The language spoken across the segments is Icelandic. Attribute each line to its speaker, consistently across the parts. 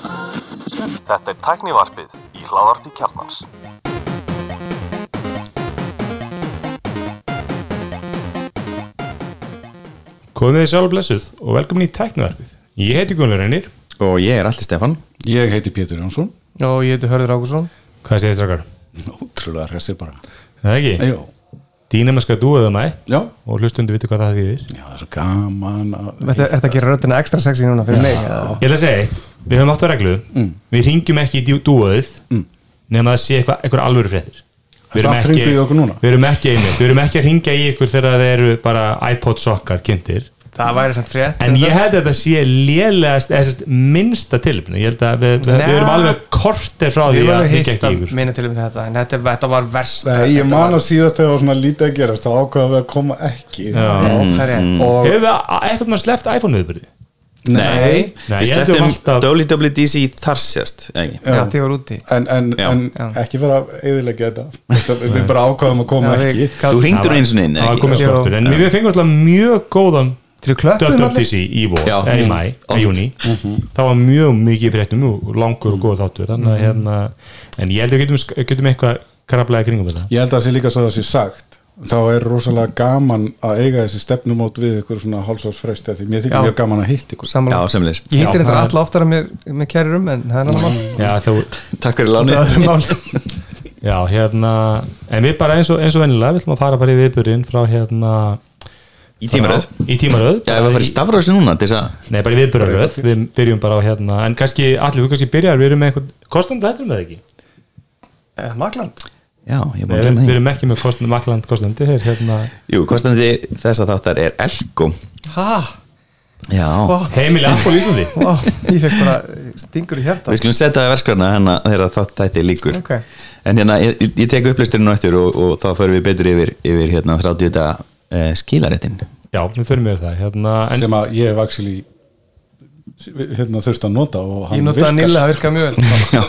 Speaker 1: Þetta er tæknivarpið í hláðarpi kjarnans.
Speaker 2: Komið þið sjálf blessuð og velkomin í tæknuverfið. Ég heiti Gunnar Einir.
Speaker 3: Og ég er allir Stefan
Speaker 4: Ég heiti Pétur Jónsson
Speaker 5: Já, ég heiti Hörður Ákusson
Speaker 2: Hvað segir þið strakar?
Speaker 4: Ótrúlega hressir bara
Speaker 2: Er Það ekki?
Speaker 4: Ejó.
Speaker 2: Dýnamennska dúið um mætt
Speaker 4: Já,
Speaker 2: og hlustundu viti hvað það þýðir.
Speaker 4: já, það er svo gaman að
Speaker 5: Þetta er að gera röddina ekstra sexy núna fyrir mig eða?
Speaker 2: Ég ætla að segja, eitt. við höfum átt að reglu, við ringjum ekki í dúið mm. nema að sé eitthvað, eitthvað alvöru fréttir. Við erum
Speaker 4: Samt
Speaker 2: ekki-
Speaker 4: hringduð í okkur núna.
Speaker 2: Við erum ekki einmitt, við erum ekki að ringja í ykkur þegar það eru bara iPod sokkar kynntir.
Speaker 5: Það væri samt frétt
Speaker 2: En ég held að þetta sé lélegast, eða sérst minnsta tilfni, ég held að við, við, við erum
Speaker 5: Nei.
Speaker 2: alveg kortir frá því
Speaker 5: Við
Speaker 2: að
Speaker 5: varum
Speaker 2: ringja
Speaker 5: hýst
Speaker 2: ekki í
Speaker 5: að
Speaker 2: ykkur.
Speaker 5: minna til um þetta En þetta, þetta var verst
Speaker 4: Nei, ég man að síðast þegar það var svona lítið að gerast þá ákvaða við að koma ekki
Speaker 5: Það er rétt
Speaker 4: og
Speaker 2: Hefur það eitthvað maður sleppt iPhone-viðbyrði?
Speaker 4: nei
Speaker 2: Nei,
Speaker 3: Við
Speaker 2: ég held við
Speaker 3: slettum
Speaker 2: alltaf
Speaker 3: WWDC þar sérst ekki?
Speaker 5: Já, þið var úti
Speaker 4: en, en,
Speaker 3: Já.
Speaker 4: en
Speaker 5: Já.
Speaker 4: ekki vera að eðilegja þetta Þetta- við bara ákvaðum að koma
Speaker 5: Já, við
Speaker 4: ekki
Speaker 5: gat-
Speaker 3: Þú hringdur eins og inn
Speaker 2: Það var komið
Speaker 5: Jú.
Speaker 2: skortur En við fengum alltaf mjög góðan
Speaker 5: Þeir klöppum allir
Speaker 2: WWDC í vor,
Speaker 3: Já. Mhm.
Speaker 2: eða í mæ,
Speaker 3: Oft.
Speaker 2: í júni Það var mjög mikið fréttum og langur og góð þáttur Þannig að hérna En ég held að við getum, getum eitthvað kraflega kringum þetta
Speaker 4: ég held að það sé líka svo að það sé sagt þá er rosalega gaman að eiga þessi stefnumót við ykkur svona hálsásfresti því mér
Speaker 5: Já.
Speaker 4: þykir mjög gaman að hitta ykkur
Speaker 3: Já,
Speaker 5: Sammála
Speaker 3: semleis
Speaker 5: Ég hittir
Speaker 2: Já, Mm.
Speaker 5: þetta
Speaker 2: það er-
Speaker 5: alltaf oftar með kærirum um, En það er annar mál
Speaker 2: Já, þú,
Speaker 3: Takk fyrir láni
Speaker 5: Það er mál
Speaker 2: já hérna En við bara eins og, eins og venjulega Við ætlum að fara bara í viðbyrðin frá hérna
Speaker 3: Í tímaröð
Speaker 2: frá- Í tímaröð
Speaker 3: Já, ef að fara í stafröðslu núna til þess að
Speaker 2: Nei, bara í viðbyrðaröð Við byrjum bara á hérna En kannski, allir, þú kannski byrjar Við erum með eitthvað Kostandi þetta um það ekki?
Speaker 5: Eh, Makland
Speaker 3: Já, ég er búin
Speaker 2: Við
Speaker 3: að
Speaker 2: erum,
Speaker 3: glemma
Speaker 2: við
Speaker 3: því
Speaker 2: erum ekki með kostandi, makland kostandi Hér, hérna
Speaker 3: Jú, kostandi þess að þáttar er Elko
Speaker 5: Ha,
Speaker 3: Já
Speaker 5: Ó.
Speaker 2: Heimili Apple í Íslandi
Speaker 5: ó, ég fekk bara eh, stingur í hjarta
Speaker 3: Við skulum setja það verskvarna hérna þegar þátt þetta líkur
Speaker 5: Ok.
Speaker 3: En hérna, ég, ég tek upplusturinn á eftir og, og þá förum við betur yfir, yfir hérna 30 dag eh, skilaréttin
Speaker 2: Já, við förum yfir það hérna, en,
Speaker 4: sem að ég hef axil í hérna þurft að nota og
Speaker 5: Ég
Speaker 4: hann
Speaker 5: notaði
Speaker 4: virkar.
Speaker 5: að nýlega virka mjög vel
Speaker 3: Já,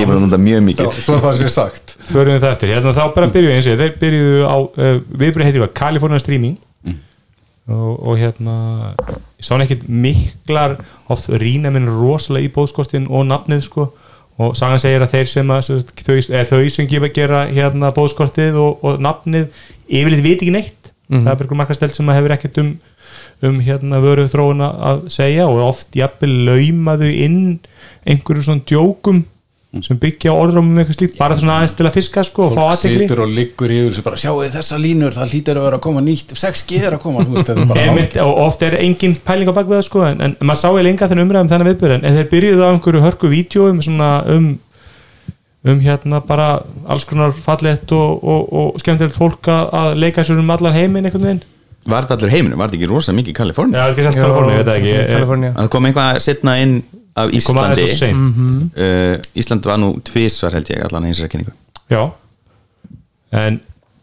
Speaker 3: ég var að nota mjög
Speaker 4: Já,
Speaker 3: mikið
Speaker 4: svo það sé sagt
Speaker 2: förum við það eftir hérna, þá bara byrjuðu eins og ég, þeir byrjuðu á uh, viðbröð heitir hvað, California Streaming og, og hérna ég sá ekki miklar oft rýna minn rosalega í bóðskortin og nafnið sko og sagan segir að þeir sem að sem sagt, þau, eða, þau sem gefa gera hérna bóðskortið og, og nafnið yfirleitt vit ekki neitt það er bara markastelt sem að hefur ekkert um um hérna vöru þróun að segja og oft jafnvel laumaðu inn einhverjum svona djókum sem byggja á orðrum um eitthvað slíkt bara svona aðeins til að fiska sko og fá aðtekli
Speaker 4: situr og liggur yfir þessu bara sjáu þessa línur, það hlýtur að vera að koma nýtt 6G er að koma, þú veist þetta er bara
Speaker 2: Einmitt, og oft er engin pæling á bak við það sko en, en maður sá ég lenga þennan umræðum þennan viðbjör en, en þeir byrjuðu á einhverju hörku vídjóum svona um um hérna bara alls konar fallett og, og, og skemmtilegt fólk að- að leika sér um allan heiminn einhvern veginn
Speaker 3: Var þetta allur heiminum, var þetta ekki rosa mikið í Kaliforni
Speaker 2: Já, þetta er samt Kaliforni, ég veit það ekki Ég- ég-
Speaker 5: Kalifornia
Speaker 3: Það kom eitthvað setna inn
Speaker 2: kom
Speaker 3: af
Speaker 2: aðeins
Speaker 3: Íslandi
Speaker 2: og seint
Speaker 3: uh, Ísland var nú tvisvar held ég allan einsra kynningu
Speaker 2: Já en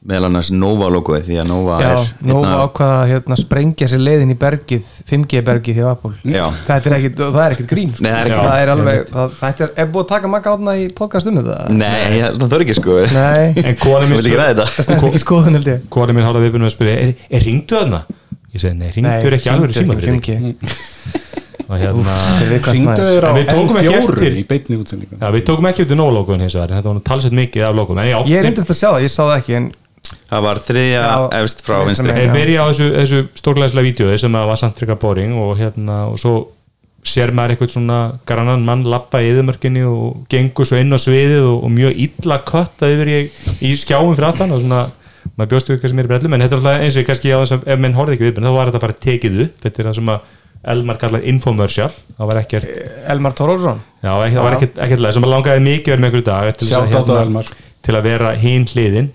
Speaker 3: meðal annars Nova logoið því að Nova
Speaker 5: Já,
Speaker 3: er
Speaker 5: Nova ákvaða að hérna, sprengja sér leiðin í bergið 5G bergið hjá Apple
Speaker 3: Já.
Speaker 5: Þetta er ekkit, og það er ekkit grín sko.
Speaker 3: Nei, það er ekkit-
Speaker 5: það er alveg, það, Þetta er, er búið að taka makka átna í podcast um þetta
Speaker 3: Nei, ég- það þarf ekki sko
Speaker 5: Nei,
Speaker 2: en kona
Speaker 3: Ég
Speaker 2: mín
Speaker 3: vil ekki ræða
Speaker 5: það
Speaker 3: þetta
Speaker 5: snæst ekki skoðun held ég
Speaker 2: kona mín hálfa viðbjörnum að spyrja er, er ringdu þarna? Ég segi nei, ringdur ekki alveg
Speaker 5: hringdu
Speaker 2: síma
Speaker 5: ekki
Speaker 2: fyrir
Speaker 5: 5G
Speaker 2: og hérna
Speaker 5: Þetta er viðkvæmt
Speaker 4: hringdu
Speaker 5: maður.
Speaker 4: þeir á
Speaker 2: En við tókum ekki eftir.
Speaker 4: N4 í beinni útsendingu
Speaker 2: Já, við tókum ekki eftir nólogun hins vegar, en þetta var nú talsett mikið af lokum, en já,
Speaker 5: Ég
Speaker 2: þeir-
Speaker 5: reyndist að sjá það, ég sá það ekki en
Speaker 3: Það var þriðja
Speaker 5: Já,
Speaker 3: efst frá
Speaker 5: vinstra
Speaker 3: vinstri
Speaker 2: Þeir
Speaker 5: megin. Já.
Speaker 2: byrja á þessu, þessu stórglæslega vídjói sem að var samt frekar boring og hérna og svo sér maður eitthvað svona grannan mann lappa í yðumörkinni og gengur svo inn á sviðið og, og mjög illa kötta yfir í, í skjáum fyrir aftan og svona, maður bjóst við hvað sem er í brellum en þetta er alltaf eins og ég kannski á þess að ef menn horfði ekki viðbjörn þá var þetta bara tekið upp þetta er það sem að Elmar kallar infomercial það var ekkert,
Speaker 5: Elmar Torolsson
Speaker 4: Eh,
Speaker 2: já, ekki, það var ekkert, ekkert lega sem að langaði mikið verið með einhverju dag til þess að, hérna
Speaker 4: Shoutout á Elmar.
Speaker 2: til að vera hinn hliðin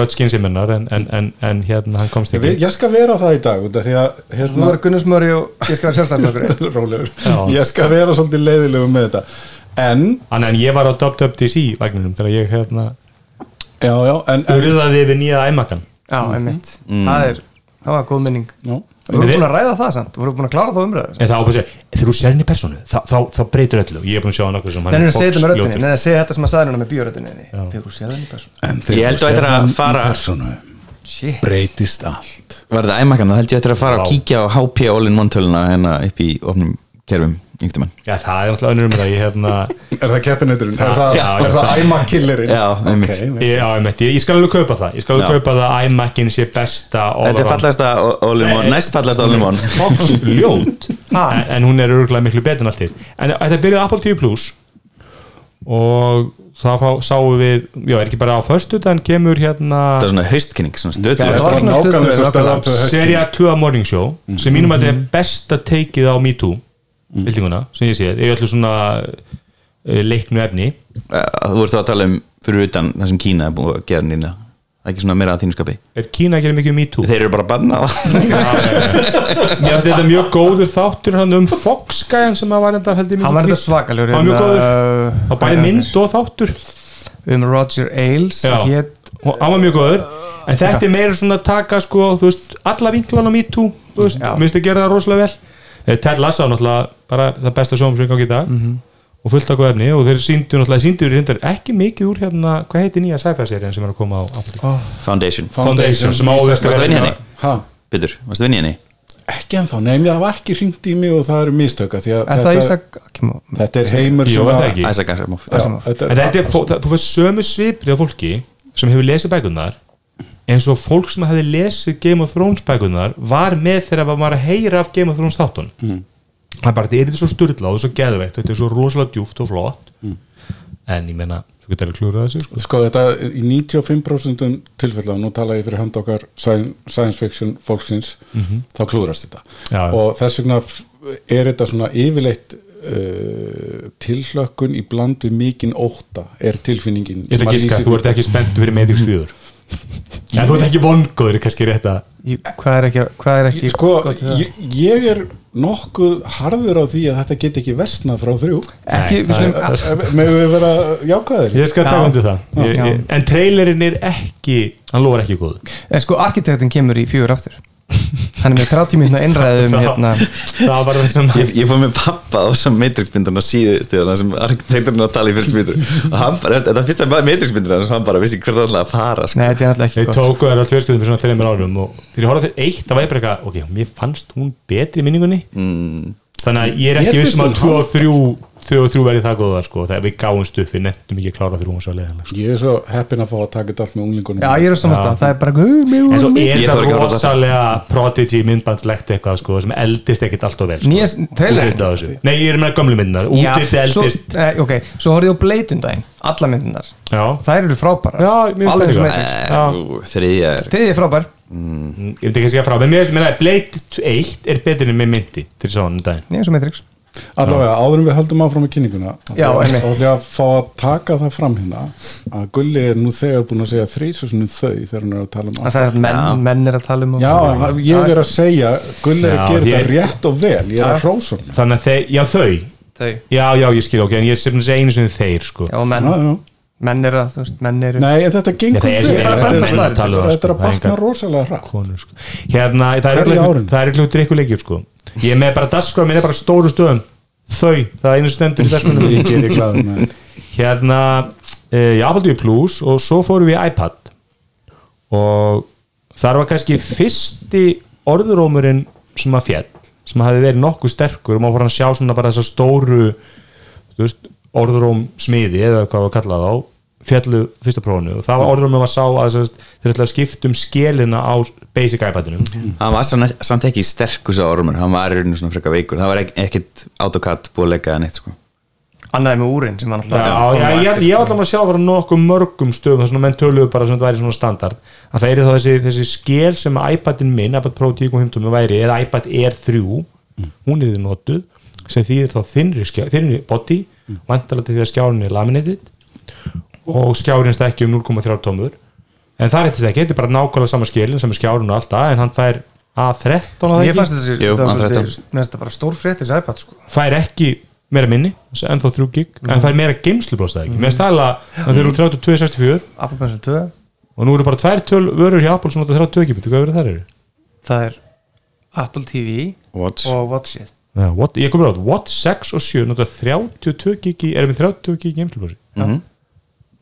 Speaker 2: röddskinn sem hennar en, en, en, en hérna hann komst ekki
Speaker 4: Við- ég skal vera það í dag út af því að
Speaker 5: Þú
Speaker 4: hérna,
Speaker 5: verður Gunnarsmöri og ég skal vera sjálfstæðarflokkur
Speaker 4: rólegur,
Speaker 2: Já.
Speaker 4: ég skal vera svolítið leiðilegu með þetta en,
Speaker 2: Þannig en ég var á WWDC vagninum þegar ég hérna
Speaker 4: já, já, en, en
Speaker 2: urðaði yfir nýja æmakan
Speaker 5: Já, einmitt Það er, það var góð minning
Speaker 4: já,
Speaker 5: Þú
Speaker 2: við-
Speaker 5: voru búin að ræða það samt, þú voru búin að klára það umræður
Speaker 2: En það ábæði að segja, þegar þú sér henni í personu þá, þá, þá breytur öllu og ég er búin að sjá hann okkur sem hann
Speaker 5: Nei, nei, segja þetta með um röddinni,
Speaker 2: foxljótur.
Speaker 5: nei, nei, segja þetta sem að sagði núna með bíóröddinni Þegar þú séð henni persónu
Speaker 4: en þegar
Speaker 3: Ég held
Speaker 4: þú
Speaker 3: að
Speaker 4: sérð
Speaker 3: þetta er að
Speaker 4: hann í
Speaker 3: fara-
Speaker 4: persónu,
Speaker 5: Shit
Speaker 4: breytist allt
Speaker 3: Var þetta æmakan, það held ég eftir að fara
Speaker 2: Vá.
Speaker 3: að kíkja á HP All in One töluna hérna upp í ofnum kerfum yngtum hann
Speaker 2: Já, það er alltaf önnur um það Ég, hérna,
Speaker 4: Er það keppinauturinn? Er það,
Speaker 2: Já,
Speaker 4: er það æma killerinn?
Speaker 3: Já, einmitt.
Speaker 4: Ok,
Speaker 2: ég, á, einmitt, ég, ég skal alveg kaupa það Ég skal
Speaker 3: Já.
Speaker 2: alveg kaupa það að iMac-in sé besta all
Speaker 3: Þetta er
Speaker 2: around.
Speaker 3: fallasta Olimón,
Speaker 2: Nei.
Speaker 3: næst fallasta Olimón
Speaker 2: Fox ljót en, en hún er örgulega miklu betur en allt hitt en þetta byrjaði Apple TV Plus og það fá, sáum við já, er ekki bara á föstu, þann kemur hérna
Speaker 3: Þetta er svona haustkynning, svona
Speaker 4: Það
Speaker 5: Já,
Speaker 3: stöðtur
Speaker 4: var
Speaker 5: var svona
Speaker 4: nákvæmlega
Speaker 5: stöðugur,
Speaker 4: þessu stöðu
Speaker 5: nákvæmlega.
Speaker 4: athuga haustið.
Speaker 2: Seria 2 Morning Show sem mínum að þetta er besta teikið á Me Too bildinguna, sem ég sé, ég ætlu svona eh, leiknu efni
Speaker 3: Þú ert þá að tala um fyrir utan það sem Kína er búið að gera nýna ekki svona meira að þínuskapi
Speaker 2: er Kína að gera mikið um Me Too
Speaker 3: Þeir eru bara að banna það
Speaker 2: mér finnst þetta mjög góður þáttur hann um Fox-gæjan sem að var þetta held ég mikið
Speaker 5: Hann var hérna,
Speaker 2: klík.
Speaker 5: þetta svakaljur
Speaker 2: hann var mjög góður,
Speaker 5: eh,
Speaker 2: á
Speaker 5: hérna,
Speaker 2: bæði mynd og þáttur
Speaker 5: Um Roger Ailes
Speaker 2: Já.
Speaker 5: hét,
Speaker 2: og hann var mjög góður en þetta er meira svona að taka sko þú veist, alla vinklan á MeToo þú veist,
Speaker 5: Já.
Speaker 2: mér finnst að gera það rosalega vel Eh, Ted Lasso er náttúrulega bara það besta sjóum sem við gangi í dag og fullt af góð efni og þeir síndu náttúrulega síndu reyndar ekki mikið úr hérna hvað heitir nýja sci-fi-serien sem er að koma á Apple
Speaker 5: Ó,
Speaker 3: Foundation,
Speaker 2: Foundation sem áður
Speaker 3: Varstu að vinna henni?
Speaker 4: Ha,
Speaker 3: Bitur, varstu að vinna henni?
Speaker 4: ekki en þá, nefn ég það var ekki hringt í mig og það eru mistöka því að
Speaker 5: Er það
Speaker 4: þetta,
Speaker 5: Ísak Akimov?
Speaker 4: þetta er heimur
Speaker 2: Jó, er það ekki?
Speaker 3: Æsak Asimov
Speaker 4: Já,
Speaker 5: Asimov.
Speaker 4: þetta
Speaker 2: En
Speaker 4: er,
Speaker 2: þetta er, fó- það- þú fyrst sömu svipri af fólki sem hefur lesið bækurnar eins og fólk sem hefði lesið Game of Thrones bækurnar var með þegar maður var að heyra af Game of Thrones þáttun það er bara, þetta er svo styrlað og svo geðveikt og þetta er svo rosalega djúft og flott en ég meina, svo getur það klúrað þessu sko.
Speaker 4: sko þetta í 95% tilfella, nú tala ég fyrir hand okkar sci- science fiction fólksins þá klúrast þetta
Speaker 2: Mhm. Já.
Speaker 4: og þess vegna f- er þetta svona yfirleitt uh, tilhlökkun í bland við mikinn óta er tilfinningin
Speaker 2: ég
Speaker 4: sem
Speaker 2: ætla
Speaker 4: að
Speaker 2: að gíska,
Speaker 4: lýsir
Speaker 2: þú
Speaker 4: því.
Speaker 2: ert ekki spennt fyrir Matrix 4 en þú ert ekki vongóður er kannski rétt að
Speaker 5: Í- Hvað er ekki, hvað er ekki
Speaker 4: sko,
Speaker 5: gott í það?
Speaker 4: ég, ég er nokkuð harður á því að þetta get ekki versnað frá þrjú
Speaker 5: Ekki,
Speaker 2: Nei,
Speaker 5: við slum
Speaker 2: það
Speaker 4: með við vera jákvæðir
Speaker 2: ég skal
Speaker 5: Já.
Speaker 2: taka undir það ég,
Speaker 5: Já.
Speaker 2: ég, en trailerinn er ekki, hann lofar ekki góð
Speaker 5: En sko, arkitektin kemur í fjögur aftur Hann er með 30 minna einræðum hérna
Speaker 2: það var það sem
Speaker 3: Ég, ég fór með pappa á þessum matrixmyndana síðustíðana sem arkitekturinn var að tala í fyrstu myndur og hann bara, þetta var fyrsta matrixmyndina og hann bara vissi hvert það ætlaði að fara sko.
Speaker 5: Nei, þetta er alltaf ekki
Speaker 2: Þeir
Speaker 5: gott
Speaker 2: tóku þær að fjölskyldum fyrir svona þreimur árum og þegar ég horfði á þeir eitt, það var ég bara eitthvað ok, mér fannst hún betri í minningunni þannig að ég er
Speaker 4: Mér
Speaker 2: ekki
Speaker 4: finnst
Speaker 2: vissum
Speaker 4: hún
Speaker 2: að 2 og 3 2 og 3 verði það góða sko, þegar við gáum stuffi nefnum ekki að klára þrjú og svo sko. leðanlega
Speaker 4: ég er svo heppin að fá að taka þetta allt með unglingunum hérna.
Speaker 5: Já, ég er á saman
Speaker 2: Já.
Speaker 5: stað, það er bara "Guð, mig,
Speaker 2: en svo
Speaker 5: mig, mig."
Speaker 2: er
Speaker 3: Ég þarf
Speaker 2: það
Speaker 3: ekki að horfa á
Speaker 2: rosalega prodigy myndbandslegt eitthvað sko, sem eldist ekkit alltof vel sko.
Speaker 5: Nýjast- trailerinn?
Speaker 2: Útlitið á þessu. Nei, ég er með gömlu myndnar,
Speaker 5: Já,
Speaker 2: útliti eldist
Speaker 5: svo, eh, ok, svo horfði ég á Blade um daginn alla myndunar,
Speaker 2: Já,
Speaker 5: þær eru frábærar
Speaker 2: Já, mér finnst
Speaker 5: Alveg
Speaker 2: það
Speaker 5: sem
Speaker 2: líka.
Speaker 5: Matrix.
Speaker 2: Já.
Speaker 3: Ú, Þriðja er
Speaker 5: Þriðji er frábær
Speaker 2: Mm, ég veit ekki að segja frá Men mér finnst að Blade 1 er betur en með myndi til svo hann um daginn
Speaker 5: Nei, eins og Matrix
Speaker 4: Allavega, áður en við höldum áfram með kynninguna
Speaker 5: Já, einmitt.
Speaker 4: og því að fá að taka það fram hérna að Gulli er nú þegar búin að segja þrísusunum þau þegar hann er að tala um
Speaker 5: Það sagði að menn, menn er að tala um og-
Speaker 4: Já, hann- ég er að segja Gulli er að
Speaker 2: Já,
Speaker 4: gera
Speaker 2: ég-
Speaker 4: þetta rétt og vel ég er að hrósa honum.
Speaker 2: Þannig að þeir, já þau,
Speaker 5: Þau
Speaker 2: já já ég skil ok en ég er sem að segja einu sinni þeir sko
Speaker 5: Já, og menn,
Speaker 4: Já, já.
Speaker 5: menn eru að, þú veist, menn eru
Speaker 4: Nei, en þetta gengur
Speaker 2: Þetta er-
Speaker 4: vel.
Speaker 2: þetta er-
Speaker 4: Þetta
Speaker 5: menn að
Speaker 4: er-
Speaker 2: tala um það,
Speaker 4: þetta er
Speaker 2: sko.
Speaker 4: að
Speaker 2: Það er
Speaker 4: batna
Speaker 2: engan-
Speaker 4: rosalega hratt
Speaker 2: konur sko. hérna, það
Speaker 4: Hverju
Speaker 2: er
Speaker 4: árinu?
Speaker 2: örugglega- það er eitthvað drikkuleikjur sko ég er með bara dagskrá, minn er bara á stóru stöðum þau, það er einu sem stendur í dagskránum
Speaker 4: Ég gerir glæður með þetta
Speaker 2: hérna, uh, ég afaldi við Plus og svo fórum við í iPad og þar var kannski fyrsti orðurómurinn sem að fjall, sem hafði verið nokkuð sterkur og maður fór að sjá svona bara þessa stóru þú veist, orðuróm smiði eða hvað var kallað á fjallu fyrsta prófunu og það var orðurómur var sá að þess að þeir ætla að skipta um skilina á basic iPadinu
Speaker 3: hann var sann- samt ekki sterkur sá ormur hann var í rauninu svona frekka veikur það var ek- ekkit AutoCAD búið að leggja það neitt sko.
Speaker 5: annaði með úrin sem hann
Speaker 2: Já,
Speaker 5: alltaf
Speaker 2: já, ég, ég var allavega að sjá bara nokkuð mörgum stöðum þar sem menn töluðu bara sem þetta væri svona standard að það er þá þessi, þessi skil sem að iPadin minn, iPad Pro 10.15 væri eða iPad Air 3 hún er þið notuð sem þýðir þá þinnri, skjá, þinnri body mm. vantalega til því að skjárin er laminated og skjárin stækki um 0,3 tómur en það er þetta ekki, þetta er bara nákvæmlega sama skilin sem er skjárin og alltaf en hann fær A13 á það ekki,
Speaker 5: Ég sko. fannst þessi,
Speaker 3: Jú,
Speaker 5: þetta var
Speaker 3: hann þrettán.
Speaker 5: svolítið- mér finnst þetta bara stór frétt þessi iPad sko
Speaker 2: fær ekki meira minni, ennþá 3 gig en fær meira geimslublóst það ekki, mm. með stæla að þeir eru 3264
Speaker 5: Apple Pencil 2,
Speaker 2: og nú eru bara tvær töl vörur hjá Apple sem nota 30 ekki, veitu hvað verður þær eru?
Speaker 5: það er Apple TV
Speaker 3: Watch.
Speaker 5: og Watch It
Speaker 2: Já, what, ég komur átt, Watch 6 og 7 nota 32 gigi, erum við 30 gigi geimslublási mm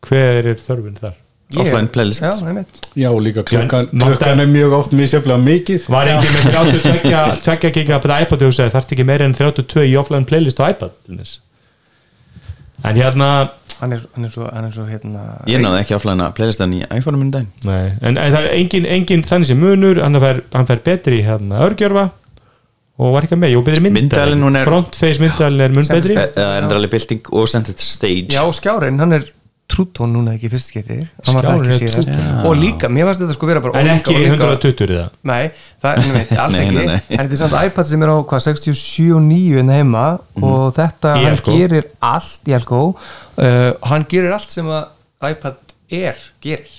Speaker 2: hver er þörfin þar?
Speaker 3: Offline playlist.
Speaker 5: Já, einmitt
Speaker 4: Já, og líka klukkan,
Speaker 2: Vantar-
Speaker 4: klukkan er mjög oft misjaflega mikið
Speaker 2: Var engin með 32 22 gigabit iPod og segði þarf ekki meira en 32 í offline playlist á iPad til dæmis. en hérna
Speaker 5: Hann er, hann er svo, hann er svo hérna
Speaker 3: Ég náði ekki offline að playlistan í iPhone-um minn í dag
Speaker 2: nei, en, en það er engin, engin þannig sem munur hann fer, hann fer betri hérna örgjörfa og var ekki með, jú betri
Speaker 3: Myndavélin, hún
Speaker 2: myndalinn
Speaker 3: er-
Speaker 2: frontface myndalinn er mun betri
Speaker 5: Sendist-
Speaker 3: Það er endur alveg building og sendið stage
Speaker 5: Já, skjárin, hann er trútón núna ekki í fyrst skipti Hann var það
Speaker 2: Skjárinn
Speaker 5: ekki
Speaker 2: er
Speaker 5: síðast Og líka, mér varst þetta sko vera bara
Speaker 2: en
Speaker 5: ólíka-
Speaker 2: ekki
Speaker 5: ólíka-
Speaker 2: 120 í það
Speaker 5: Nei, það er neitt, alls
Speaker 3: Nei,
Speaker 5: ekki
Speaker 3: nei, nei.
Speaker 5: En þetta er samt iPad sem er á hvað, 67 og 9 en heima
Speaker 3: Mhm.
Speaker 5: og þetta,
Speaker 2: Í
Speaker 5: hann
Speaker 2: Elko.
Speaker 5: gerir allt í Elko uh, Hann gerir allt sem að iPad Air gerir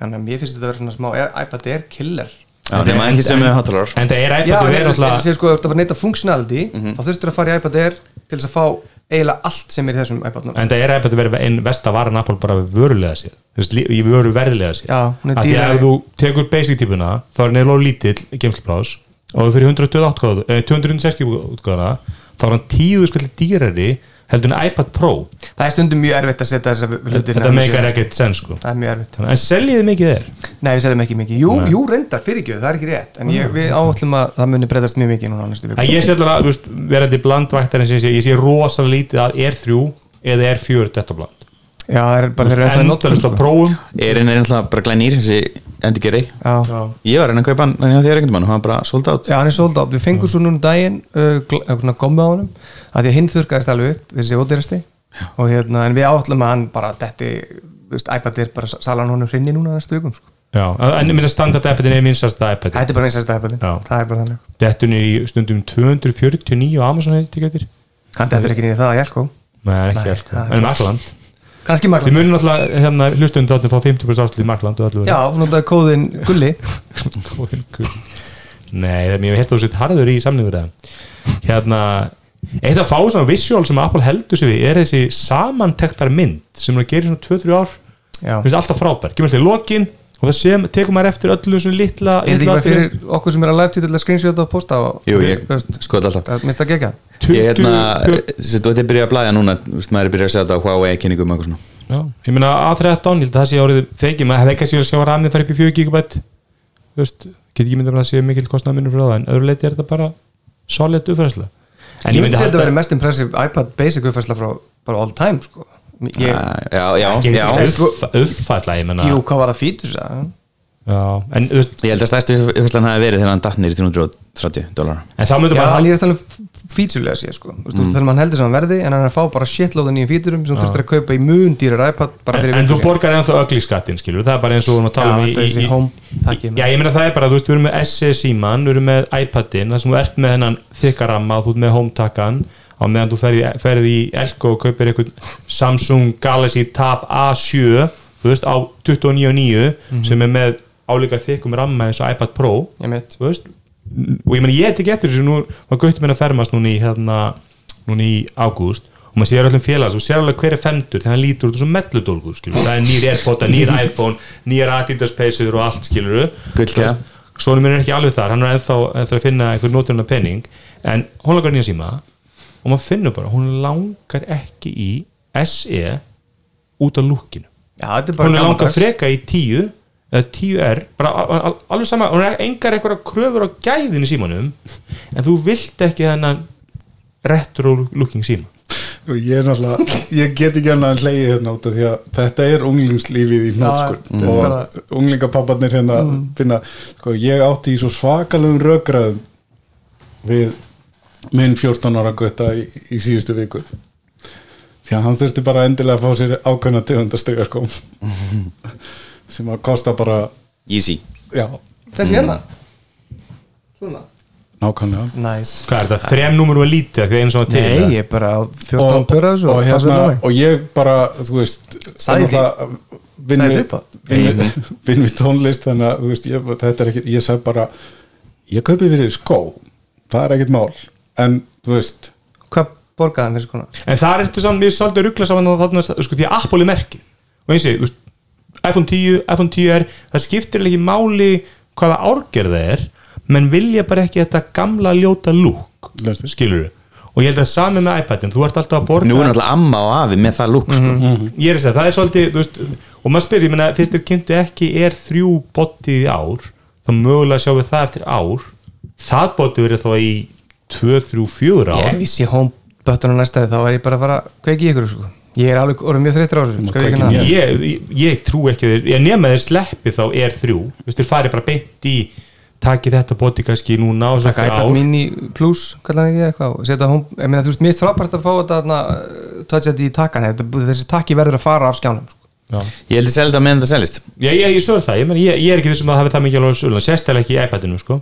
Speaker 5: Þannig að mér finnst þetta að vera svona smá Air- iPad Air killer
Speaker 3: Já, nema ekki sem við hátalar
Speaker 2: en það er
Speaker 5: Já,
Speaker 2: iPad
Speaker 5: en
Speaker 2: og er
Speaker 5: ef þú
Speaker 2: alltaf
Speaker 5: segir sko, ef þú var neitt að functionality
Speaker 3: Mhm.
Speaker 5: þá þurftur að fara í iPad Air til þess að fá eiginlega allt sem er í þessum iPad núna
Speaker 2: en það er iPad að vera einn vest að vara Apple bara vörulega sér Þú veist, lí- í vöru verðilega sér
Speaker 5: Já, hún er
Speaker 2: Af því að
Speaker 5: dýrari.
Speaker 2: ef þú tekur basic típuna þá er neil og lítill geimslipláðs og þú fyrir 128 útgáfu- eh, 260 útgáðana þá er hann tíu skall dýrari heldur en iPad Pro
Speaker 5: Það er stundum mjög erfitt að setja þessa hlutir
Speaker 2: þetta meikar ekkert sen sko
Speaker 5: Það er mjög erfitt
Speaker 2: Þannig, en seljiði mikið þér
Speaker 5: Nei, við seljum ekki mikið Jú, jú reyndar, fyrirgjöð, það er ekki rétt En ég, við áallum að það muni breytast mjög mikið núna á næstu viku
Speaker 2: að ég sé allavega, þú veist, verandi blandvættar ég sé, ég sé rosalega lítið að R3 eða R4 þetta bland
Speaker 5: Já, það er bara þeirra eftir að nota
Speaker 2: endalist á prófum
Speaker 3: Erin er náttúrulega bara glænýr þessi endurgerði
Speaker 5: Já,
Speaker 3: Ég var að reyna að kaupa hann en ég á þér einhvern mann og hann var bara sold out
Speaker 5: Já, hann er sold out, við fengum svo núna um daginn uh, gl- uh, svona gommu á honum að því að hinn þurrkaðist alveg upp, þessi ódýrasti og hérna, en við áallum að hann bara detti, þú veist, iPad er bara salan honum hrinni núna á næstu vikum, sko
Speaker 2: já, en minna standard iPadin er minnstasta iPadin
Speaker 5: Þetta er bara einsæsta iPadin,
Speaker 2: Já.
Speaker 5: það er bara þannig
Speaker 2: dettunni í stundum 249 á Amazon etikettir
Speaker 5: Hann dettur ekki nýja það, já, sko
Speaker 2: Nei, það er ekki
Speaker 5: Nei,
Speaker 2: Nei, sko.
Speaker 5: það er
Speaker 2: en Markland
Speaker 5: Kanski
Speaker 2: Þið
Speaker 5: Magland
Speaker 2: munum alltaf hérna hlustum þáttum fá 50% afslut í Markland og allir
Speaker 5: Já, notaði kóðin Gulli
Speaker 2: verið Nei, það er mjög held að þú sett harður í samlingur það Hérna Eitt af fáum svona visual sem Apple heldur sér við er þessi samantektar mynd sem hún gerir svona 2-3 ár
Speaker 5: Já.
Speaker 2: Mér finnst alltaf frábær, kemur alltaf í lokin og það sem tekur maður eftir öllu svona litla
Speaker 5: Er þetta ekki bara fyrir okkur sem er að live tweet til að screenshota og posta og
Speaker 3: Jú, ég
Speaker 5: þú veist,
Speaker 3: skoði alltaf
Speaker 5: að minnst að gegja
Speaker 3: Ég
Speaker 2: 20
Speaker 3: hérna, þessi, þú ert að byrja að blæða núna þú veist, maður er byrjað að segja þetta á Huawei kynningum og eitthvað svona
Speaker 2: Já, ég meina A13, ég held að það sé árið fegið, maður hefði kannski verið að sjá ramið fara upp í 4 gigabætt þú veist, get ekki myndið að það sé mikill kostnað minnur fyrir það, en öðru leiti er þetta bara solid uppfærsla en
Speaker 5: Ég myndi að þetta verið mest impressive iPad basic uppfærsla frá bara all time, sko ég,
Speaker 3: Ah, Já, já,
Speaker 2: ekki
Speaker 3: já
Speaker 2: ekki
Speaker 5: Ég-
Speaker 2: upp- uppfærsla, ég meina
Speaker 5: Jú, hvað var það fítur það?
Speaker 2: já, en, þú veist,
Speaker 3: Ég held að stærstu uppfæslan hafi verið þegar hann datt nýr í 330 dólar
Speaker 2: en það myndi
Speaker 5: Já,
Speaker 2: bara Mm.
Speaker 5: hann er um talað fíturlega sér, sko Þú veist, þú ert að tala um að hann heldur sem hann verði en hann er að fá bara shitlóða nýjum fíturum sem þú þurftir að kaupa í mun dýrar iPad bara
Speaker 2: en,
Speaker 5: fyrir
Speaker 2: en
Speaker 5: viku
Speaker 2: þú
Speaker 5: síðan.
Speaker 2: borgar ennþá ögli skattin, skilur það er bara eins og við erum að tala
Speaker 5: Já,
Speaker 2: um í,
Speaker 5: þetta er
Speaker 2: í,
Speaker 5: þessi
Speaker 2: í,
Speaker 5: home takkið
Speaker 2: Já, ég meina það er bara, þú veist, við erum með SE síman, við erum með iPadin, þar sem þú ert með hennan þykkaramma, þú ert með hometakkan á meðan þú ferði, ferði í Elko og kaupir einhvern Samsung Galaxy Tab A7, þú veist, á 29.9
Speaker 5: Mhm.
Speaker 2: sem er með álíka þykkum ramma eins og iPad Pro
Speaker 5: Ég mitt.
Speaker 2: þú veist, og ég meina ég tek eftir þessu, nú var gautum minn að fermast núna í hérna, núna í ágúst og maður sér öllum félags og sér alveg hver er femtur þegar hann lítur út eins og melludólgu skilur það er nýr Airpod, nýr iPhone, nýr Adidas peysur og allt skilur
Speaker 3: Gullkeðja.
Speaker 2: Sónum minn er ekki alveg þar, hann er ennþá ennþá að finna einhver noturinn af penning en hún langar í nýja síma og maður finnur bara, hún langar ekki í SE út af lúkinu
Speaker 5: Já, þetta er bara
Speaker 2: hún er langar
Speaker 5: gamaldags.
Speaker 2: freka í 10 eða 10R, bara al- al- alveg sama hún er engar eitthvað kröfur á gæðin í símanum en þú vilt ekki þennan retro looking síma
Speaker 4: og Sko, ég er náttúrulega, ég get ekki annað en hleyið hérna út af því að þetta er unglingslífið í hnótskur
Speaker 5: Já,
Speaker 4: og
Speaker 5: bara- Mm.
Speaker 4: unglingapapparnir hérna finna, sko ég átti í svo svakalum rökraðum við minn 14 ára gutta í, í síðustu viku því að hann þurfti bara endilega að fá sér ákveðna tegundastriga sko sem að kosta bara
Speaker 3: Easy
Speaker 4: já,
Speaker 5: Þessi hérna Svona
Speaker 4: nákvæmlega
Speaker 5: Næs
Speaker 2: hvað er þetta, þrem númur var lítið því eins og það til
Speaker 5: Nei, ég er bara á 14 pöraðs
Speaker 4: og, hérna, og ég bara þú veist
Speaker 5: Sagði því.
Speaker 4: náttúrulega, vinn
Speaker 5: Sagði
Speaker 4: við-
Speaker 5: upp á.
Speaker 4: vinn við- vinn við tónlist þannig að þú veist, ég, þetta er ekkit ég sagði bara, ég kaupi fyrir þig skó það er ekkit mál en þú veist,
Speaker 5: Hvað borgaði hann fyrir skona?
Speaker 2: en þar ertu saman, við erum svolítið að ruggla saman á þarna, sko, því að Apple er merkið og eins og, ég, þú veist, iPhone 10, iPhone 10R það skiptir ekki máli hvaða árgerð það er menn vilja bara ekki þetta gamla ljóta lúk
Speaker 4: Ljóst.
Speaker 2: skilur við og ég held að sami með iPadin, þú ert alltaf að borga
Speaker 3: Nú er náttúrulega amma og afi með það lúk sko.
Speaker 5: Mhm.
Speaker 2: ég er að segja, það er svolítið þú veist, og maður spyrir, ég meina, fyrst þér kynntu ekki er þrjú botið í ár þá mögulega sjáum við það eftir ár það botið verið þá í 2-3-4
Speaker 5: Ég,
Speaker 2: ár
Speaker 5: ef ég sé home button á næsta ári, þá er ég bara að fara að kveiki ykkur sko. ég er alveg orðið mjög þreyttur á þessu skal ég ekki
Speaker 4: kveikja
Speaker 5: hana
Speaker 2: ég, ég, ég trú ekki þeir ég nema þeir sleppi þá er þrjú þú veist, þeir farið bara beint í taki þetta botið kannski núna og svo
Speaker 5: taka
Speaker 2: eftir
Speaker 5: iPad
Speaker 2: ár
Speaker 5: mini plus kallan ekki eitthvað og setja home, ég meina þú veist, mér er frábært að fá þetta þarna, uh, touch ID í takkan þetta, þessi takki verður að fara af skjánum sko.
Speaker 2: Já.
Speaker 3: Ég held að selja þetta meðan það seljist
Speaker 2: Já, ég, ég svo er það, ég, meni, ég, ég er ekki þessum að hafa það mikið alveg sögulega, sérstæðlega ekki í iPadinu sko.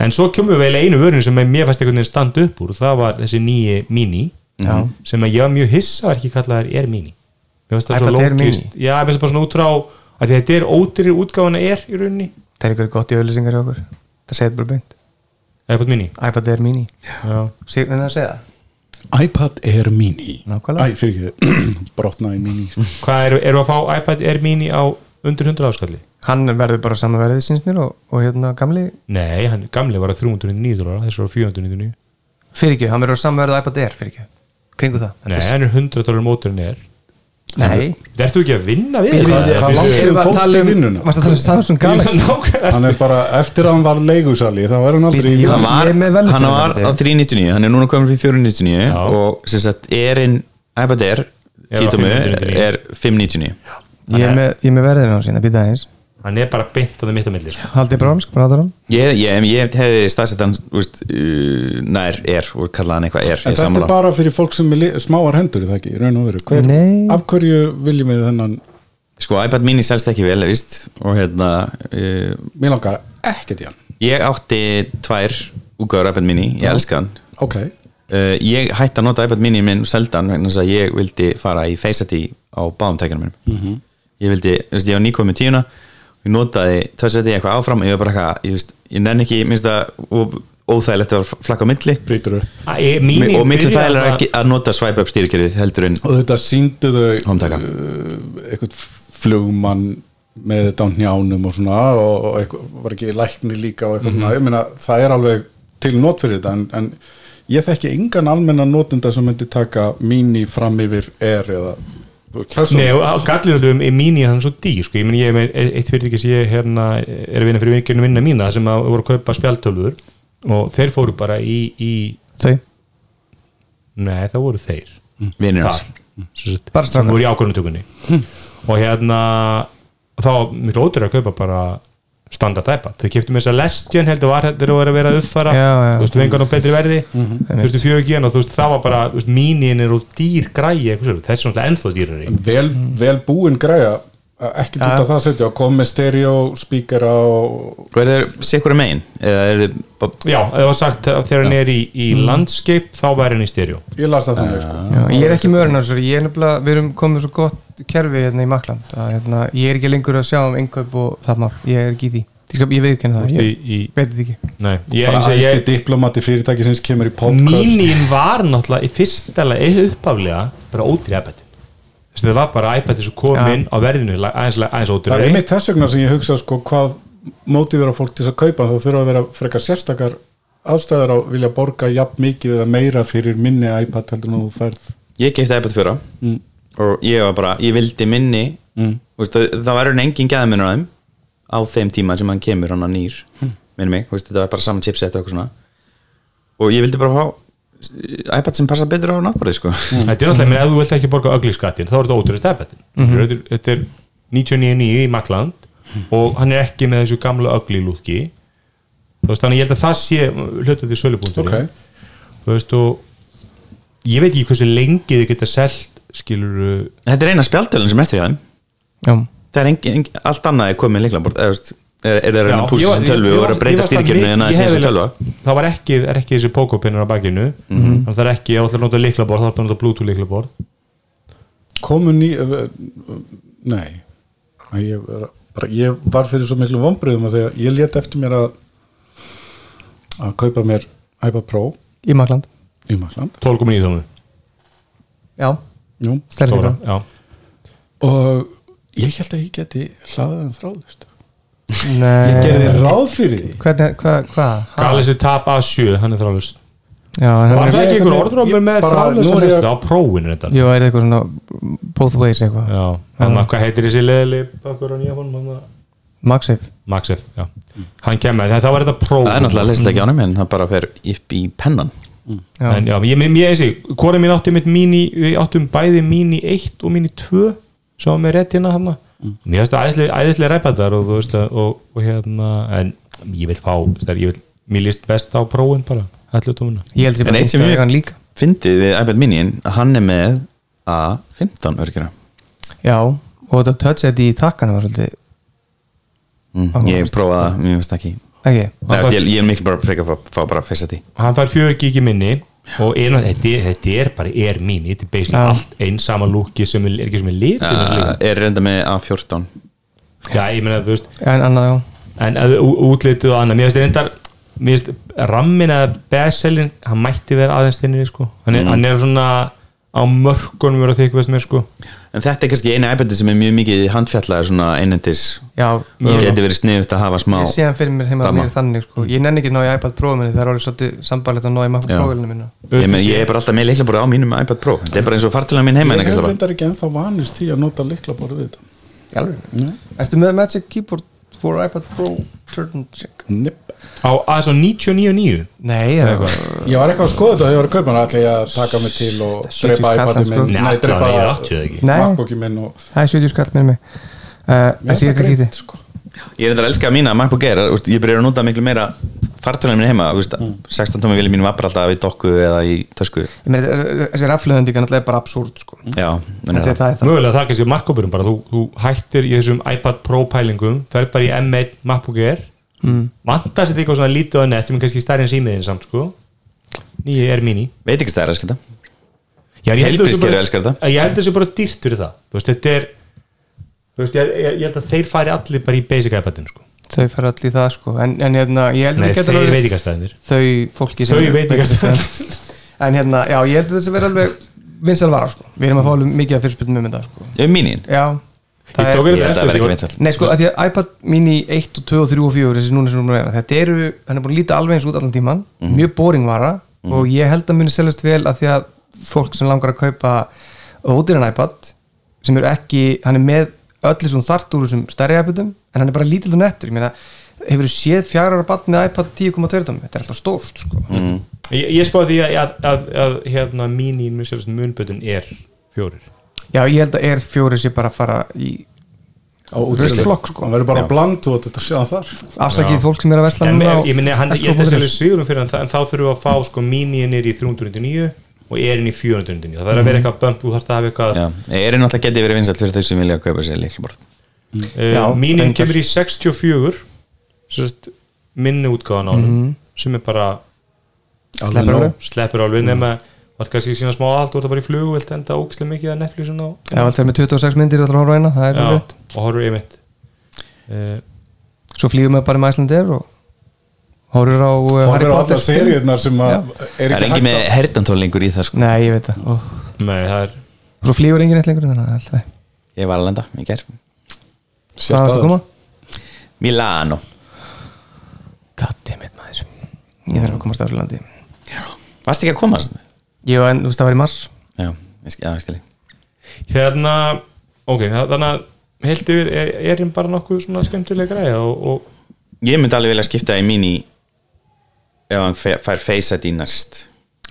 Speaker 2: en svo kemur við eiginlega einu vörinu sem mér fæst einhvern veginn standa upp úr og það var þessi nýji mini
Speaker 5: Já.
Speaker 2: sem að ég var mjög hissa var ekki kallaðar Air Mini Mér fannst það svo
Speaker 5: iPad Air
Speaker 2: lókist Já, mér fannst það bara svona út frá að þetta er ódýri útgáfana Air í rauninni
Speaker 5: það er ykkur gott í auðlýsingar hjá okkur það segir bara beint,
Speaker 2: iPad Mini
Speaker 5: iPad Air mini
Speaker 2: Já.
Speaker 5: Sig, en að segja, það?
Speaker 4: iPad Air Mini
Speaker 5: Nákvæmlega.
Speaker 4: Æ, fyrir ekki þið, brotnaði Mini sko.
Speaker 2: Hvað eru eru að fá iPad Air Mini á undir 100 áskalli?
Speaker 5: hann verður bara samanverðið síns mér og, og hérna gamli
Speaker 2: Nei, hann gamli var að 399 dólar þessu var 499
Speaker 5: fyrir ekki, hann verður samanverðið iPad Air fyrir ekki, kringu það
Speaker 2: Nei,
Speaker 5: Þetta
Speaker 2: hann er 100 dólar móturinn Air
Speaker 5: er, nei.
Speaker 2: Ertu ekki að vinna við
Speaker 4: Hvað-
Speaker 2: þetta?
Speaker 4: hvað langt
Speaker 5: Erum við að
Speaker 4: fórst
Speaker 5: tala
Speaker 4: í
Speaker 5: um-
Speaker 4: vinnuna?
Speaker 5: varstu að tala um Samsung Galaxy
Speaker 2: Nákvæmlega.
Speaker 4: hann er bara, eftir að hann var leigusali þá er hann aldrei
Speaker 5: Bíddu,
Speaker 4: í-
Speaker 5: ég-
Speaker 3: Hann var,
Speaker 5: er með velutun
Speaker 3: hann var
Speaker 5: þetta.
Speaker 3: á 399, hann er núna komin upp í 499
Speaker 2: Já.
Speaker 3: og sem sagt erinn iPad Air,
Speaker 2: á
Speaker 3: títumu
Speaker 2: 599.
Speaker 3: er 599
Speaker 5: ég er með, ég er með verðinu á sína, býta aðeins
Speaker 2: hann er bara beint að það mitt á milli sko.
Speaker 5: haldið bara á hann, sko, bara á hann
Speaker 3: Ég, ég, ég hefði staðsett hann úst, uh, nær er og kallaði hann eitthvað er
Speaker 4: en þetta er bara fyrir fólk sem er li- smáar hendur er það ekki, í raun og veru Hver,
Speaker 5: Nei.
Speaker 4: af hverju viljum við þennan
Speaker 3: Sko iPad mini selst ekki vel, víst og hérna uh,
Speaker 4: mér langar ekkert í hann
Speaker 3: ég átti tvær úgöður iPad mini, ég elska hann
Speaker 4: ok,
Speaker 3: uh, ég hætti að nota iPad mini minn og selda hann vegna þess að ég vildi fara í Face ID á báðum tækjanum minnum ég vildi, þú veist, ég var nýkomið tíuna ég notaði Touch ID eitthvað áfram og ég var bara eitthvað, ég veist, ég nenn ekki minnst að ó- óþægilegt að flakka á milli
Speaker 4: brýtur upp
Speaker 2: Æ, ég-
Speaker 3: Mi-
Speaker 2: mín-
Speaker 3: og miklu
Speaker 2: byrjar
Speaker 3: þægilega
Speaker 2: það-
Speaker 3: að, að nota swipe up stýrikerfið heldur en
Speaker 4: og þetta síndu þau
Speaker 3: Handtaka.
Speaker 4: uh, eitthvað flugmann með þetta á njánum og svona og, og eitthvað, var ekki lækni líka og eitthvað svona, ég meina það er alveg til nót fyrir þetta en, en ég þekki engan almennan nótunda sem myndi taka mini fram yfir er eða þú veist, hversu-
Speaker 2: Nei, og gallir þetta um Emini hann er svo dýr sko. ég meni ég er með eitt fyrirtæki sem ég hérna, er að vinna fyrir vinkinu vinna mína sem að voru að kaupa spjaldtölfur og þeir fóru bara í, í
Speaker 5: þau,
Speaker 2: nei það voru þeir
Speaker 3: vinnir
Speaker 2: þar
Speaker 3: hans
Speaker 2: sem sagt,
Speaker 5: Bara strákar. Hm.
Speaker 2: sem voru í ákvörðunatökunni og hérna og þá var miklu ótrúið að kaupa bara standard iPad, þau kiptu með þess að lestjön heldur var þetta þegar voru að vera að uppfara
Speaker 5: Já, Mhm. já.
Speaker 2: þú veist, vengan á betri verði þú veist, fjögugin og þú veist, það var bara þú veist, mínin er úr dýr græi eitthvað svo, þessi er náttúrulega ennþá dýrari
Speaker 4: vel, vel búin græja ekki ja. út af það setja og kom með stereo, spíkera og
Speaker 3: og er þeir sikkur megin eða er þeir bara-
Speaker 2: já, það var sagt að þegar hann er í, í
Speaker 5: Mhm.
Speaker 2: landscape þá væri hann í stereo
Speaker 4: ég las það þannig sko.
Speaker 5: Já, ég er ekki mörinn á þessu, ég er nefnilega, við erum komið með svo gott kerfi hérna í Makland að hérna, ég er ekki lengur að sjá um einhverjum og það mál, ég er ekki í því, Ég skal- ég viðurkenni það,
Speaker 2: Þú
Speaker 5: ég
Speaker 2: veist, í- í-
Speaker 5: veit þetta ekki.
Speaker 2: nei, ég,
Speaker 4: bara
Speaker 2: ég, segi,
Speaker 4: æsti
Speaker 2: ég,
Speaker 4: diplomati fyrirtæki sem kemur í podcast
Speaker 2: mínin var náttúrulega í fyrsta lega uppaflega bara ódýr iPad Þessi, það var bara iPad sem kom
Speaker 5: Já.
Speaker 2: inn á verðinu la- aðeins, aðeins
Speaker 4: það er
Speaker 2: ódýrari
Speaker 4: mitt þess vegna sem ég hugsa sko, hvað mótivera fólk til þess að kaupa þá þurfa að vera frekar sérstakar ástæðar á vilja borga jafn mikið eða meira fyrir minni iPad heldur en þú færð
Speaker 3: ég keipti iPad 4 og ég var bara, ég vildi minni mm. veist, það, það var enn engin gæðmunur á þeim á þeim tíma sem hann kemur hann að nýr, mm. minni mig, veist, þetta var bara saman chipset og eitthvað svona og ég vildi bara fá eh, iPad sem passa betur á náttbórið sko
Speaker 2: þetta er náttúrulega, menn, ef þú vilt ekki borga ögliskattin þá er þetta ódýrist iPad
Speaker 4: Mhm.
Speaker 2: þetta er- þetta er 99.9 í Makland og hann er ekki með þessu gamla ögli lúki þú veist, þannig að ég held að það sé hlutandi sölupunktur
Speaker 4: ok,
Speaker 2: þú veist og ég veit ekki hversu lengi þið geta selt skilur
Speaker 3: þetta er eina spjaldölin sem er eftir hjá þeim
Speaker 5: Já,
Speaker 3: það er engin, engin, allt annað er komið líklambort er, er, er það reyna að púsa sem tölvu og er að breyta hérna stýrkjörnu en að segja sem tölva
Speaker 2: það var ekki, er ekki þessi pókopinnur á bakinu
Speaker 4: Mhm.
Speaker 2: þannig að það er ekki, ég ætla að nota liklaborð þá ætla að nota bluetooth liklaborð
Speaker 4: komu ný eh, eh, nei Nei, ég, er að- bara, ég var fyrir svo miklu vombriðum að þegar ég lét eftir mér að að kaupa mér iPad Pro
Speaker 5: í Makland,
Speaker 4: í Makland
Speaker 2: 12.9 tónu,
Speaker 5: já,
Speaker 4: Jú.
Speaker 5: stærri
Speaker 2: stóra
Speaker 5: fyrir
Speaker 2: já.
Speaker 4: og ég held að ég geti hlaðið en þráðlist
Speaker 5: Nei, Eh.
Speaker 4: gerði ráð fyrir því
Speaker 5: hvernig, hvað, hvað,
Speaker 2: Galaxy Tab A7, hann er þráðlust
Speaker 5: já, en
Speaker 2: Var það
Speaker 5: hann er,
Speaker 2: ekki
Speaker 4: Ég-
Speaker 2: einhver orðrómur með
Speaker 4: bara-
Speaker 2: þráðlösa
Speaker 4: nú er ég-
Speaker 2: neyslu á prófinu þetta?
Speaker 5: jú, er eitthvað svona both ways eitthvað,
Speaker 2: Já, þannig að hvað heitir þessi leðli pakkur á nýja fónum?
Speaker 5: MagSafe
Speaker 2: Maxif, já. Hann kemur, þetta var þetta próf.
Speaker 3: það er náttúrulega leist ekki ánum en það bara fer upp í pennan
Speaker 5: Já.
Speaker 2: En já, ég mér mér eins og hvora mín átti mitt mini, við áttum bæði mini 1 og mini 2 sem var með rétt hérna hann
Speaker 5: Mm.
Speaker 2: mér finnst það æðislega, æðislega ræpaðar og þú veist að, og, og hérna en ég vil fá, stær, ég vil, mér líst best á prófin bara, ætlutumuna
Speaker 5: ég held sér
Speaker 3: en
Speaker 5: bara
Speaker 3: eitt sem
Speaker 5: að eiga hann
Speaker 3: ég
Speaker 5: líka
Speaker 3: fyndið við iPad mini að hann er með A15 örgjara
Speaker 5: já, og þetta touch ID í takkana var svolítið,
Speaker 3: mm.
Speaker 5: Áhugavert.
Speaker 3: ég prófaði það, mér finnst það ekki
Speaker 5: ekki
Speaker 3: Nei, veist, ég, ég er mikil bara að freka að fá bara fyrst að því
Speaker 2: hann fær 4 gigi minni og einu, þetta, er- þetta er bara er mini þetta er basically
Speaker 5: Já.
Speaker 2: allt einsama lúki sem er er ekki sem er litið
Speaker 3: Uh, er reynda með A14
Speaker 2: já, ég meina, þú veist
Speaker 5: en annað, já,
Speaker 2: en að ú- útlitið og annað mér finnst reyndar mér finnst rammin að bestselin hann mætti vera aðeins þinnir sko. hann,
Speaker 3: Mm.
Speaker 2: er, hann er svona á mörkunum vera þykku veist mér sko
Speaker 3: en þetta er kannski eina iPad sem er mjög mikið handfjallar svona einhendis
Speaker 5: já
Speaker 3: og geti verið sniðut að hafa smá
Speaker 5: ég sé hann fyrir mér heima að
Speaker 3: Sama.
Speaker 5: mér er þannig sko. ég nenni ekki að ná í iPad Pro minni það er alveg svolítið sambarlegt að ná í MacBook
Speaker 3: Já.
Speaker 5: Pro minna
Speaker 3: ég, men, ég er bara alltaf með leiklaborð á mínum iPad Pro þetta er bara eins og fartilega mín heima en
Speaker 4: ég
Speaker 3: ekki
Speaker 4: hef
Speaker 3: slappa.
Speaker 4: reyndar ekki ennþá vanist því að nota likla við þetta
Speaker 5: alveg ertu með Magic Keyboard for iPad Pro Turn Check
Speaker 4: Nipp.
Speaker 2: á aðeins á 99
Speaker 5: nei, ég er
Speaker 4: ég var eitthvað að skoða þetta og ég var að kaupa hann ætla ég að taka mig til og
Speaker 5: Sjötíu
Speaker 4: dreipa
Speaker 5: skallan,
Speaker 4: iPadin
Speaker 5: sko.
Speaker 4: minn
Speaker 2: Nei, allavega ég átti það ekki.
Speaker 5: Nei.
Speaker 4: MacBookin minn og
Speaker 5: það er 70 skall með mig uh,
Speaker 4: Mér
Speaker 5: en
Speaker 4: finnst
Speaker 5: síðast
Speaker 4: það
Speaker 5: ekki
Speaker 4: greitt,
Speaker 5: þið
Speaker 4: sko.
Speaker 3: ég er þetta að elska mína MacBook Air þú veist, ég byrja að nota miklu meira fartilega mín heima þú veist,
Speaker 5: Mm.
Speaker 3: 16 tómi vilja mín var bara alltaf í dokku eða í tösku já,
Speaker 5: ég meina þetta- þessi raflöðandi er náttúrulega bara absúrt sko. þetta
Speaker 3: þannig að
Speaker 5: er það er það
Speaker 2: mögulega það kannski er markkópurum bara þú, þú hættir í þessum iPad Pro pælingum fer bara í M1 MacBook Air mm. vantar sér því eitthvað svona lítið og nett sem er kannski stærri en símiðin samt sko nýju er mini
Speaker 3: veit ekki stærra skilta
Speaker 2: Já, ég held að
Speaker 3: Heilbrigðiskerfið
Speaker 2: þessu
Speaker 3: elskar
Speaker 2: bara-
Speaker 3: þetta.
Speaker 2: ég held þessu bara dýrt fyrir það þú veist, þetta er þú veist, ég, ég, ég held að þeir fari allir bara í basic iPadin sko.
Speaker 5: þau fer allir í það sko. en, en hérna, ég held
Speaker 2: Nei,
Speaker 5: að
Speaker 2: þeir
Speaker 5: geta alveg-
Speaker 2: veitingastæðinir
Speaker 5: þau fólki sem
Speaker 2: Þau
Speaker 5: eru
Speaker 2: veitingastaðir.
Speaker 5: veitingastaðir. en hérna, já, ég held að þessi verið alveg vinsal vara sko. við erum að fá alveg mikið af fyrirspurnum um þetta sko.
Speaker 3: um mínin
Speaker 5: já, það
Speaker 2: Ég tók
Speaker 3: ég
Speaker 2: Þetta
Speaker 3: held
Speaker 2: er
Speaker 3: að það verði ekki
Speaker 2: eftir-
Speaker 3: veinsall
Speaker 5: Nei, sko, að því að iPad mini 1 og 2 og 3 og 4 þessi núna sem við erum að vera, þetta eru hann er búin að líta alveg eins út allan tíman,
Speaker 2: Mhm.
Speaker 5: mjög boring vara og ég held að muni seljast vel að því að fólk sem langar að kaupa ódýran iPad sem eru ekki, hann er með öllu sem þart úr þessum stærri iPadum en hann er bara lítill og nettur, ég meina hefur þú séð fjara ára bad með iPad 10.2 tommi? þetta er alltaf stórt, sko
Speaker 2: Mhm. ég, ég spáði því að, að, að, að hérna, mín í munbötun er fjórir
Speaker 5: Já, ég held að Air 4 sé bara að fara í
Speaker 4: á útfjörðu
Speaker 5: Ruslflokk, sko.
Speaker 4: hann verður bara bland og þetta sjá hann þar
Speaker 5: afsakið fólk sem er að versla
Speaker 2: en,
Speaker 5: núna
Speaker 2: en,
Speaker 5: á
Speaker 2: ég, meni, hann, ég
Speaker 5: Esco
Speaker 2: held að
Speaker 5: Búðir.
Speaker 2: selja svigurum fyrir hann, þa- en þá þurfum við að fá sko, mínin er í 399 og erin í 499 það þarf að vera
Speaker 5: Mhm.
Speaker 2: eitthvað bömp, þú þarfst að hafa eitthvað
Speaker 3: Já, er einn alltaf getið verið vinsalt fyrir þau sem vilja að kaupa sér leiklaborð
Speaker 2: uh,
Speaker 5: Já,
Speaker 2: mínin
Speaker 5: reyndar.
Speaker 2: kemur í 64 sérst, minni útgáðan á hann
Speaker 5: Mhm.
Speaker 2: sem er bara
Speaker 5: Sleppur alveg.
Speaker 2: sleppur
Speaker 5: Mhm.
Speaker 2: alveg nema var kannski sína smá aðhald og það bara í flug og vilt enda ógislega mikið að Netflix og,
Speaker 5: Já, allt er með 26 myndir að horfa á eina, það er alveg rétt
Speaker 2: og horfur einmitt uh,
Speaker 5: svo flýgum við bara með Icelandair og horfur á uh,
Speaker 4: hann verður á
Speaker 5: Potter
Speaker 4: allar seriðnar sem að er
Speaker 3: Það er
Speaker 4: ekki
Speaker 3: engin
Speaker 4: hægt
Speaker 3: með
Speaker 4: að
Speaker 3: hertantól lengur í það sko
Speaker 5: nei, ég veit það og
Speaker 2: nei, það er
Speaker 5: svo flýgur enginn eitt lengur þannig að alltaf hvað
Speaker 3: Ég var að landa í gær
Speaker 5: varst að koma?
Speaker 3: Milano
Speaker 5: goddammit maður ég þarf að komast af þessu landi
Speaker 3: Varst ekki að koma? svona?
Speaker 5: ég var enn, þú veist, það var í mars
Speaker 3: Já, ég skil, já, ég skil ég.
Speaker 2: hérna, ok, þa- þannig að heilt yfir er, er hann bara nokkuð svona skemmtilega græja og, og
Speaker 3: Ég myndi alveg vilja skipta í mín í ef hann fe- fær Face ID næst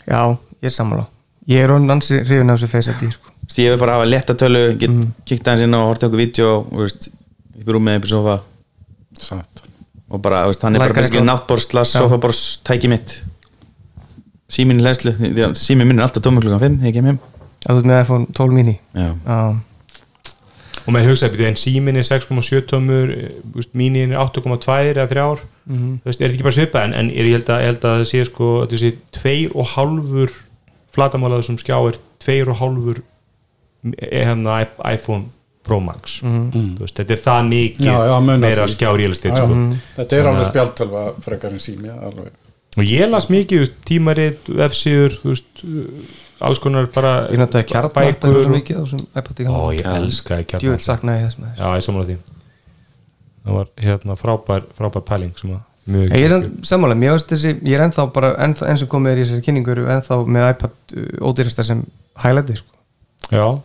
Speaker 5: já, ég er sammála ég er hann ansi hrifin af þessu face ID sko.
Speaker 3: Þú veist, Ég vil bara hafa letta tölu get
Speaker 4: Mhm.
Speaker 3: mm. kikta hans inn og horta okkur vídeo og veist, upp í rúmið, upp í sofa
Speaker 4: Satt.
Speaker 3: og bara, þú veist, hann er
Speaker 5: Lækkar
Speaker 3: bara basically
Speaker 5: eitthvað.
Speaker 3: náttborst, las, sofabors, tæki mitt síminn í hlæslu síminn minn er alltaf tómur klukkan 5 þegar ég kem heim
Speaker 5: að þú ert með iPhone 12 mini
Speaker 3: Já.
Speaker 5: já,
Speaker 2: og maður hugsaði byrja en símin er 6,7 tómur eh, mínin er 8,2 eða 3 ár
Speaker 4: Mhm.
Speaker 2: þú veist, er þetta ekki bara svipað en, en er, ég, held að, ég held að það sé sko þetta sé 2,5 flatamálaður sem skjá er 2,5 eh, hérna, i- iPhone Pro Max þú veist, þetta er það mikið
Speaker 4: Mhm. Já, já, munar
Speaker 2: meira
Speaker 4: því.
Speaker 2: skjá realistið
Speaker 4: Já, mhm. já.
Speaker 2: sko.
Speaker 5: Mm.
Speaker 4: þetta er alveg spjaltölva frekar en sími alveg
Speaker 2: og ég las mikið þú veist, tímarit, vefsíður þú veist, uh, alls konar bara
Speaker 5: ég notaði kjartma það
Speaker 2: bækur
Speaker 5: var svo
Speaker 2: og-
Speaker 5: mikið á þessum iPad
Speaker 2: ó
Speaker 5: í gamla
Speaker 2: ég elskaði kjarnar
Speaker 5: djúvel saknaði ég þess maður
Speaker 2: Já, ég samla því Það var hérna frábær, frábær pæling sem að mjög
Speaker 5: Ég er samt sammála, mér veist þessi ég er ennþá bara, ennþá, enn sem komið er í þessari kynningu eru ennþá með iPad uh, ódýrasta sem highlighti sko.
Speaker 2: já,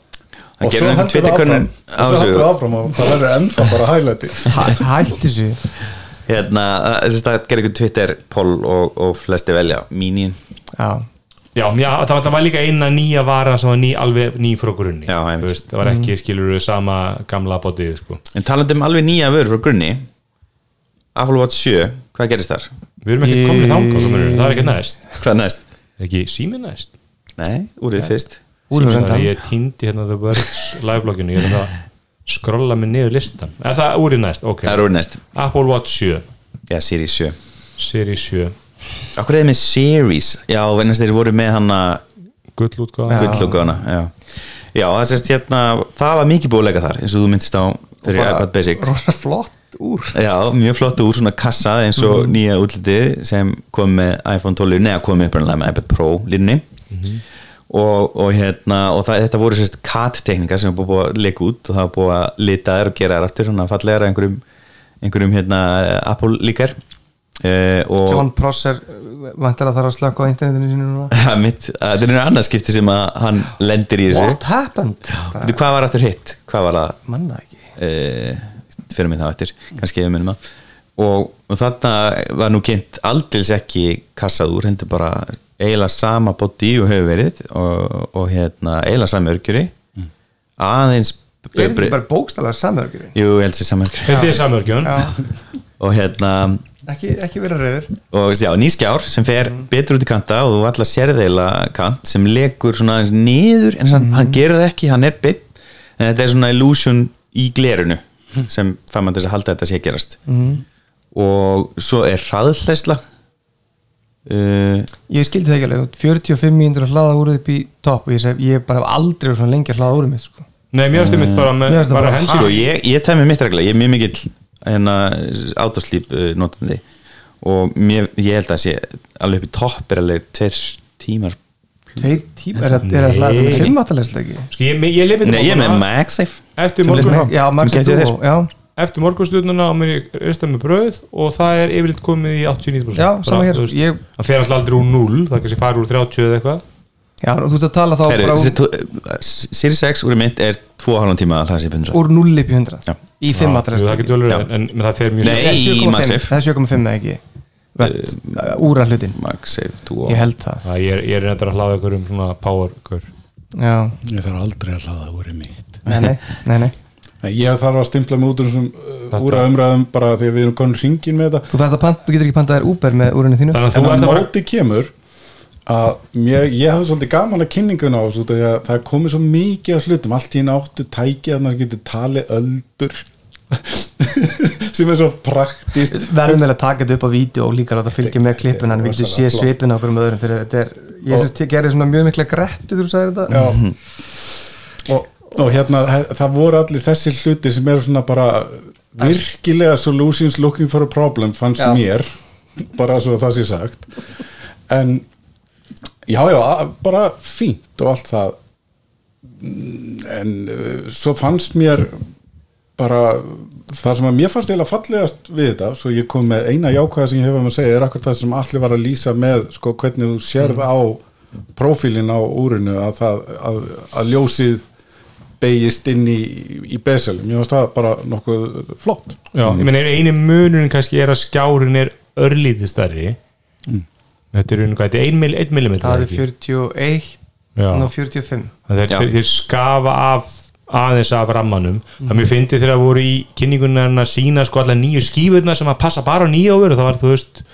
Speaker 3: Það
Speaker 4: og svo
Speaker 3: gerði um
Speaker 4: heldur
Speaker 3: Twitter
Speaker 4: það áfram
Speaker 3: könnun á
Speaker 4: og svo heldur
Speaker 3: þessu
Speaker 4: það áfram og það verður ennþá bara hælæti
Speaker 5: Hætti þessu
Speaker 3: Hérna, þess að gerði ykkur Twitter poll og, og flesti velja Minin
Speaker 5: Já,
Speaker 2: já, já það, var- það var líka eina nýja vara sem var ný, alveg ný frá grunni
Speaker 3: Já,
Speaker 2: Þú
Speaker 3: einmitt.
Speaker 2: veist, það var
Speaker 5: Mhm.
Speaker 2: ekki skilur sama gamla bótið sko.
Speaker 3: En talandi um alveg nýja vörur frá grunni Apple Watch 7, hvað gerist þar?
Speaker 2: við erum ekki komin í þangað kominu, það er ekki næst
Speaker 3: Hvað næst?
Speaker 2: Er ekki sími næst
Speaker 3: Nei, úrið fyrst
Speaker 5: úlfur
Speaker 2: Síminn,
Speaker 5: endan
Speaker 2: ég týndi hérna The Words liveblogginu, ég er hérna að skrolla mig niður listan, er það úrið næst ok,
Speaker 3: Það er úrið næst
Speaker 2: Apple Watch 7
Speaker 3: Já, Series 7
Speaker 2: Series 7,
Speaker 3: Akkur er þið með Series? Já, vennast þeir voru með hana
Speaker 2: gull útgáð
Speaker 5: Já.
Speaker 3: gullugana Já, já það, sést, hérna, það var mikið búið að leika þar eins og þú myndist á fyrir
Speaker 5: Bara
Speaker 3: iPad Basic
Speaker 5: Rosa flott úr
Speaker 3: Já, mjög flott úr svona kassa eins
Speaker 5: Mhm.
Speaker 3: og nýja útlitið sem kom með iPhone 12 neða kom upprunalega með iPad Pro línni
Speaker 5: Mhm.
Speaker 3: og, og, hérna, og það, þetta voru sérst kat-tekningar sem er búið að leika út og það var búið að lita þær og gera þær aftur þannig að fallega er einhverjum, einhverjum hérna, Apple líkar eh, og
Speaker 5: John Prosser vantilega þarf að slökka á internetinu sínu núna
Speaker 3: það er mitt, að þetta er einu annarskipti sem að hann lendir í þessu
Speaker 5: What happened?
Speaker 3: Veitu, hvað var aftur hitt? Hvað var það?
Speaker 5: Manna ekki
Speaker 3: uh, fyrir mig þá eftir kannski ef við minnum að og, og þarna var nú kynnt aldils ekki kassað úr, hendur bara eiginlega sama bóti og hefur verið og, og hérna, eiginlega sami örgjuri
Speaker 5: Mm.
Speaker 3: aðeins
Speaker 5: Er þetta ekki bara bókstælega samörgjurinn?
Speaker 3: jú, ég held sér sami örgjuri
Speaker 2: þetta er samörgjun
Speaker 3: og hérna,
Speaker 5: Ekki, ekki vera reyður
Speaker 3: og já, nýskjár sem fer betur út í kanta og þú allar sérðeila kant sem lekur svona aðeins niður en hann, hann gerir það ekki, hann er beinn en þetta er svona illusion í glerinu sem fann mann til þess að halda að þetta sé að gerast mm. og svo er hraðhleysla uh,
Speaker 5: Ég skildi það ekki alveg 45 mínútur að hlaða úrið upp í topp og ég segi, ég bara hef aldrei verið svona lengi að hlaða úrið mitt sko.
Speaker 2: Nei, mér finnst einmitt bara með
Speaker 5: Mér finnst það
Speaker 2: bara
Speaker 5: bara
Speaker 2: hands
Speaker 3: sko, ég, ég tæmi mitt regla, ég er mjög mikill hérna, autoslíp uh, notandi og mér, ég held að sé alveg upp í topp er alveg tveir tímar
Speaker 5: Tveir tíma, er það er það hlaða
Speaker 2: Nei.
Speaker 5: með fimmatalæsla ekki?
Speaker 2: Sko, ég, ég leif
Speaker 3: Nei, ég er með MagSafe
Speaker 2: Eftir
Speaker 3: Sem
Speaker 2: morgun-
Speaker 3: les mig.
Speaker 5: Já,
Speaker 3: Sem
Speaker 5: Maxi
Speaker 3: gæti
Speaker 5: Duo, já,
Speaker 2: eftir morgunstunduna og mér ég rista með bröð og það er yfirleitt komið í 80-90%
Speaker 5: Já, sama
Speaker 2: Bara,
Speaker 5: hér,
Speaker 2: þú veist,
Speaker 5: ég-
Speaker 2: Það fer alltaf aldrei úr 0 það kannski farið úr 30 eða eitthvað
Speaker 5: já, og þú ert að tala þá
Speaker 3: Heru,
Speaker 5: bara úr,
Speaker 3: sérst, Siri 6 eh, úr mitt er 2,5 tíma að hlaða sér pendur
Speaker 5: úr 0 upp í 100
Speaker 2: Já,
Speaker 5: í
Speaker 3: Já.
Speaker 2: það getur
Speaker 5: fimmatalæsla
Speaker 2: vel
Speaker 3: Já.
Speaker 2: verið, en, en það fer mjög
Speaker 3: Nei.
Speaker 2: seint.
Speaker 3: Í Maxif.
Speaker 5: það er 7,5 eða ekki Vett,
Speaker 3: Eh,
Speaker 5: uh, úra hlutin,
Speaker 3: MagSafe 2
Speaker 5: ég held það
Speaker 2: Það, ég, er- ég er reyndar að hlaða ykkur um svona power -kör.
Speaker 5: Já,
Speaker 4: ég þarf aldrei að hlaða úr í mitt
Speaker 5: nei, nei, nei, nei
Speaker 4: Nei, ég þarf að stimpla mig út úr þessum uh, úra umræðum bara því að við erum konur hringin með þetta
Speaker 5: Þú þarft að panta, þú getur ekki pantað þér Uber með úrunni þínu
Speaker 2: Þannig að
Speaker 4: en
Speaker 2: þú ert
Speaker 4: að
Speaker 2: að fara
Speaker 4: móti kemur að mér, ég hafði svolítið gaman að kynningun á þessu út af því að það er komið svo mikið af hlutum allt í einu áttu tæki að það getur talið öldur sem er svo praktist
Speaker 5: Verðum vel að taka þetta upp á vídeo og líka láta fylgja með klippun en við getum sé
Speaker 4: rosalega flott.
Speaker 5: svipin á hverjum öðrum þegar þetta er, ég syns ég gerði svona mjög mikla grettu þegar þú sagðir þetta
Speaker 4: Já. og, og hérna he- það voru allir þessi hluti sem eru svona bara virkilega solutions looking for a problem fannst
Speaker 5: Já.
Speaker 4: mér bara svo það sé sagt en já já a- bara fínt og allt það Mm, en uh, svo fannst mér bara það sem að mér fannst eiginlega fallegast við þetta svo ég kom með eina jákvæða sem ég hef um að segja er akkur það sem allir var að lýsa með sko, hvernig þú sérð á prófílin á úrinu að, það, að, að ljósið beigist inn í, í beselum ég fannst það bara nokkuð flott
Speaker 2: Já,
Speaker 3: Mm.
Speaker 2: ég meina eini munurinn kannski er að skjárin er örlítið stærri
Speaker 3: Mm.
Speaker 2: Þetta er einu hvað, þetta er 1 mil, mm
Speaker 5: Það er 41
Speaker 2: Já.
Speaker 5: og 45
Speaker 2: þeir,
Speaker 3: Já.
Speaker 2: þeir, þeir skafa af aðeins af rammanum
Speaker 5: Mm.
Speaker 2: það mér fyndi þegar voru í kynningunan að sína sko allar nýju skífurna sem að passa bara á nýja ofur og það var þú veist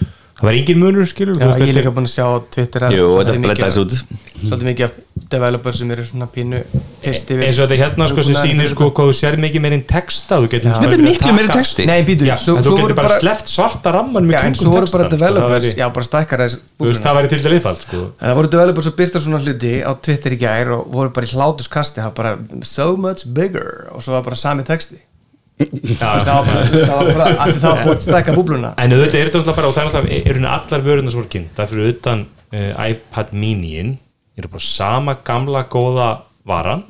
Speaker 2: það var engin munur skilur
Speaker 5: Já,
Speaker 2: þú veist,
Speaker 5: ég er
Speaker 2: þetta
Speaker 5: líka búin að sjá á Twitter að
Speaker 3: Jú,
Speaker 5: svolítið
Speaker 3: þetta
Speaker 5: mikið
Speaker 3: blæddaðist
Speaker 5: af-
Speaker 3: út.
Speaker 5: Svolítið mikið af developer sem eru svona pínu pisti
Speaker 2: eins og þetta hérna sko sem sýnir sko hvað þú sér mikið meirinn texta þú getur
Speaker 3: Þetta er miklu meiri texti
Speaker 5: Nei, býtu,
Speaker 2: Já,
Speaker 5: svo,
Speaker 2: en þú
Speaker 5: svo voru
Speaker 2: getur bara
Speaker 5: bara
Speaker 2: sleppt svarta rammanum í
Speaker 5: Já, en svo
Speaker 2: kringum
Speaker 5: voru
Speaker 2: textan,
Speaker 5: bara
Speaker 2: sko, það
Speaker 5: developers
Speaker 2: væri-
Speaker 5: Já, bara stækkar þess
Speaker 2: þú veist,
Speaker 5: búknuna.
Speaker 2: það væri til dæli einfalt sko
Speaker 5: Það voru developers að byrta svona hluti á Twitter í gær og voru bara í hlátuskasti það var bara so much bigger og svo var bara sami texti
Speaker 2: Já.
Speaker 5: það var bara, það var bara af því það var búin að stækka búbluna
Speaker 2: En auðvitað er þetta náttúrulega bara og það er náttúrulega er rauninni allar vöruna sem voru kynnt það er fyrir utan uh, iPad mini-in eru bara sama gamla góða varan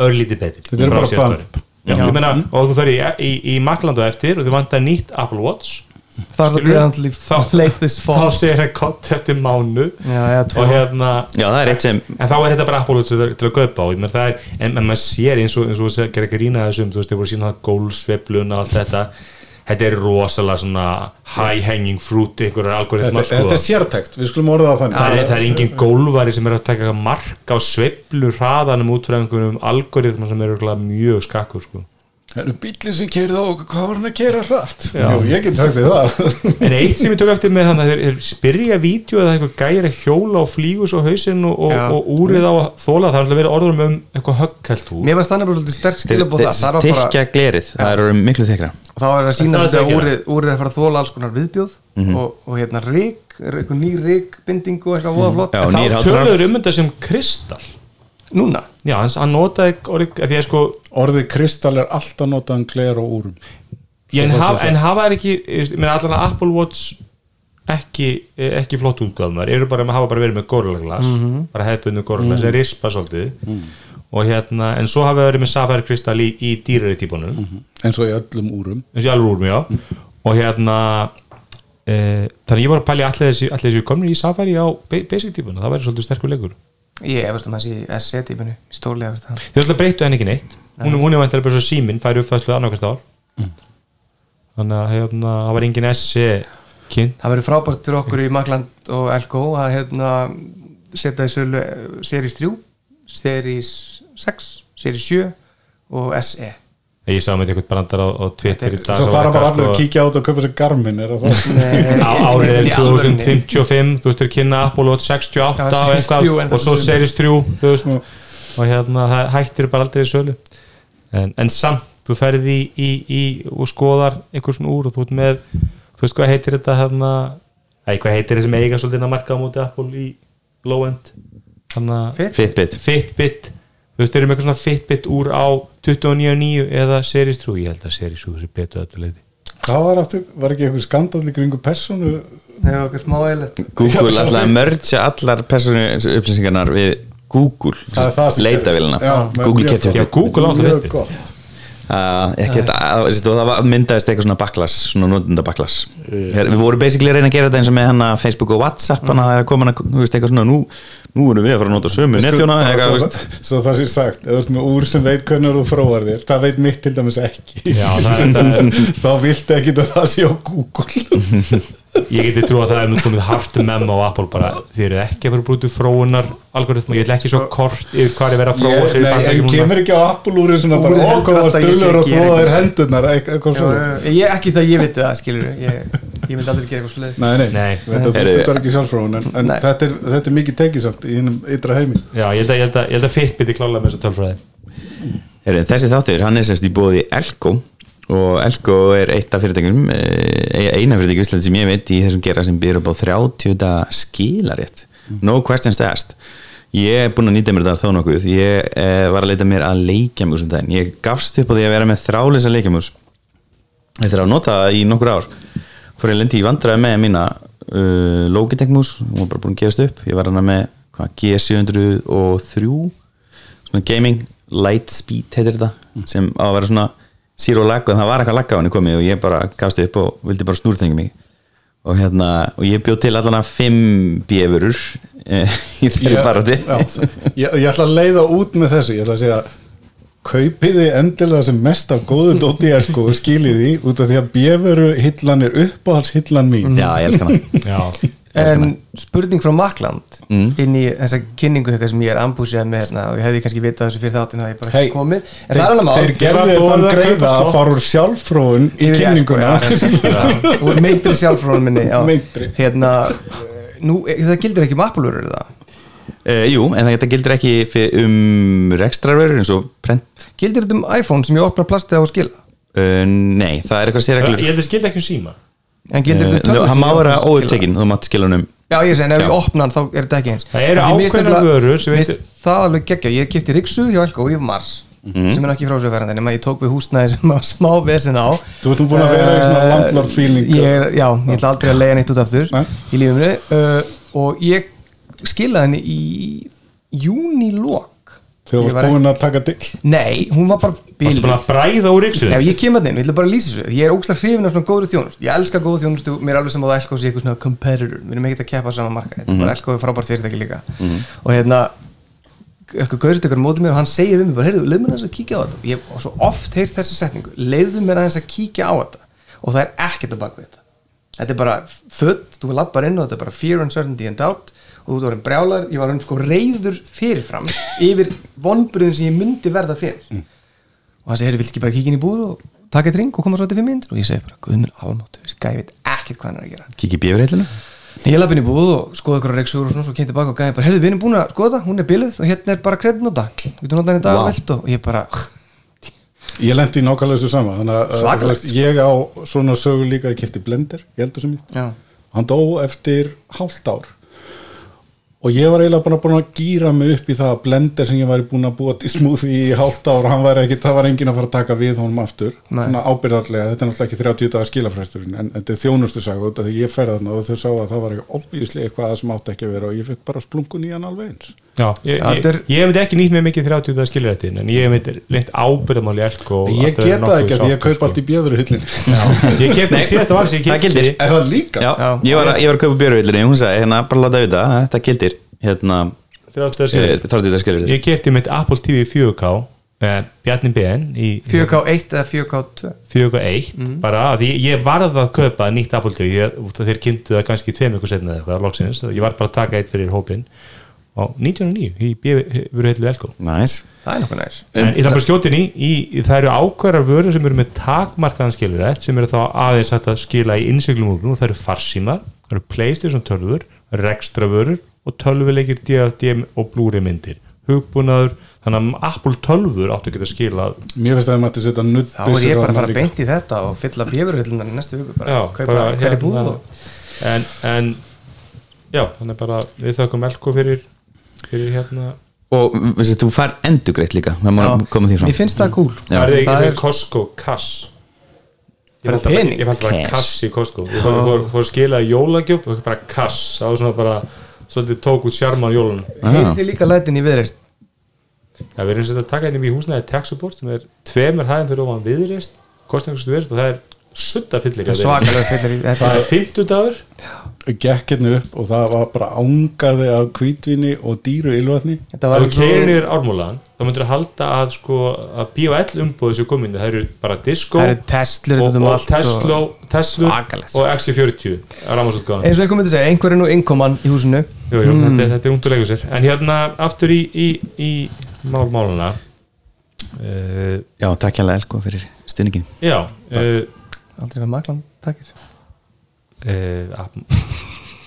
Speaker 2: örlítið betur
Speaker 4: Þetta eru
Speaker 2: Frá
Speaker 4: bara
Speaker 2: síðasta
Speaker 4: bump. Mm.
Speaker 2: ári. Já, ég meina, og þú fer í, í, í Maklandu eftir og þú vantar nýtt Apple Watch
Speaker 5: Það er það
Speaker 2: Skilurðu?
Speaker 5: býðan til
Speaker 2: Þá-
Speaker 5: í late this fall
Speaker 2: þá segir það kott eftir mánu
Speaker 5: Já, eða tvo
Speaker 2: og hérna
Speaker 3: Já, það er eitt sem
Speaker 2: en þá er þetta bara Apollo til, til að kaupa á ég meina, það er, en, en maður sér eins og, eins og það gerir ekki rýna þessum, þú veist, þeir voru sína gólsveiflun og allt þetta þetta er rosalega svona high hanging fruit einhverjar
Speaker 4: þetta,
Speaker 2: algoritma
Speaker 4: þetta er sko- sértækt, við skulum orða það þannig
Speaker 2: það er, það er engin gólvari sem er að taka mark á sveiflu hraðanum út frá einhverjum algoritma sem eru örugglega mjög skakkur sko.
Speaker 4: Það eru bílinn sem keirði á okkur, hvað var hann að keira hratt? Jú, ég get sagt því það
Speaker 2: en eitt sem ég tök eftir með hann þeir, þeir spyrja vídeo eða eitthvað gæri að hjóla og flýgus og hausinn og, og,
Speaker 5: Já.
Speaker 2: og úrið á að þóla það er alltaf verið orðum um eitthvað högghelt úr
Speaker 5: Mér var stannar bara svolítið sterk skilabóð það Það var bara,
Speaker 3: Tyrkja glerið, það eru miklu þykra
Speaker 5: þá er að
Speaker 2: Það er
Speaker 5: sína svolítið að
Speaker 2: sækjara.
Speaker 5: úrið, úrið er að fara að þóla alls konar viðbjóð
Speaker 2: Mhm.
Speaker 5: og, og hérna rík, eitthvað ný ríkbinding og eitthvað voða
Speaker 2: Mhm.
Speaker 5: flott
Speaker 3: Já,
Speaker 5: En
Speaker 3: nýr
Speaker 2: þá
Speaker 3: hátalar.
Speaker 2: töluður um þetta sem kristall
Speaker 5: þá- Núna,
Speaker 2: já, hans, hann notaði orðið af því að sko,
Speaker 4: Orðið kristall er alltaf notaðan gler og úrum
Speaker 2: ég, en,
Speaker 4: Svo það
Speaker 2: haf,
Speaker 4: sé
Speaker 2: en hafa er ekki ég meina allan að Apple Watch ekki, eh, ekki flott útgáðunar eru bara hafa bara verið með Gorilla Glass bara hefðbundu Gorilla Glass, mm. rispa svolítið og hérna, en svo hafa verið með Sapphire Crystal í, í dýrari típunum
Speaker 4: Mhm. eins og í öllum úrum
Speaker 2: eins og ég alveg úr mig á og hérna e, þannig að ég var að pæli allir þessi, allir þessi komin í safari á ba- basic típuna, það væri svolítið sterkur leikur
Speaker 5: ég efast um þessi SC-tíminu, stórlega efast það
Speaker 2: þeir alltaf breyttu henni ekki neitt hún, hún er vantilega bara svo síminn, færi uppfæðslu annarkvæmst ár
Speaker 4: Mm.
Speaker 2: þannig að hérna, það var engin SE kynnt
Speaker 5: Það verður frábært fyrir okkur í Magland og Elko að hérna setja í sölu eh, Series 3, Series 6, Series 7 og E. SE
Speaker 2: ég sá með eitthvað brandar á, á Twitter í dag
Speaker 4: Svo
Speaker 2: það
Speaker 4: fara
Speaker 2: var
Speaker 4: bara
Speaker 2: eitthvað
Speaker 4: allir að
Speaker 2: sko-
Speaker 4: kíkja á þetta og kaupa sér garmin er það það?
Speaker 2: á árið er
Speaker 5: Í alvörunni.
Speaker 2: 2055 þú veist, þeir kynna Apollo 68
Speaker 5: Já,
Speaker 2: og,
Speaker 5: Series 3 en
Speaker 2: eitthvað, og
Speaker 5: þetta
Speaker 2: svo
Speaker 5: sumar.
Speaker 2: Series 3 þú veist, og hérna, það hættir bara aldrei í sölu en, en samt, þú ferð í, í, í og skoðar einhver svona úr og þú ert með þú veist hvað heitir þetta hérna ei, hvað heitir þetta sem eiga svolítið að marka á móti Apple í low-end hérna,
Speaker 5: Fit?
Speaker 3: Fitbit
Speaker 2: Fitbit þú veist, þeir eru með eitthvað svona Fitbit úr á 29.9 eða Series 3 ég held að Series 3 sé betur öllu leiti
Speaker 4: Hvað var aftur? Var ekki eitthvað skandall í kringu personu?
Speaker 5: Það er okkur smá eilert
Speaker 3: Google ætlaði að mörgja allar persónu upplýsingarnar við Google
Speaker 4: Það er það sem
Speaker 3: leitavélina
Speaker 4: gerist. Já, með
Speaker 3: Google
Speaker 4: mjög
Speaker 3: kefti
Speaker 4: gott.
Speaker 2: Já, Google á þetta
Speaker 4: Mjög
Speaker 2: Fitbit.
Speaker 4: gott
Speaker 3: Uh, ekki, þetta, að, sýstu, það var- myndaðist eitthvað svona baklas svona notenda baklas við vorum basically að reyna að gera þetta eins og með hana Facebook og Whatsapp hana það er komin að þú veist, eitthvað svona nú, nú erum við að fara að nota sömu netjóna eitthvað, þú
Speaker 4: svo,
Speaker 3: veist.
Speaker 4: svo það sé sagt, ef þú ert með úr sem veit hvernig þú fróar þér, það veit mitt til dæmis ekki
Speaker 2: Já, það er- það
Speaker 4: þá viltu ekki að það sé á Google
Speaker 2: ég geti trú að það er nú komið hart memo á Apple bara, þið eru ekki að fara að brúti fróunar algoritma, ég ætla ekki svo kort yfir hvað er verið að fróa
Speaker 4: Ég,
Speaker 2: sig í
Speaker 4: nei, en
Speaker 2: Bandaríkjunum núna.
Speaker 4: kemur ekki á Apple úr svona bara,
Speaker 5: Úrið
Speaker 4: ó,
Speaker 5: heldur
Speaker 4: hvað var
Speaker 5: alltaf að ég sé
Speaker 4: stöldur
Speaker 5: að
Speaker 4: að
Speaker 5: gera
Speaker 4: þóða þér
Speaker 5: eitthvað.
Speaker 4: hendurnar eit- eitthvað
Speaker 5: Já,
Speaker 4: svona
Speaker 5: já, eh, ég, ekki það ég viti það skilur ég, ég myndi aldrei gera eitthvað sluðið
Speaker 4: Nei, nei,
Speaker 2: Nei.
Speaker 4: þetta þú
Speaker 3: Heyrðu,
Speaker 4: stundar ekki sjálfróðun en, en
Speaker 5: Nei.
Speaker 4: þetta, er, þetta er mikið tekisamt í hinnum ytra heimi
Speaker 2: já, ég held að, ég held að, ég held að Fitbit er klálega með þessa tölfræði
Speaker 3: Heyrðu, þessi þáttur, hann er semst í bóði Elko og Elko er eitt af fyrirtækjum eh, eina fyrirtækjum í Íslandi sem ég veit í þessum gera sem byrður upp á 30 daga skilarétt no questions asked ég er búinn að nýta mér þetta þó nokkuð ég eh, var að leita mér að leikjamús um daginn ég gafst upp á því að vera með þráleisa leikjamús eftir að nota það í nokkur ár fór ég lendi í vandræði með mína uh, Logitech mús, hún var bara búin að gefast upp ég var hana með hva, G703 svona gaming Lightspeed heitir þetta
Speaker 4: Mm.
Speaker 3: sem á að vera svona zero lag en það var eitthvað lag á henni komið og ég bara gafst upp og vildi bara snúrþengi mig og hérna, og ég bjóð til allan að fimm bjöfurur eh, í þeirri barati
Speaker 4: já, ég, ég ætla að leiða út með þessu ég ætla að segja kaupiði endilega sem mest af góðu dóti er sko og skiljið því út af því að bjöfuru hillan er uppáhalds hillan mín
Speaker 3: já, ég elska hana
Speaker 2: já,
Speaker 5: En spurning frá Makland
Speaker 4: Mm.
Speaker 5: inn í þessa kynningu eitthvað sem ég er ambúsið með hérna og ég hefði kannski vitað þessu fyrir þáttinu að ég bara
Speaker 4: Hey,
Speaker 5: ekki komið en það sko. er alveg mál
Speaker 4: þeir gerðu
Speaker 2: Bara
Speaker 4: þann
Speaker 2: boða,
Speaker 4: greiða
Speaker 2: kaupa
Speaker 4: að
Speaker 2: slott.
Speaker 4: fara úr sjálfróðun í
Speaker 5: Yfir í
Speaker 4: kynninguna
Speaker 5: Expo, já, já. og meintri sjálfrónum minni já.
Speaker 4: Meintri.
Speaker 5: hérna, eh, nú, eh, það gildir ekki um Apple-vörur er það
Speaker 3: Uh, jú, en þetta gildir ekki fyr- um rekstrarverur eins og prent
Speaker 5: gildir þetta um iPhone sem ég opna plastið á að skila
Speaker 3: uh, Nei, það er eitthvað
Speaker 2: ég
Speaker 3: sérreglur
Speaker 2: held að það skildi ekki um síma
Speaker 5: en gildir
Speaker 3: Eh,
Speaker 5: þetta um tölvur
Speaker 3: Hann
Speaker 5: sem
Speaker 3: má
Speaker 5: ég opna
Speaker 3: vera
Speaker 5: að skila?
Speaker 3: óupptekinn, þú mátt skila hann um
Speaker 5: já ég segi, en ef
Speaker 3: Já.
Speaker 5: ég opna hann þá er þetta ekki eins
Speaker 2: Það eru
Speaker 5: Af því mér finnst
Speaker 2: ákveðnar
Speaker 5: nefnilega-
Speaker 2: vörur sem
Speaker 5: mér
Speaker 2: veit-
Speaker 5: finnst það alveg geggja, ég kipti Riksu hjá Elko í mars
Speaker 4: Mhm.
Speaker 5: sem er nú ekki frásöfærandi nema ég tók við húsnæði sem var smá vesin á Eh,
Speaker 4: Þú ert nú búin að vera í svona landlord feeling.
Speaker 5: ég er, Já, ég ætla aldrei að leiða neitt út aftur
Speaker 4: Nei.
Speaker 5: í Eh, lífumri uh, og ég skilaði henni í júnilok
Speaker 4: þegar þú
Speaker 5: Ég var
Speaker 4: varst búin að taka dill
Speaker 5: Nei, hún var bara
Speaker 2: Varstu
Speaker 5: bíl
Speaker 2: búin að fræða úr yksu
Speaker 5: Ef ég kem að þeim, ég ætla bara að lýsa þessu Ég er ógslag hrifin af svona góðri þjónust Ég elska góðu þjónustu, mér er alveg sem að elka sé eitthvað svona competitor Við erum ekkert að keppa á sama marka Þetta er bara elka og frábært fyrirtæki líka Og hérna, eitthvað gaurið tekur á móti mér og hann segir við mér bara, heyrðu, leið mér aðeins að kíkja á þetta Ég hef svo oft heyrt þessa setningu Leiðu mér aðeins að kíkja á þetta Og það er ekkert að baka við þetta Þetta er bara född, þú lappar inn og þetta er bara fear, uncertainty and doubt og þú ert orðin brjálar, ég var hann sko reyður fyrirfram yfir vonbröðin sem ég myndi verða fyrir og hann segir, heyrðu, vilt ekki bara kíkja inn í búð og taka eitt ring og koma svo til fimm myndir og ég segi bara, guðmur almáttu, þessi gæði veit ekkert hvað hann er að gera
Speaker 3: Kikki bjöfurheilinu
Speaker 5: Nei, ég lappi inn í búð og skoða ykkur reyksugur og svona, svo kemdi tilbaka og gæði bara, heyrðu, við erum búin að skoða það, hún er bilið og hérna er bara kredinóta, getur notað henni dag wow. velt og ég bara,
Speaker 4: ég lendi í nákvæmlega þessu sama þannig að uh, þú
Speaker 5: Svakalegt.
Speaker 4: veist, ég á svona sögu líka ég kefti blender, ég heldur sem ég
Speaker 5: já,
Speaker 4: hann dó eftir hálft ár og ég var eiginlega bara búin að gýra mig upp í það að blender sem ég væri búin að búa til smoothie í hálft ár hann væri ekki, það var enginn að fara að taka við honum aftur
Speaker 5: Nei.
Speaker 4: svona ábyrðarlega, þetta er náttúrulega ekki 30 dagar skilafræsturinn en þetta er þjónustu saga út af því ég ferði þarna og þau sá að það var ekki obvísli eitthvað sem átti ekki að vera og ég fekk bara splunkun í hann alveg eins
Speaker 2: Já, ég, ég,
Speaker 5: Þetta er-
Speaker 2: ég hef myndi ekki nýtt mér mikið 30 dagar skilrættin en ég hef myndi reynd ábyrðamáli elko og
Speaker 4: ég
Speaker 2: alltaf verið nokkuð
Speaker 4: geta ekki að því ég
Speaker 2: sáttur,
Speaker 4: kaupa allt í bjöfurhullinni
Speaker 2: sko. Ég kefti síðasta vaks ég
Speaker 3: það
Speaker 2: kefti
Speaker 3: gildir.
Speaker 4: er það líka?
Speaker 3: Já,
Speaker 5: Já.
Speaker 3: Ég, var, að- ég var að kaupa bjöfurheilinu Hún sagði, hérna, bara láta við það Þetta gildir Hérna,
Speaker 2: 30 dagar
Speaker 3: eh,
Speaker 2: skilrættin
Speaker 3: 30 dagar skilur
Speaker 2: Ég kefti mitt Apple TV 4K eh, Bjarni BN í
Speaker 5: 4K1 eða 4K2
Speaker 2: 4K1 bara að ég, ég varð að kaupa nýtt Apple TV ég, út af þeir kynntu það kannski tveim ykkur setna eða eitthvað loksins ég var bara að taka eitt fyrir hópin á 1909 í bjöfurheillu elko
Speaker 3: Næs
Speaker 5: það er nokkuð næs
Speaker 2: En ég þarf bara skjótin í, í, í það eru ákveðar vörur sem eru með takmarkaðan skilurætt sem eru þá aðeins hægt að skila í innsiklum úr og það eru farsímar, það eru playstation tölvur, rekstra vörur og tölvuleikir DVD og blúri myndir hugbúnaður, þannig að Apple tölvur áttu ekki að skila
Speaker 4: Mér finnst að það mætti setja
Speaker 5: þá er ég
Speaker 4: nuttbyssur
Speaker 5: bara að fara beint í þetta og fylla bjöfurhullunar í næstu viku bara, kaupa
Speaker 2: bara,
Speaker 5: hverju búð
Speaker 2: hérna,
Speaker 5: og
Speaker 2: en, en já, þannig bara við þökkum elko fyrir, fyrir hérna
Speaker 3: Og veistu, þú fær endugreitt líka Það má koma því fram
Speaker 5: Mér finnst það cool
Speaker 3: Já.
Speaker 2: það er ekki
Speaker 5: það
Speaker 2: eins
Speaker 5: er
Speaker 2: og Costco kass ég
Speaker 5: Bara
Speaker 2: fælt bara,
Speaker 5: pening.
Speaker 2: ég fælt bara
Speaker 3: Cash.
Speaker 2: kass í Costco ég fór, fór, fór að skila í jólagjöf og bara kass, það var svona bara svolítið tók út sjarman jólun
Speaker 5: Heyrið þið líka lætin í viðreist
Speaker 2: það verður eins og þetta að taka hérna í húsnaði tech support sem er tveimur hæðin fyrir ofan viðreist kostningarstu verð og það er sutta fyllilega
Speaker 5: svakalega fyllir í þetta
Speaker 2: það er 50 dagur
Speaker 4: Gekk hérna upp og það var bara ángaði af hvítvinni og dýru ylvatni
Speaker 5: Þetta
Speaker 2: ef
Speaker 5: var
Speaker 2: þú
Speaker 5: eins og-
Speaker 2: keirir niður ármúlan þá myndir að halda að sko að B&L umbúðu sér kominu, það eru bara disco
Speaker 5: Það eru Teslur
Speaker 2: og,
Speaker 5: þetta um
Speaker 2: og,
Speaker 5: allt
Speaker 2: Tesla, Tesla
Speaker 5: Svakalegt.
Speaker 2: og XC40 rámasutgáðan
Speaker 5: eins og einhver myndi segja, einhver er nú innkoman í húsinu
Speaker 2: Jú, jú, þetta, er- þetta er ungt að leika sér En hérna, aftur í, í, í mál máluna uh,
Speaker 3: Já, takk hérlega Elko fyrir stuðningin
Speaker 2: Já uh,
Speaker 5: aldrei með maklan, takkir
Speaker 2: uh,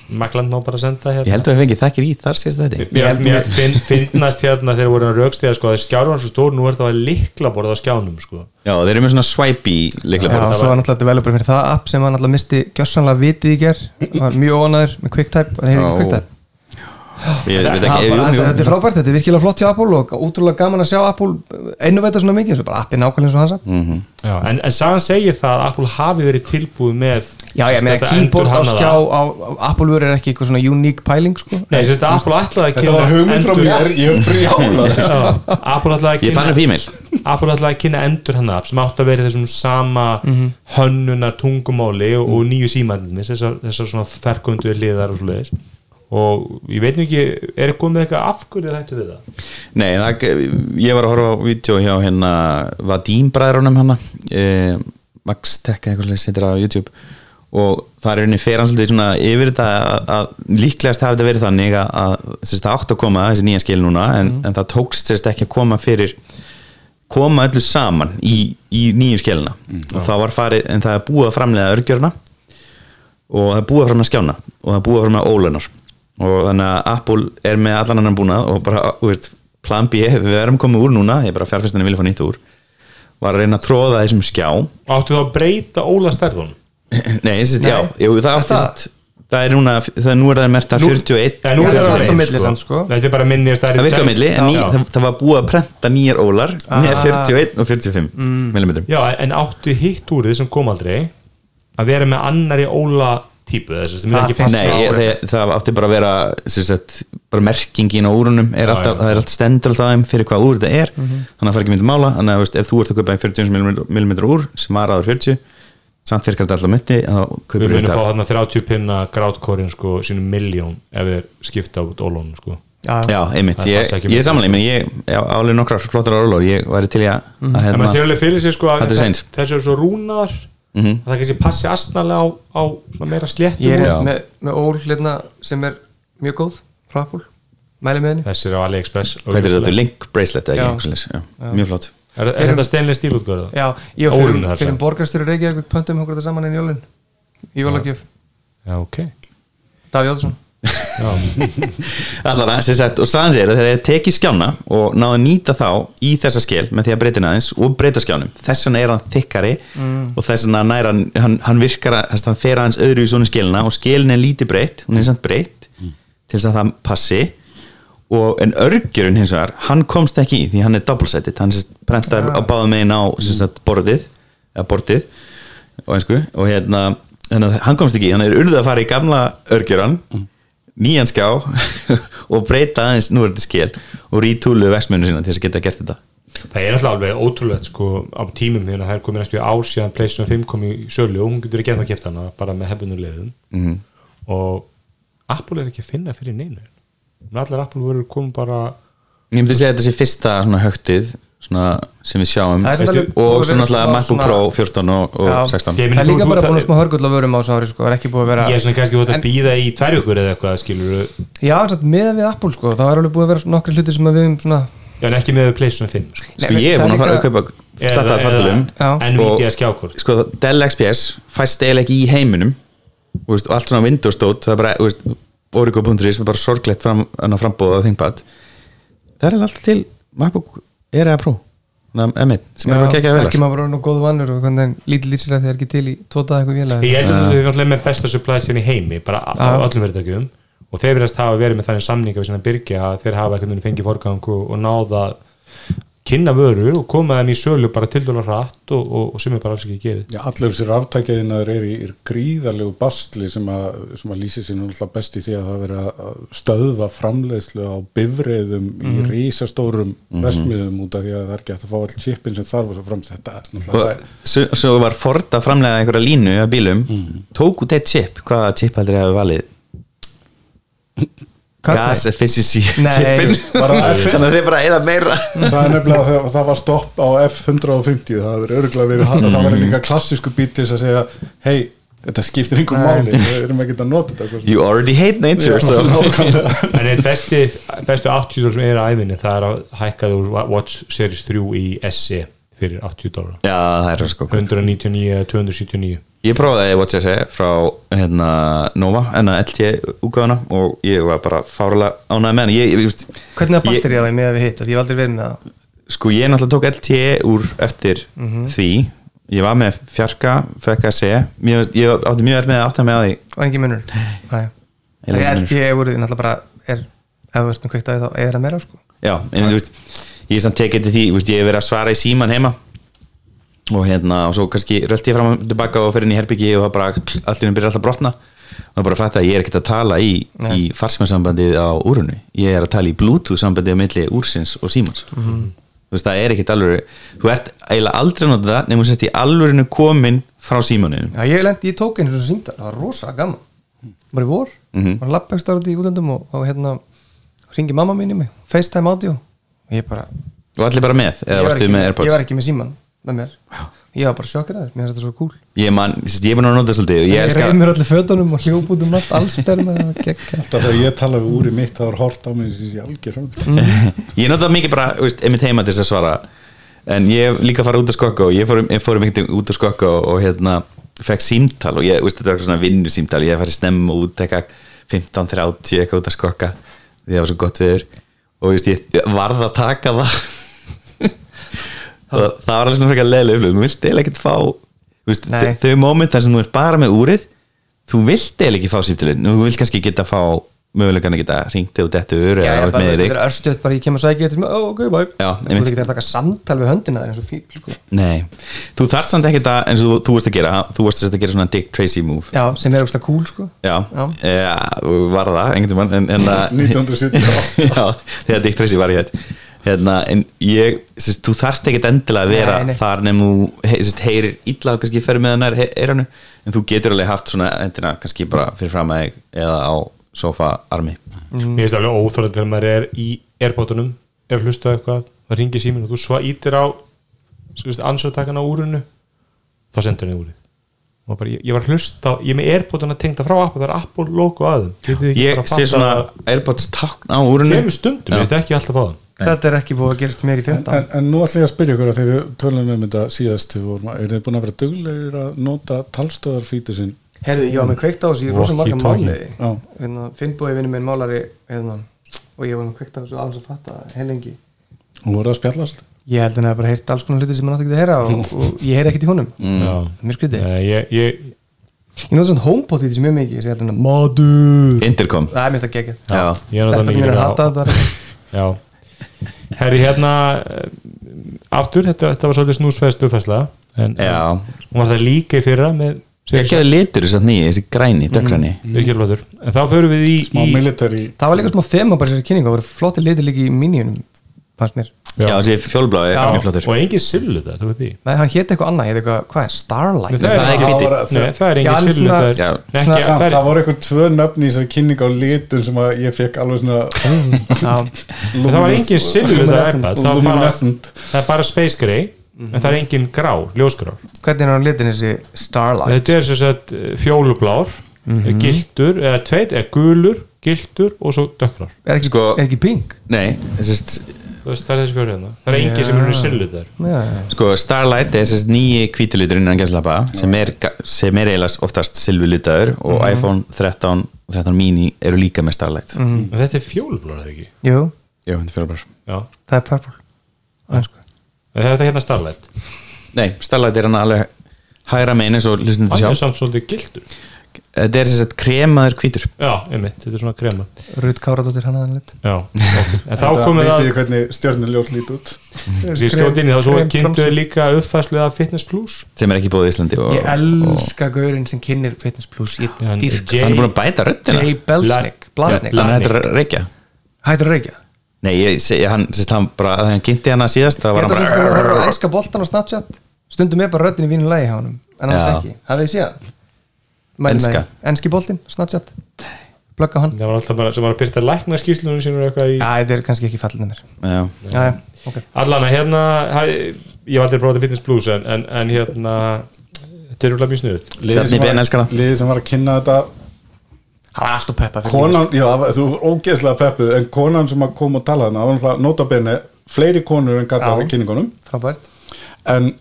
Speaker 2: Magland má bara senda
Speaker 3: Ég
Speaker 2: hérna
Speaker 3: held að við fengið þakkir í þar sést þetta
Speaker 2: Mér held mér finn, finnast hérna þegar voru að raukstiða sko að skjárun var svo stór, nú er það að likla borða á skjánum sko
Speaker 3: Já, þeir eru með svona swipe í
Speaker 5: Já,
Speaker 3: líklega
Speaker 5: svo var náttúrulega developer fyrir það app sem hann náttúrulega misti gjössanlega vitið í ger var mjög óanæður með QuickType og það hefði ekki
Speaker 3: Já.
Speaker 5: QuickType
Speaker 3: Ég veit
Speaker 5: Það
Speaker 3: ekki
Speaker 5: var bara-
Speaker 3: jú,
Speaker 5: Þetta er
Speaker 3: jú.
Speaker 5: frábært, þetta er virkilega flott hjá Apple og útrúlega gaman að sjá Apple einnveita svona mikið, þessu bara appið nákvæmlega eins og hans app
Speaker 2: já. En, en sagan segir það að Apple hafi verið tilbúið með
Speaker 5: Já, ég meina
Speaker 2: þetta
Speaker 5: keyboard á
Speaker 2: endurhannaða-
Speaker 5: skjá á Apple-vöru er ekki eitthvað svona uník pæling sko.
Speaker 2: Nei, sérst að Apple ætlaði að
Speaker 4: Þetta var hugmynd frá mér, ég brjálaði
Speaker 2: Já, Apple ætlaði að
Speaker 3: Ég fann
Speaker 2: kynna-
Speaker 3: upp e-mail
Speaker 2: Apple ætlaði að kynna endur hann sem átt að vera í þessum sama hönnunar tungumáli og, og nýju símændinni þessar, þessar svona ferkundu hliðar og svoleiðis og ég veit nú ekki, er það komið eitthvað afgjörðir hættu við það?
Speaker 3: Nei, það, ég var að horfa á vídeo hjá hérna Vadim bræðrunum hana eh, Max Tech eða eitthvað sem heitir á YouTube og það er henni fer hans svolítið svona yfir þetta að, að líklegast hafi þetta verið þannig að, að sérst, það átt að koma þessi nýja skil núna en, en það tókst sérst, ekki að koma fyrir koma öllu saman í, í nýju skilina og það var farið, en það er búið að framlega örgjörna og það er búið að framlega skjána og það er búið að framlega ólunar og þannig að Apple er með allan annan búnað og bara, þú veist, plan B við erum komið úr núna, ég bara fjárfestinni vilja fá nýtt úr var að reyna að tróða þessum skjá
Speaker 2: Áttu þá að breyta Óla stærðun?
Speaker 3: nei, sérst, já, jú, það átti
Speaker 5: Þetta-
Speaker 3: sérst það er núna, það er nú er það mertar 41
Speaker 2: Já, nú er það
Speaker 5: það er
Speaker 3: 41,
Speaker 2: eins,
Speaker 5: svo milli
Speaker 3: sko.
Speaker 5: samt sko
Speaker 2: Þetta er bara minni stærri
Speaker 3: það virka á milli, en ný, það, það var búið að prenta nýjar ólar með
Speaker 5: Ah.
Speaker 3: 41 og 45 mm.
Speaker 2: Já, en áttu hitt úr því sem kom aldrei að vera með annari Óla típu þess það er ekki
Speaker 5: finnst
Speaker 2: passa
Speaker 3: Nei, ég,
Speaker 5: árið.
Speaker 3: það, það átti bara að vera sem sagt, bara merkingin á úrunum er alltaf,
Speaker 2: já. Mhm.
Speaker 3: það er alltaf stendur alltaf um fyrir hvað úr þetta er þannig að það fær ekki myndið mála þannig að þú veist, ef þú ert að kaupa einn 40 mm úr sem var áður 40 samt fyrir hvað þetta alltaf myndi þá kaupir
Speaker 2: við
Speaker 3: þú
Speaker 2: munum fá þarna
Speaker 3: þetta
Speaker 2: 30 pinna grátkorin sko sínum miljón ef þeir skipta út ólónum sko
Speaker 3: Já, einmitt,
Speaker 2: Það er
Speaker 3: ég,
Speaker 2: alls ekki
Speaker 3: ég
Speaker 2: mikið.
Speaker 3: samanlega menn ég á alveg nokkrar flottar árlór ég væri til í að, að
Speaker 2: Mhm. en
Speaker 3: hérna,
Speaker 2: maður sér alveg fyrir sér sko að
Speaker 3: Þetta er
Speaker 2: þess-
Speaker 3: seins. Mhm.
Speaker 2: þessu er svo rúnar að það kannski passi astnalega á, á svona meira sléttum
Speaker 5: Ég er
Speaker 3: Já.
Speaker 5: með, með ól hérna sem er mjög góð frá Apple, mæli með henni
Speaker 2: þessi er á AliExpress
Speaker 3: hvað er þetta,
Speaker 2: augljóslega.
Speaker 3: link bracelet
Speaker 5: Já.
Speaker 3: eða ekki, eitthvað svoleiðis, já. mjög flott
Speaker 2: er, er þetta steinlega stílutgöð
Speaker 5: Já, ég og
Speaker 2: Ólinn
Speaker 5: fyrir,
Speaker 2: þar sem.
Speaker 5: fyrir borgarstjóri Reykjavík pöntum okkur þetta saman en jólin í jólagjöf,
Speaker 2: já ok
Speaker 5: Daví Jóðsson
Speaker 3: Allara, sem sagt, og saðan segir að þegar ég teki skjána og náðu að nýta þá í þessa skil með því að breyta hann aðeins og breyta skjánum þess vegna er hann þykkari og þess vegna nær hann, hann, hann virkar að þess að hann fer aðeins öðru í svona skilina og skilin er lítið breytt, hún er samt breytt til þess að það passi og en örgjurinn hins vegar, hann komst ekki í því hann er double-sided, hann sérst prentar á báðum megin á sem sagt, borðið eða bortið og einsku og hérna, hérna hann komst ekki, í, hann er urðið að fara í gamla örgjurann nýjan skjá og breyta aðeins nú er þetta skil og rítúlu vexmunu sína til þess að geta gert þetta
Speaker 2: það er náttúrulega alveg ótrúlegt sko á tímum því að það er komið næstu í ár síðan Playstation 5 kom í sölu og hún getur ekki ennþá að kæfta hana bara með hefðunulegðum mm
Speaker 5: Mhm.
Speaker 2: -hmm. og Apple er ekki að finna fyrir neinu Hún allar Apple voru komið bara
Speaker 3: ég myndi segja að þetta sé fyrsta svona högtið svona sem við sjáum
Speaker 5: Það er samt alveg-
Speaker 3: og
Speaker 5: búið að vera
Speaker 3: svona alltaf
Speaker 5: smá
Speaker 3: MacBook
Speaker 5: svona-
Speaker 3: Pro 14 og, og
Speaker 5: Já.
Speaker 3: 16
Speaker 2: Ég
Speaker 5: Það
Speaker 2: meina,
Speaker 5: er
Speaker 2: þú-
Speaker 5: líka
Speaker 2: þú-
Speaker 5: bara
Speaker 2: það-
Speaker 5: búin að smá hörgull á vörum á þessu ári sko, það er ekki búið að vera
Speaker 2: ég er svona kannski þú ert
Speaker 5: En-
Speaker 2: að býða í tvær ykkur eða eitthvað skilur
Speaker 5: Já, samt meðan við Apple sko, það er alveg búið að vera nokkri hluti sem að við um svona
Speaker 2: já en ekki með Playstation 5 sko.
Speaker 3: sko ég er búin að fara að kaupa slatta að fartalum
Speaker 5: Já.
Speaker 2: en
Speaker 3: Og-
Speaker 2: viti að skjákort
Speaker 3: sko Dell XPS fæst eiginlega ekki í heiminum þú veist, og allt svona Windows dót það er bara, þú veist, origo.is er bara sorglegt fram, frambóða þingpad það er eiginlega alltaf til MacBook Air eða Pro þannig að sko. M1 sem er bara ekki ekki að
Speaker 5: Ekki
Speaker 3: velja
Speaker 5: maður bara nú góð vannur og hvernig lítið lýsir að þið er ekki til í tótað eitthvað
Speaker 2: Ég
Speaker 5: vélag
Speaker 2: heldur að þau eru náttúrulega með besta supply chain í heimi bara á á öllum verðtökjum og þeir verðast hafa verið með þannig samninga við svona byrgja að þeir hafa eitthvað fengið forgang og, og náða að kynna vöru og koma þeim í sölu bara til dólar hratt og, og, og sem er bara alls ekki gerið
Speaker 4: Já, allir þessir aftækjaðinnar er í er gríðarlegu bastli sem að, sem að lýsi sér náttúrulega best í því að það vera að stöðva framleiðslu á bifreiðum í rísastórum vestmiðum út af því að það er ekki hægt að fá all chipin sem þarf og svo framst þetta er náttúrulega
Speaker 3: og svo, svo var Ford að framlega einhverja línu af bílum, tók út eitt chip hvaða chip heldur hefur valið gas efficiency
Speaker 5: Nei.
Speaker 3: chipin
Speaker 4: Bara F-
Speaker 3: þannig að þeir bara eða meira
Speaker 4: það er nefnilega að það- það var stopp á F150 það verið örgulega verið hann og það var líka klassísku bít til þess að segja hei, þetta skiptir einhver máli við erum ekki að nota þetta
Speaker 3: you already hate nature so.
Speaker 4: Nákvæmlega.
Speaker 2: En einn besti, bestu 80 dólar sem er að æfinni það er að hækka þú Watch Series 3 í SE fyrir 80 dólar
Speaker 3: já það er sko
Speaker 2: 199 eða 279
Speaker 3: Ég prófaði Watch SE frá hérna, Nova, hérna, en að LT úgáðuna og ég var bara fárlega ánægð með hann ég, ég, veist,
Speaker 5: Hvernig er
Speaker 3: Ég-
Speaker 5: batterið það með að við hitt, því ég hef aldrei verið með það
Speaker 3: Sko ég náttúrulega tók LT úr eftir því Ég var með fjarka, fekk að segja Mér, fannst- Ég átti mjög verið með að átta með að því
Speaker 5: og engin munur Nei.
Speaker 3: Ég leik
Speaker 5: Þegar
Speaker 3: munur.
Speaker 5: LG voruð þið E náttúrulega bara er, ef þú ert með kveikt að þá er það meira sko.
Speaker 3: Já, en þú veist, ég er samt tekið til því þú veist, Ég hef verið að svara í síman heima Og hérna, og svo kannski rölti ég fram og tilbaka og fer inn í herbyggi og það bara allir byrja alltaf að brotna og bara fatta að ég er ekkert að tala í, í farsmjössambandið á úrunu ég er að tala í bluetooth sambandið á milli úrsins og símans
Speaker 5: Mhm.
Speaker 3: þú veist, það er ekkert alveg þú ert eiginlega aldrei að nota það nefnum þú sett í alvörinu komin frá símaninu
Speaker 5: Já, ég lendi, ég tók einu svona símdal, það var rosa gaman bara í vor, mm
Speaker 3: Mhm.
Speaker 5: -hmm. bara lappegst árið í útlöndum og, og hérna ringi mamma mín í mig, FaceTime audio og ég bara,
Speaker 3: og allir bara með,
Speaker 5: ég
Speaker 3: eða
Speaker 5: var,
Speaker 3: varstu
Speaker 5: ekki,
Speaker 3: með
Speaker 5: ég
Speaker 3: Airpods
Speaker 5: var ekki með síman með mér, ég var bara sjokkir aðeins mér finnst þetta svo cool,
Speaker 3: ég, man, sérst, ég er búin að nota það svolítið og ég,
Speaker 5: ég, ég
Speaker 3: elskar-
Speaker 5: reyði mér allir fötunum og hljóputum allt, alls berna
Speaker 4: Alltaf þegar ég tala við úri mitt þá er hort á mig sem ég algjör mm.
Speaker 3: ég nota það mikið bara, þú veist, einmitt heima til þess að svara en ég hef líka farið út að skokka og ég fór, um, ég fór einmitt út að skokka og, og hérna, fekk símtal og ég, þú veist, þetta var eitthvað svona vinnu símtal ég hef farið snemma út eitthvað 15.30 eitthvað út að skokka því það var svo gott viður og þú veist, ég varð að taka það og það var alveg svona frekar leðileg upplöfum, þú vilt eiginlega ekkert fá þú veist,
Speaker 5: Nei.
Speaker 3: þau- þau moment þar sem þú er bara með úrið þú vilt eiginlega ekki fá símtalin þú vilt kannski geta fá mögulegan að geta ringt þegar þú
Speaker 5: Já,
Speaker 3: dettur eða
Speaker 5: ég
Speaker 3: ert
Speaker 5: bara,
Speaker 3: með
Speaker 5: veist,
Speaker 3: þig
Speaker 5: þetta er örstuðt bara ég kem að sækja þetta oh, ok, bye
Speaker 3: Já,
Speaker 5: Þú
Speaker 3: einmitt.
Speaker 5: ert ekki að taka samtal við höndina það er eins og fíl sko.
Speaker 3: Nei, þú þarft samt ekkert að eins og þú, þú varst að gera, þú varst að gera svona Dick Tracy move
Speaker 5: Já, sem er ógstlega cool sko.
Speaker 3: Já,
Speaker 5: Já.
Speaker 3: já. var það einhvern tímann en, en að-
Speaker 4: 1978.
Speaker 3: Já, þegar Dick Tracy var í hér hérna, en ég, sérst, þú þarft ekkert endilega að vera
Speaker 5: Nei, nei.
Speaker 3: þar nefn þú he, sérst, heyrir illa og kannski fer með hennar eiranu, en þú getur alveg haft svona endina kannski bara fyrir fram að þig eða á sofaarmi
Speaker 2: Mér finnst alveg óþórlega þegar maður er í airpotunum, er hlustað eitthvað það ringir síminn og þú sva ítir á ansvartakana úrunu þá sendur henni úrið Og bara, ég, ég var að hlusta, á- ég er með airpotuna tengda frá Apple, það er Apple logo aðum
Speaker 3: Ég sé svona airpods takn á úrinu
Speaker 2: kemur stundum,
Speaker 3: Já.
Speaker 2: ég veist ekki alltaf að
Speaker 5: þetta er ekki búið að gerast mér í 15
Speaker 4: en, en nú ætlum ég að spyrja ykkur að þegar við tölum um þetta síðast við vorum, að- eru þið búin að vera duglegir að nota talstöðarfítu sinn
Speaker 5: Herðu, ég var með kveikt á þessu í rosa marga
Speaker 2: Walkie-talkie.
Speaker 5: mánuði
Speaker 4: Já.
Speaker 5: hérna, Finnbúi vinnu minn málari hérna, og ég var með kveikt á þessu án sem fatta helengi
Speaker 4: og voru að spjalla allt
Speaker 5: Ég held að hann hafi bara heyrt alls konar hluti sem hann átti ekki að heyra og, og ég heyri ekkert í honum mm.
Speaker 2: það
Speaker 5: Mér skrítið
Speaker 2: Nei, ég, ég,
Speaker 5: Ég nota svona homepot í þessu mjög mikið Ég held hann að madur
Speaker 3: Intercom
Speaker 5: Það er minnst að gegja
Speaker 3: Já.
Speaker 2: Ég nota
Speaker 5: Stelpandi
Speaker 2: mikið
Speaker 5: mín er að
Speaker 2: á-
Speaker 5: hata það
Speaker 2: Já Herri hérna eh, aftur, þetta, þetta var svolítið snúsfæð stufæsla en
Speaker 3: Já.
Speaker 2: en hún var það líka í fyrra með
Speaker 3: Ekki að litur þess að nýja, þessi græni, dökgræni
Speaker 2: Mm. Virkjálflóttur en þá förum við í,
Speaker 4: smá
Speaker 2: í
Speaker 4: military
Speaker 5: Það var líka smá þema bara í þessari kynningu Það voru flotti litir líka í minionum Fannst mér
Speaker 3: Já, þessi fjólblái er
Speaker 5: Já.
Speaker 3: mjög flottur
Speaker 2: og engin sillu þetta, þú veit því
Speaker 5: Nei, hann héti eitthvað annað Héti eitthvað, hvað er, Starlight?
Speaker 2: Nei,
Speaker 3: það er ekki
Speaker 2: engin-
Speaker 4: hvíti.
Speaker 2: Nei, það er
Speaker 5: Já, en
Speaker 2: engin sillu
Speaker 5: svona-
Speaker 2: það
Speaker 3: Já.
Speaker 2: er ekki
Speaker 4: Samt,
Speaker 2: það
Speaker 4: það
Speaker 2: er-
Speaker 4: voru einhvern tvö nöfn í þessari kynning á litum sem að ég fekk alveg svona
Speaker 5: Já,
Speaker 2: en það var engin sillu þetta iPad
Speaker 5: Luminescent.
Speaker 2: það var bara-
Speaker 4: luminescent
Speaker 2: það er bara space grey en það er engin grá, ljósgrár
Speaker 5: hvernig er hann litin þessi Starlight?
Speaker 2: þetta er sem sagt eh, fjólublár gildur, eða tveit, eða gulur gildur og svo dökkrar
Speaker 5: Er ekki,
Speaker 3: Sko-
Speaker 5: er ekki pink?
Speaker 3: Nei, þessi
Speaker 2: Þú veist, það er þessi fjóri hérna það er engin sem er í sillu þar
Speaker 5: Já,
Speaker 3: Sko, Starlight er þessi nýji hvítilitur innan gæslappa sem er, sem er eiginlega oftast silvulitaður og
Speaker 5: Mhm.
Speaker 3: iPhone 13 og 13 mini eru líka með Starlight
Speaker 5: Mhm.
Speaker 3: mm.
Speaker 2: En þetta er fjólblár, eða ekki?
Speaker 5: jú,
Speaker 3: Jó, þetta fyrir bara
Speaker 2: Já.
Speaker 5: það er purple Það er sko
Speaker 2: En það er þetta hérna starlætt.
Speaker 3: Nei, Starlight er hann alveg hægra meini svo lýstum
Speaker 2: Hann
Speaker 3: þetta
Speaker 2: er
Speaker 3: sjá
Speaker 2: samt svolítið gildur.
Speaker 3: Þetta er þessi kremaður hvítur
Speaker 2: Já, einmitt, þetta er svona krema.
Speaker 5: Rut Káradóttir hann að hann lit
Speaker 2: Já. En þá
Speaker 4: það
Speaker 2: komið
Speaker 4: veitir
Speaker 2: það,
Speaker 4: þið hvernig stjörnuljós lít út
Speaker 2: ég skjóti inn í það, svo
Speaker 5: Krem-
Speaker 2: kynntu
Speaker 5: kremframsal.
Speaker 2: þau líka uppfæslu að Fitness Plus.
Speaker 3: sem er ekki búið í Íslandi og,
Speaker 5: Ég
Speaker 3: og,
Speaker 5: elska gaurinn sem kynir Fitness Plus Ég
Speaker 2: Já, hann-
Speaker 5: dyrka
Speaker 2: Jay-
Speaker 3: Hann er búin að bæta röddina
Speaker 5: Jay Belsnick Blasnick
Speaker 3: Hann hættur að reykja
Speaker 5: Hættur að reykja
Speaker 3: Nei, ég, seg- hann, sérst, hann bara, þegar hann kynnti hana síðast það
Speaker 5: Ég
Speaker 3: var
Speaker 5: held að
Speaker 3: hann
Speaker 5: þú fyrir að horfa að
Speaker 3: bara
Speaker 5: elska boltan á Snapchat Stundum er bara röddin í vínu lagi hjá honum En annars
Speaker 3: Já.
Speaker 5: ekki Hafið þið séð Mælum
Speaker 3: Enska.
Speaker 5: með því. Enski boltinn, Snapchat Plugga á hann Já,
Speaker 2: Það var alltaf bara, sem var að byrta lækna skýslunum sínur eitthvað í...
Speaker 5: þetta er kannski ekki fallin að mér
Speaker 3: Já.
Speaker 5: Já, já, ok
Speaker 2: Allan að hérna, hæ- ég var aldrei að prófa þetta Fitness Plus, en, en, en hérna, þetta er úrlega mjög snuðut.
Speaker 4: liðið
Speaker 3: Bjarni
Speaker 4: sem,
Speaker 3: Ben elskar
Speaker 4: var-
Speaker 3: það.
Speaker 4: liðið sem var að kynna þetta
Speaker 5: Það var allt og peppa fyrir
Speaker 4: konan, já það var- þú er ógeðslega peppuð en konan sem að kom og tala hana það var náttúrulega notabene fleiri konur en gata
Speaker 5: Já.
Speaker 4: á kynningunum
Speaker 5: mig. Frábært
Speaker 4: en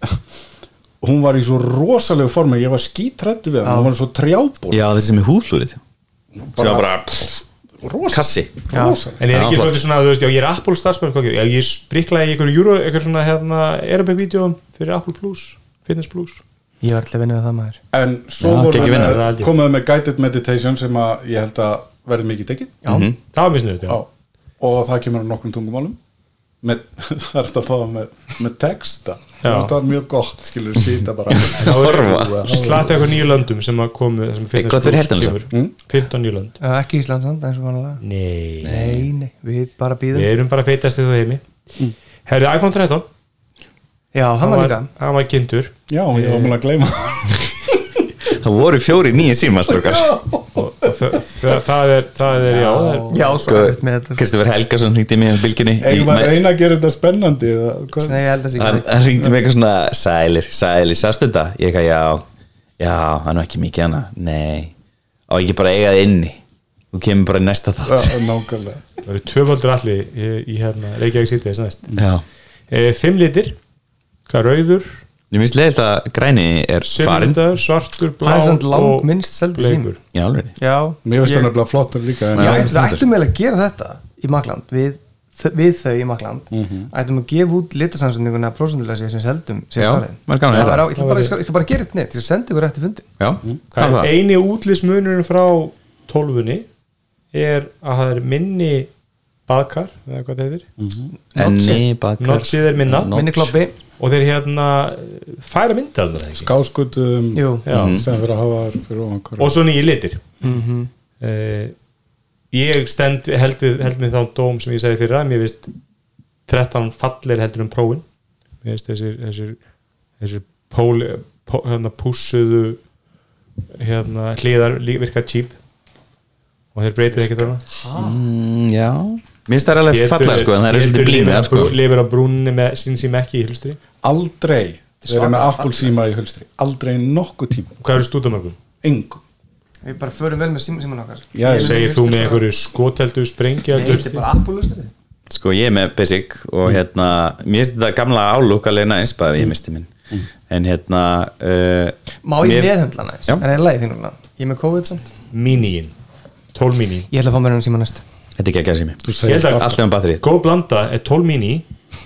Speaker 4: hún var í svo rosalegu formi ég var skítrættu við hann, hún var svo trjából
Speaker 3: Já, þessi með húðlúrið sem var bara pff,
Speaker 4: rosa,
Speaker 3: kassi
Speaker 4: rosa.
Speaker 2: En er
Speaker 3: Já,
Speaker 2: ekki
Speaker 3: flott.
Speaker 2: svolítið svona, þú veist, já, ég er Apple starfsmenn, hvað gerir, já, ég spriklaði í einhverju júru, einhverju svona, hérna, Arabic-vídeóum fyrir Apple Plus, Fitness Plus.
Speaker 5: Ég var alltaf vinnið að það maður
Speaker 4: en svo
Speaker 3: Já,
Speaker 4: voru
Speaker 3: tekið vinna,
Speaker 4: með-
Speaker 2: það held ég.
Speaker 4: komuðu með guided meditation sem að ég held að verði mikið tekið
Speaker 5: Já mm
Speaker 2: Það var mjög snuðut, já.
Speaker 4: Já, og það kemur á nokkrum tungumálum með, það er þetta að fá það með, með texta
Speaker 2: Já.
Speaker 4: það er mjög gott, skilur, sýta bara
Speaker 3: Horfa. hérna,
Speaker 2: Slatti eitthvað nýju löndum sem að komu sem fitness
Speaker 3: gott fyrir
Speaker 2: plus
Speaker 3: heyrnarlausa.
Speaker 2: kemur. 15 nýju lönd
Speaker 5: Ekki Íslandsand, eins og vanlega
Speaker 2: Nei.
Speaker 5: Nei, nei, við bara býðum
Speaker 2: Við erum bara feitast í þú heimi Herði iPhone 13
Speaker 5: Já, Mm. hann var líka
Speaker 2: Hann var kynntur
Speaker 4: Já, ég var múin að gleyma
Speaker 3: Það voru fjóri nýja símastrókar
Speaker 2: og og þa- þa- það er, það er já, það er,
Speaker 5: Já, svo
Speaker 3: Sko,
Speaker 5: erfitt með þetta
Speaker 3: Kristoffer Helgason hringdi mig á bylginni í-
Speaker 4: Eigum að
Speaker 3: með-
Speaker 4: reyna að gera þetta spennandi eða, hvað?
Speaker 5: Nei, ég held að það sé
Speaker 3: hann,
Speaker 5: ekki
Speaker 3: hann hringdi mig eitthvað svona sælir, sælir, sástu þetta ég eitthvað já, já, það er nú ekki mikið hana nei, á ekki bara að eiga það inni þú kemur bara í næsta
Speaker 4: Já,
Speaker 3: þátt
Speaker 4: Nákvæmlega
Speaker 2: það eru tvöfaldur allir í, í hérna Reykjavík síðlega næst
Speaker 3: já,
Speaker 2: e, Fimm litir, hvað er rauður
Speaker 3: ég minnst leið að græni er farin
Speaker 2: silfurlitaður, svartur, blá
Speaker 5: Hann er samt lang
Speaker 2: og
Speaker 5: minnst seldi símur.
Speaker 2: bleikur.
Speaker 3: já, alveg
Speaker 5: Já
Speaker 4: Mér finnst
Speaker 5: ég-
Speaker 4: það nefnilega flottur líka en,
Speaker 5: Já,
Speaker 3: Já,
Speaker 5: ættum,
Speaker 3: stendur.
Speaker 5: ættum við að gera þetta í Magland við, þ- við þau í Magland ættum að gefa út litasamsendinguna prósendulega sér sem seldum
Speaker 3: Já, maður gaman að heyra.
Speaker 5: ég ætla bara, ég skal, ég skal bara gera þetta neitt ég sendi ykkur eftir fundin
Speaker 3: já,
Speaker 2: Það
Speaker 3: það
Speaker 2: er
Speaker 3: var
Speaker 2: eini útlýsmunurinn frá tólfunni er að það er minni baðkar eða hvað það heitir
Speaker 3: Enni bakar
Speaker 2: Noxið er minna.
Speaker 3: Nox.
Speaker 5: minni kloppi
Speaker 2: og þeir hérna færa mynda alveg ekki
Speaker 4: skáskutum
Speaker 5: Jú.
Speaker 4: sem fyrir að hafa þær fyrir ofan hverju
Speaker 2: og svo nýjir litir
Speaker 5: mm -hmm.
Speaker 3: Mhm.
Speaker 2: uh, ég stend held við, held við þá dóm sem ég segi fyrra mér finnst 13 fallir heldur um prófin mér finnst þessir þessir, þessir pól, pó, hérna pússuðu hérna hliðar lí- virka cheap og þeir breytið ekki þarna
Speaker 3: Mm, Já Mér finnst það er alveg fallega sko En það er svolítið blímið sko.
Speaker 2: lifir á brúnni með sín sem ekki í hulstri
Speaker 4: aldrei verið með appulsíma í hulstri aldrei nokkuð tíma,
Speaker 2: og hvað eru stúdamörgum?
Speaker 4: engum
Speaker 5: við bara förum vel með síman, síman okkar
Speaker 4: Já,
Speaker 5: Ég vil
Speaker 2: segir
Speaker 5: hlusta
Speaker 2: þú
Speaker 5: bara-
Speaker 2: með einhverju skoteldu
Speaker 5: Nei,
Speaker 2: sprengjaldu
Speaker 5: þetta er bara appulustrið
Speaker 3: sko ég er með basic og hérna mér finnst þetta gamla álúk alveg næs bara ég misti minn en hérna uh,
Speaker 5: má ég
Speaker 3: mér-
Speaker 5: meðhundla næst,
Speaker 3: Já.
Speaker 5: en það er lægið þínu núna. ég er með COVID samt
Speaker 2: míníin, tólmíníin
Speaker 5: ég ætla að fá mér hann síma næst
Speaker 3: þetta er ekki að gera sér
Speaker 4: þú
Speaker 3: mér
Speaker 2: Ég
Speaker 4: segir
Speaker 2: held að-
Speaker 3: allt um batterið
Speaker 2: góð blanda er 12 mini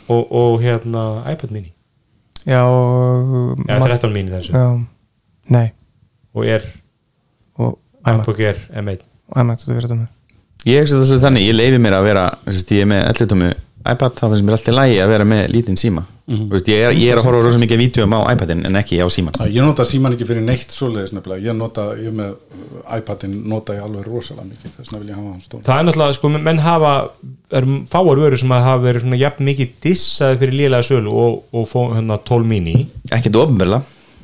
Speaker 2: og, og hérna iPad mini
Speaker 5: já, og-
Speaker 2: eða 13 mini þessu
Speaker 5: já, nei
Speaker 2: og er
Speaker 5: og æma,
Speaker 2: MacBook Air M1
Speaker 5: æma, þú verður þetta með
Speaker 3: ég hugsa þessu þannig ég leifi mér að vera sest, ég er með 11 tómu iPad þá finnst mér alltaf lægi að vera með lítinn síma mm veist, ég, er, ég er að horfa rosa mikið að vítjum á iPadin en ekki á síman
Speaker 4: Æ, ég nota síman ekki fyrir neitt svoleiðis nefnilega ég nota, ég með iPadin nota ég alveg rosalega mikið þess vegna vil ég hafa hann stóð
Speaker 2: það er náttúrulega sko menn hafa er fáar vöru sem að hafa verið svona jafn mikið dissaði fyrir lélega sölu og, og fó, hérna 12 mini
Speaker 3: ekki þetta ofnbörla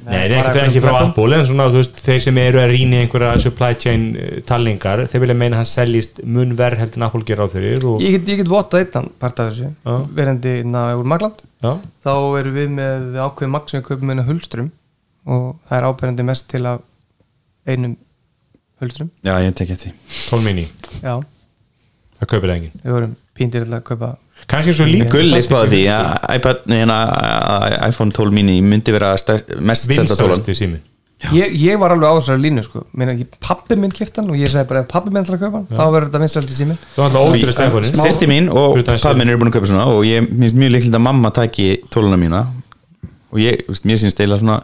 Speaker 2: Nei, nei
Speaker 5: bara
Speaker 2: ekki, ekki
Speaker 5: einhverjum
Speaker 2: frá
Speaker 5: krökkum.
Speaker 2: Apple en svona þú veist þeir sem eru að rýna í einhverja supply chain eh, talningar þeir vilja meina að hann seljist mun verð heldur en Apple gera á fyrir og
Speaker 5: ég get, ég get votta eittan part af þessu
Speaker 2: Já.
Speaker 5: verandi na, úr Magland
Speaker 2: já,
Speaker 5: þá erum við með ákveðið magn sem við kaupum inn á hulstrum og það er áberandi mest til af einum hulstrum
Speaker 3: já ég tek eftir
Speaker 2: 12 mini,
Speaker 5: já,
Speaker 2: það kaupir það enginn
Speaker 5: við vorum píndir til að kaupa
Speaker 2: kannski svo líka
Speaker 3: Gulli spáði því að iPad, neina, iPhone 12 mini myndi vera stærst, mest selta tólan
Speaker 2: vinsalasti sími
Speaker 5: ég, ég var alveg á þessari línu sko Meina, ég, pappi minn kipta hann og ég sagði bara ef pappi minn ætlar að kaupa hann, þá verður þetta vinsælti sími
Speaker 2: það var alltaf ódýrasti iPhone-in.
Speaker 3: sýsti mín og
Speaker 2: Fyrir utan
Speaker 3: pappi minn eru búin að kaupa svona og ég minnst mjög líkilegt að mamma tæki tóluna mína og ég, þú veist, mér syns deila svona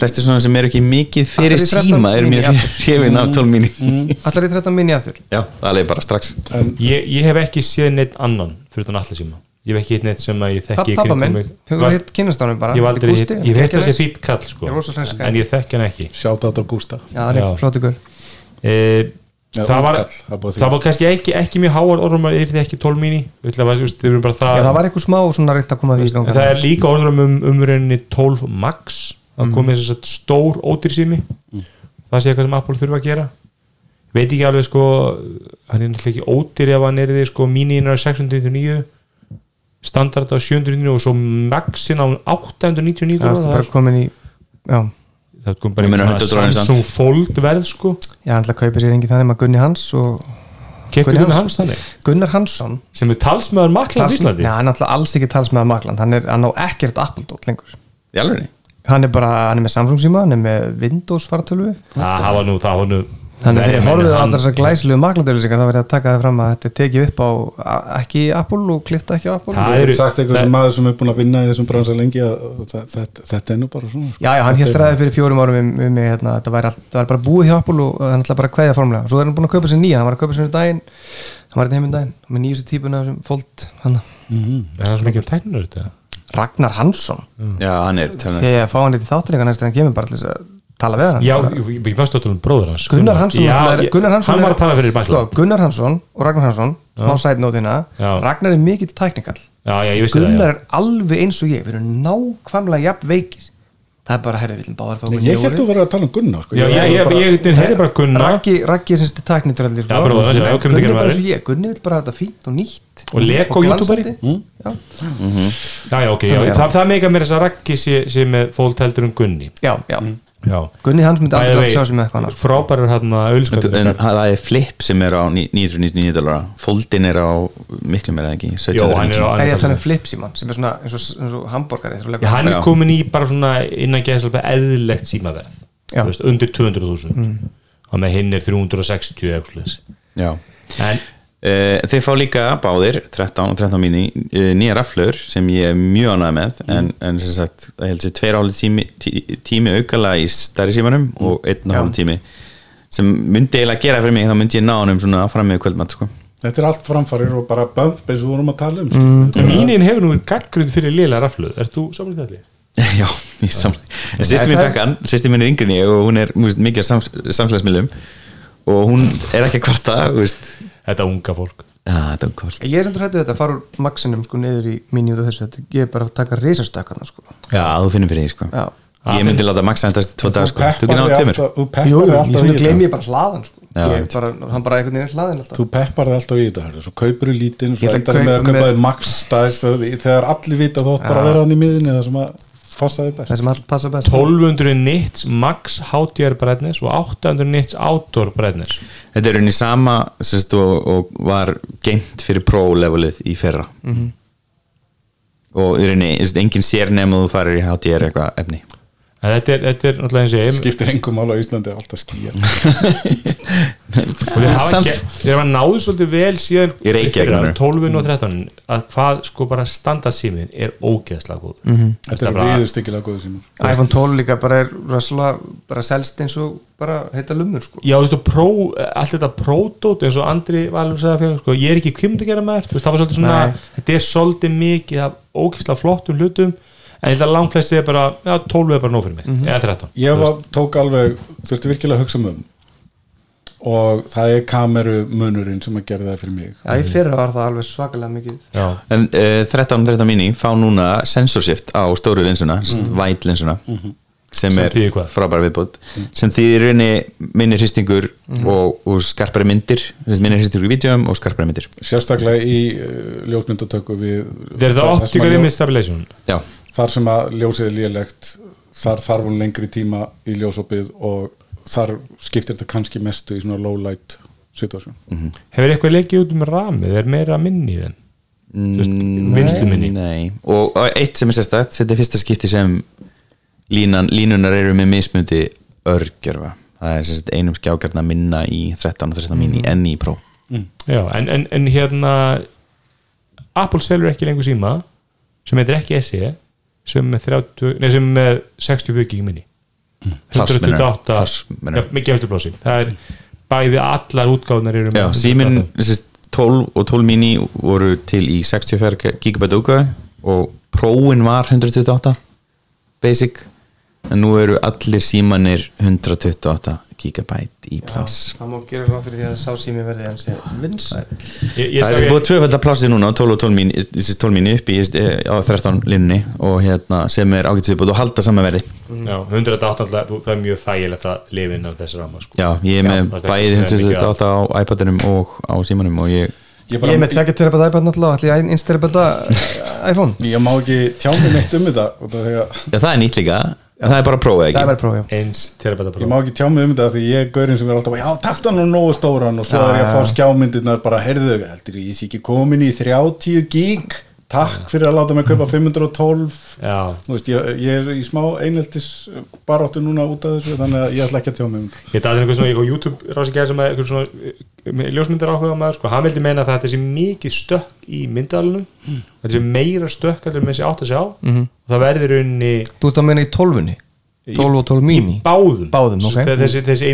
Speaker 3: flesti svona sem eru ekki mikið fyrir
Speaker 5: Allir í 13
Speaker 3: síma eru
Speaker 5: mini
Speaker 3: mér
Speaker 5: aftur.
Speaker 3: hrifin af tól mínu
Speaker 5: Mm. allar í 13 minni aftur
Speaker 3: já, alveg bara strax
Speaker 2: ég, ég hef ekki séð neitt annan fyrir þannig allir síma ég hef ekki hitt neitt sem að ég
Speaker 5: Papp-
Speaker 2: þekki í
Speaker 5: pappa
Speaker 2: kringum
Speaker 5: minn,
Speaker 2: mig.
Speaker 5: hefur
Speaker 2: Var-
Speaker 5: verið hitt kynastánum bara
Speaker 2: ég hef aldrei hitt,
Speaker 5: Gústi,
Speaker 2: ég hef hitt
Speaker 5: geggjað
Speaker 2: þessi
Speaker 5: næs.
Speaker 2: fýtt kall sko,
Speaker 5: Ég er rosa hress,
Speaker 2: en ég þekki hann ekki
Speaker 4: sjáta þetta á Gústa
Speaker 5: já, hann
Speaker 2: Já.
Speaker 5: er flott ykkur
Speaker 2: e,
Speaker 4: Já,
Speaker 2: það, var,
Speaker 4: útkall, það er bara því.
Speaker 2: það var kannski ekki, ekki mjög háar orðum að yrði ekki 12 mínu það,
Speaker 5: já, það
Speaker 2: það,
Speaker 5: var eitthvað smá svona rétt að koma því í ganga
Speaker 2: það er líka orðum um umröðinni 12 max
Speaker 5: Mm.
Speaker 2: það komið þess að stór ódýr sími það sé eitthvað sem Apple þurfa að gera veit ekki alveg sko hann er náttúrulega ekki ódýr ef hann er því sko míninn er 699 standard á 799 og svo maxin á 899
Speaker 5: já, það er bara komin í já,
Speaker 2: það kom bara
Speaker 3: Ég meina
Speaker 2: einhvern
Speaker 3: 100
Speaker 2: svona
Speaker 3: drónir
Speaker 2: Samsung
Speaker 3: samt.
Speaker 2: Fold verð sko
Speaker 5: já, hann ætla að kaupa sér engin þannig maður Gunni Hans og
Speaker 2: kefti
Speaker 5: Gunni
Speaker 2: Gunnar
Speaker 5: Hans.
Speaker 2: hérna Hans þannig
Speaker 5: Gunnar Hansson
Speaker 2: sem er talsmaður maklar í
Speaker 5: Talsm-
Speaker 2: Íslandi
Speaker 5: Nei, hann er alltaf alls ekki talsmaður Magland hann, er, hann á ekkert Apple-dótt lengur
Speaker 3: í alveg
Speaker 5: hann er bara, hann er með Samsung síma hann er með Windows fartölu
Speaker 2: Ah, það hafa nú, það hafa nú
Speaker 5: þannig að þegar
Speaker 2: Nei,
Speaker 5: ég
Speaker 2: meina,
Speaker 5: horfið á
Speaker 2: hann-
Speaker 5: allar þessar glæslegu Magland-dölusingar þá verður ég að taka það fram að þetta er tekið upp á a- ekki í Apple og klifta ekki á Apple
Speaker 2: Það
Speaker 4: ég
Speaker 2: eru-
Speaker 4: hef sagt eitthvað
Speaker 2: það-
Speaker 4: sem maður sem er búin að vinna í þessum bransa lengi að þetta, þetta, þetta er nú bara svona sko.
Speaker 5: já, já, hann hélt ræði fyrir fjórum árum um, um mig hérna, þetta væri, all, þetta væri bara búið hjá Apple og hann ætlaði bara að kveðja formulega svo er hann búin að kaupa sér nýja, hann var að kaupa sér um daginn hann var hérna heim um daginn með nýjustu típuna af þessum Fold, hann,
Speaker 2: Mhm. Er það er svo mikið tæknur þetta
Speaker 5: Ragnar Hansson
Speaker 2: Mm.
Speaker 3: já, hann er tefnir
Speaker 5: þegar ég fá hann lítið þáttilega næst en hann kemur bara til þess að tala við hann
Speaker 2: já, ég ég varst að tala um bróður hans
Speaker 5: Gunnar Hansson,
Speaker 2: já,
Speaker 5: náttúrulega
Speaker 2: ég-
Speaker 5: er, Gunnar Hansson
Speaker 2: hann var
Speaker 5: er-
Speaker 2: að tala fyrir
Speaker 5: sko,
Speaker 2: maklar
Speaker 5: Gunnar Hansson og Ragnar Hansson smá sætnótina,
Speaker 2: Já.
Speaker 5: Ragnar er mikill tæknikall
Speaker 2: já, já, ég vissi það já.
Speaker 5: Gunnar er alveg eins og ég við erum nákvæmlega jafn veikir það er bara, herri, við viljum báðar fá Gunni
Speaker 4: ég
Speaker 5: í
Speaker 4: held
Speaker 5: jólin.
Speaker 4: þú verið að tala um Gunna sko.
Speaker 2: já, já,
Speaker 4: Ég-
Speaker 2: ég, ég, ég, ég heyrði bara Gunnar
Speaker 5: Raggi, Raggi er semst tæknitröldi sko.
Speaker 2: Já, bróðir hans, já,
Speaker 5: En
Speaker 2: já, kemur
Speaker 5: Gunni
Speaker 2: ekki
Speaker 5: er bara
Speaker 2: maður.
Speaker 5: eins og ég, Gunni vil bara hafa þetta fínt og nýtt
Speaker 2: Og Lego
Speaker 5: glansandi. Mm.
Speaker 2: YouTuberi.
Speaker 5: já.
Speaker 2: já, já, ok, já,
Speaker 5: Já.
Speaker 2: það, það meika mér þess að Raggi sé, sé með fólt heldur um Gunni
Speaker 5: já, já,
Speaker 2: já
Speaker 5: Gunni hans myndi
Speaker 2: By the
Speaker 5: aldrei
Speaker 2: way,
Speaker 5: að sjá sem eitthvað sko. annars
Speaker 2: frábærar hérna hann að
Speaker 3: en
Speaker 2: auðlskvöld
Speaker 3: það er flip sem er á ní- 999 dólar foldin er á miklu meira eða ekki 17
Speaker 2: Jó, hann er á-
Speaker 5: Það er ég að tala um
Speaker 2: talsmaður.
Speaker 5: flipsíman sem er svona eins og, eins og hambúrgari þeir eru
Speaker 2: Já,
Speaker 5: að leggja-
Speaker 2: hann er
Speaker 3: Já.
Speaker 2: komin í bara svona innan geðslega eðlilegt símaverð
Speaker 5: Já. Mm.
Speaker 2: Þú veist, undir 200.000 og með hinn er 360 eða eitthvað svoleiðis.
Speaker 3: já
Speaker 2: en
Speaker 3: Uh, þeir fá líka báðir 13 og 13 mini uh, nýja raflur sem ég er mjög ánægð með en, en sem sagt, Mm. það held sér tveir álið tími, tí, tími aukala í stærri símanum og einn og
Speaker 5: Já.
Speaker 3: hálf tími sem myndi eiginlega gera fyrir mig þá myndi ég ná honum svona fram með kvöldmatt sko.
Speaker 4: Þetta er allt framfarir og bara bömp eins og við vorum að tala um mm.
Speaker 2: En mínin hefur nú gaggrinn fyrir lila rafluð Er þú samlega þetta?
Speaker 3: já, ég samla en sýsti mín
Speaker 5: það-
Speaker 3: fekk hann, sýsti mín er yngri en ég og hún er þú veist, mikið af sams, samfélagsmiðlum og hún er ekki að kvarta þú veist.
Speaker 2: Þetta unga fólk
Speaker 3: já, þetta er kvart
Speaker 5: Ég er samt hræddur við þetta að fara úr maxinum sko niður í minni út af þessu þetta, Ég er bara að taka risastökkarna sko
Speaker 3: já, þú finnir fyrir því sko.
Speaker 5: Já.
Speaker 3: ég myndi láta Max endast tvo dag sko. þú getur náðu tveimur
Speaker 4: Þú
Speaker 5: Jú,
Speaker 4: peppar
Speaker 5: jú,
Speaker 4: þig
Speaker 5: ég
Speaker 4: alltaf í
Speaker 5: svona gleymi
Speaker 4: þetta
Speaker 5: ég bara hlaðan sko
Speaker 3: Já,
Speaker 5: Ég
Speaker 3: veit.
Speaker 5: bara, Hann bara einhvern veginn er hlaðin alltaf
Speaker 4: Þú peppar þig alltaf í þetta hörðu, Svo kaupur þú lítinn
Speaker 5: Ég
Speaker 4: Svo
Speaker 5: ætla að
Speaker 4: endar með að
Speaker 5: kaupa
Speaker 4: kaupa
Speaker 5: með-
Speaker 4: þig max stærst og því- Þegar allir vita þú átt bara að vera hann í miðinni Það sem að fossa þig
Speaker 5: Það
Speaker 4: best
Speaker 5: sem all passa best
Speaker 2: 1200 nits max HDR breytnis og 800 nits outdoor breytnis
Speaker 3: þetta er unni sama sérst, og, og var geimt fyrir pro-levelið í fyrra
Speaker 2: Mhm.
Speaker 3: og í rauninni, þú veist, enginn sér nefn að þú farir í HDR eitthvað efni
Speaker 2: En þetta er, þetta er náttúrulega eins og ég
Speaker 4: Skiptir engum mál á Íslandi er alltaf skýja
Speaker 2: og þeir hafa,
Speaker 3: Samt-
Speaker 2: ge- þeir hafa náðu svolítið vel síðan
Speaker 3: Í Reykjavík,
Speaker 2: fyrra,
Speaker 3: meinar.
Speaker 2: 12 og 13 að hvað sko bara standardsýmin er ógeðslega góð mm
Speaker 3: Mhm.
Speaker 2: -hmm.
Speaker 4: Þetta er viður styggilega góðu símur
Speaker 5: iPhone 12 líka bara er rosalega bara selst eins og bara heita lumur sko
Speaker 2: Já, þú veist, og pró, allt þetta pródót eins og Andri Valur sagði fyrir, sko, ég er ekki kvimt að gera maður, þú veist, það var svolítið svona
Speaker 5: Nei.
Speaker 2: þetta er svolítið mikið af ógeðslega flottum hlutum, en ég held að langflesti er bara, já, 12 er bara nóg fyrir mig
Speaker 3: Mhm.
Speaker 2: eða 13,
Speaker 4: Ég var, tók alveg, þurfti virkilega að hugsa um um og það er kameru munurinn sem að gera það fyrir mig
Speaker 5: Já, ég fyrir var það alveg svakalega mikið
Speaker 2: já,
Speaker 3: en uh, 13 13 mini fá núna sensor shift á stóru linsuna mm. white linsuna sem,
Speaker 2: Mhm. Sem
Speaker 3: er
Speaker 2: þýðir hvað? Mhm.
Speaker 3: frábæra viðbútt sem þýðir í rauninni minni hristingur og, og skarpari myndir sem sagt minni hristingur í vídeoum og skarpari myndir
Speaker 4: sérstaklega í uh, ljósmyndatöku við
Speaker 2: þeir eru það
Speaker 4: þar- þar sem að
Speaker 2: optical
Speaker 4: ljó-
Speaker 2: image stabilization
Speaker 3: já,
Speaker 4: þar sem að ljósið er lélegt þar þarf hún lengri tíma í ljósopið og þar skiptir þetta kannski mestu í svona low light situation
Speaker 2: hefur eitthvað leikið út um ramið, er meira minni í þeim mm, vinslu minni
Speaker 3: nei og og eitt sem er sérstætt, þetta er fyrsta skipti sem línan, línunar eru með mismundi örgjörfa það er sérstætt einum skjákjarna minna í 13 og 13 mini enn í Pro
Speaker 2: já, en, en, en hérna Apple selur ekki lengur síma sem heitir ekki SE sem er með, 30, nei, sem er með 64 gig minni
Speaker 3: Mm, Pláss, meinar.
Speaker 2: 128
Speaker 3: Pláss, meinar.
Speaker 2: ja, mikið eftir blósi það er bæði allar útgáðunar eru með
Speaker 3: Já,
Speaker 2: 128.
Speaker 3: síminn sérst, 12 og 12 mini voru til í 64 gigabæt úka og próin var 128 basic en nú eru allir símanir 128 gigabæt í pláss
Speaker 5: Það má gera ráð fyrir því að sá sími verði hans vinsæl
Speaker 2: ég, ég
Speaker 3: Það er
Speaker 2: sagði,
Speaker 3: búið tvöfald að plássið núna á 12 og 12 mini, þessi 12 mini upp í eh, á 13 linni og hérna sem er ágættisviðbúið og halda saman verði
Speaker 2: já, 128 alltaf, þú- það er mjög þægilegt að lifa innan þessi rama sko.
Speaker 3: Já, ég er með
Speaker 2: það er
Speaker 3: bæði
Speaker 2: ekki sem er mikið
Speaker 3: 128 á iPadinum og á símanum og ég
Speaker 4: ég,
Speaker 5: Ég er með
Speaker 4: bara,
Speaker 5: 2 terabæta iPad náttúrulega ætli ég eins terabæta iPhone
Speaker 4: ég, má ekki tjá mig neitt um þetta og það þegar
Speaker 3: Já, það er nýtt líka, en það er bara prófið ekki
Speaker 5: Það er bara próf, já
Speaker 2: eins terabæta
Speaker 4: Ég
Speaker 2: próf
Speaker 4: má ekki tjá mig um þetta af því ég er gaurinn sem er alltaf já, taktu hann og nógu stóran og svo
Speaker 5: Já,
Speaker 4: er ég að
Speaker 5: já.
Speaker 4: fá skjámyndirnar bara heyrðu, heldur ég sé ekki komin í 30 gig takk fyrir að láta mig kaupa 512
Speaker 2: já,
Speaker 4: Þú veist, ég, ég er í smá einheltis baráttu núna út af þessu þannig að ég ætla ekki að tjá mig um þetta
Speaker 2: Ég daði einhvern svona, ég á YouTube rásingar sem að einhvern svona eh, með ljósmyndar áhuga maður, sko, hann vildi meina að þetta sé mikið stökk í myndalunum
Speaker 5: Hmm.
Speaker 2: þetta sé meira stökk allir með þessi átt að sjá
Speaker 5: Mhm.
Speaker 2: og það verður unni
Speaker 5: Þú ert að meina í 12-unni 12 og 12 mini
Speaker 2: báðum,
Speaker 5: Báðum,
Speaker 2: Svo
Speaker 5: ok.
Speaker 2: þe- þessi, þessi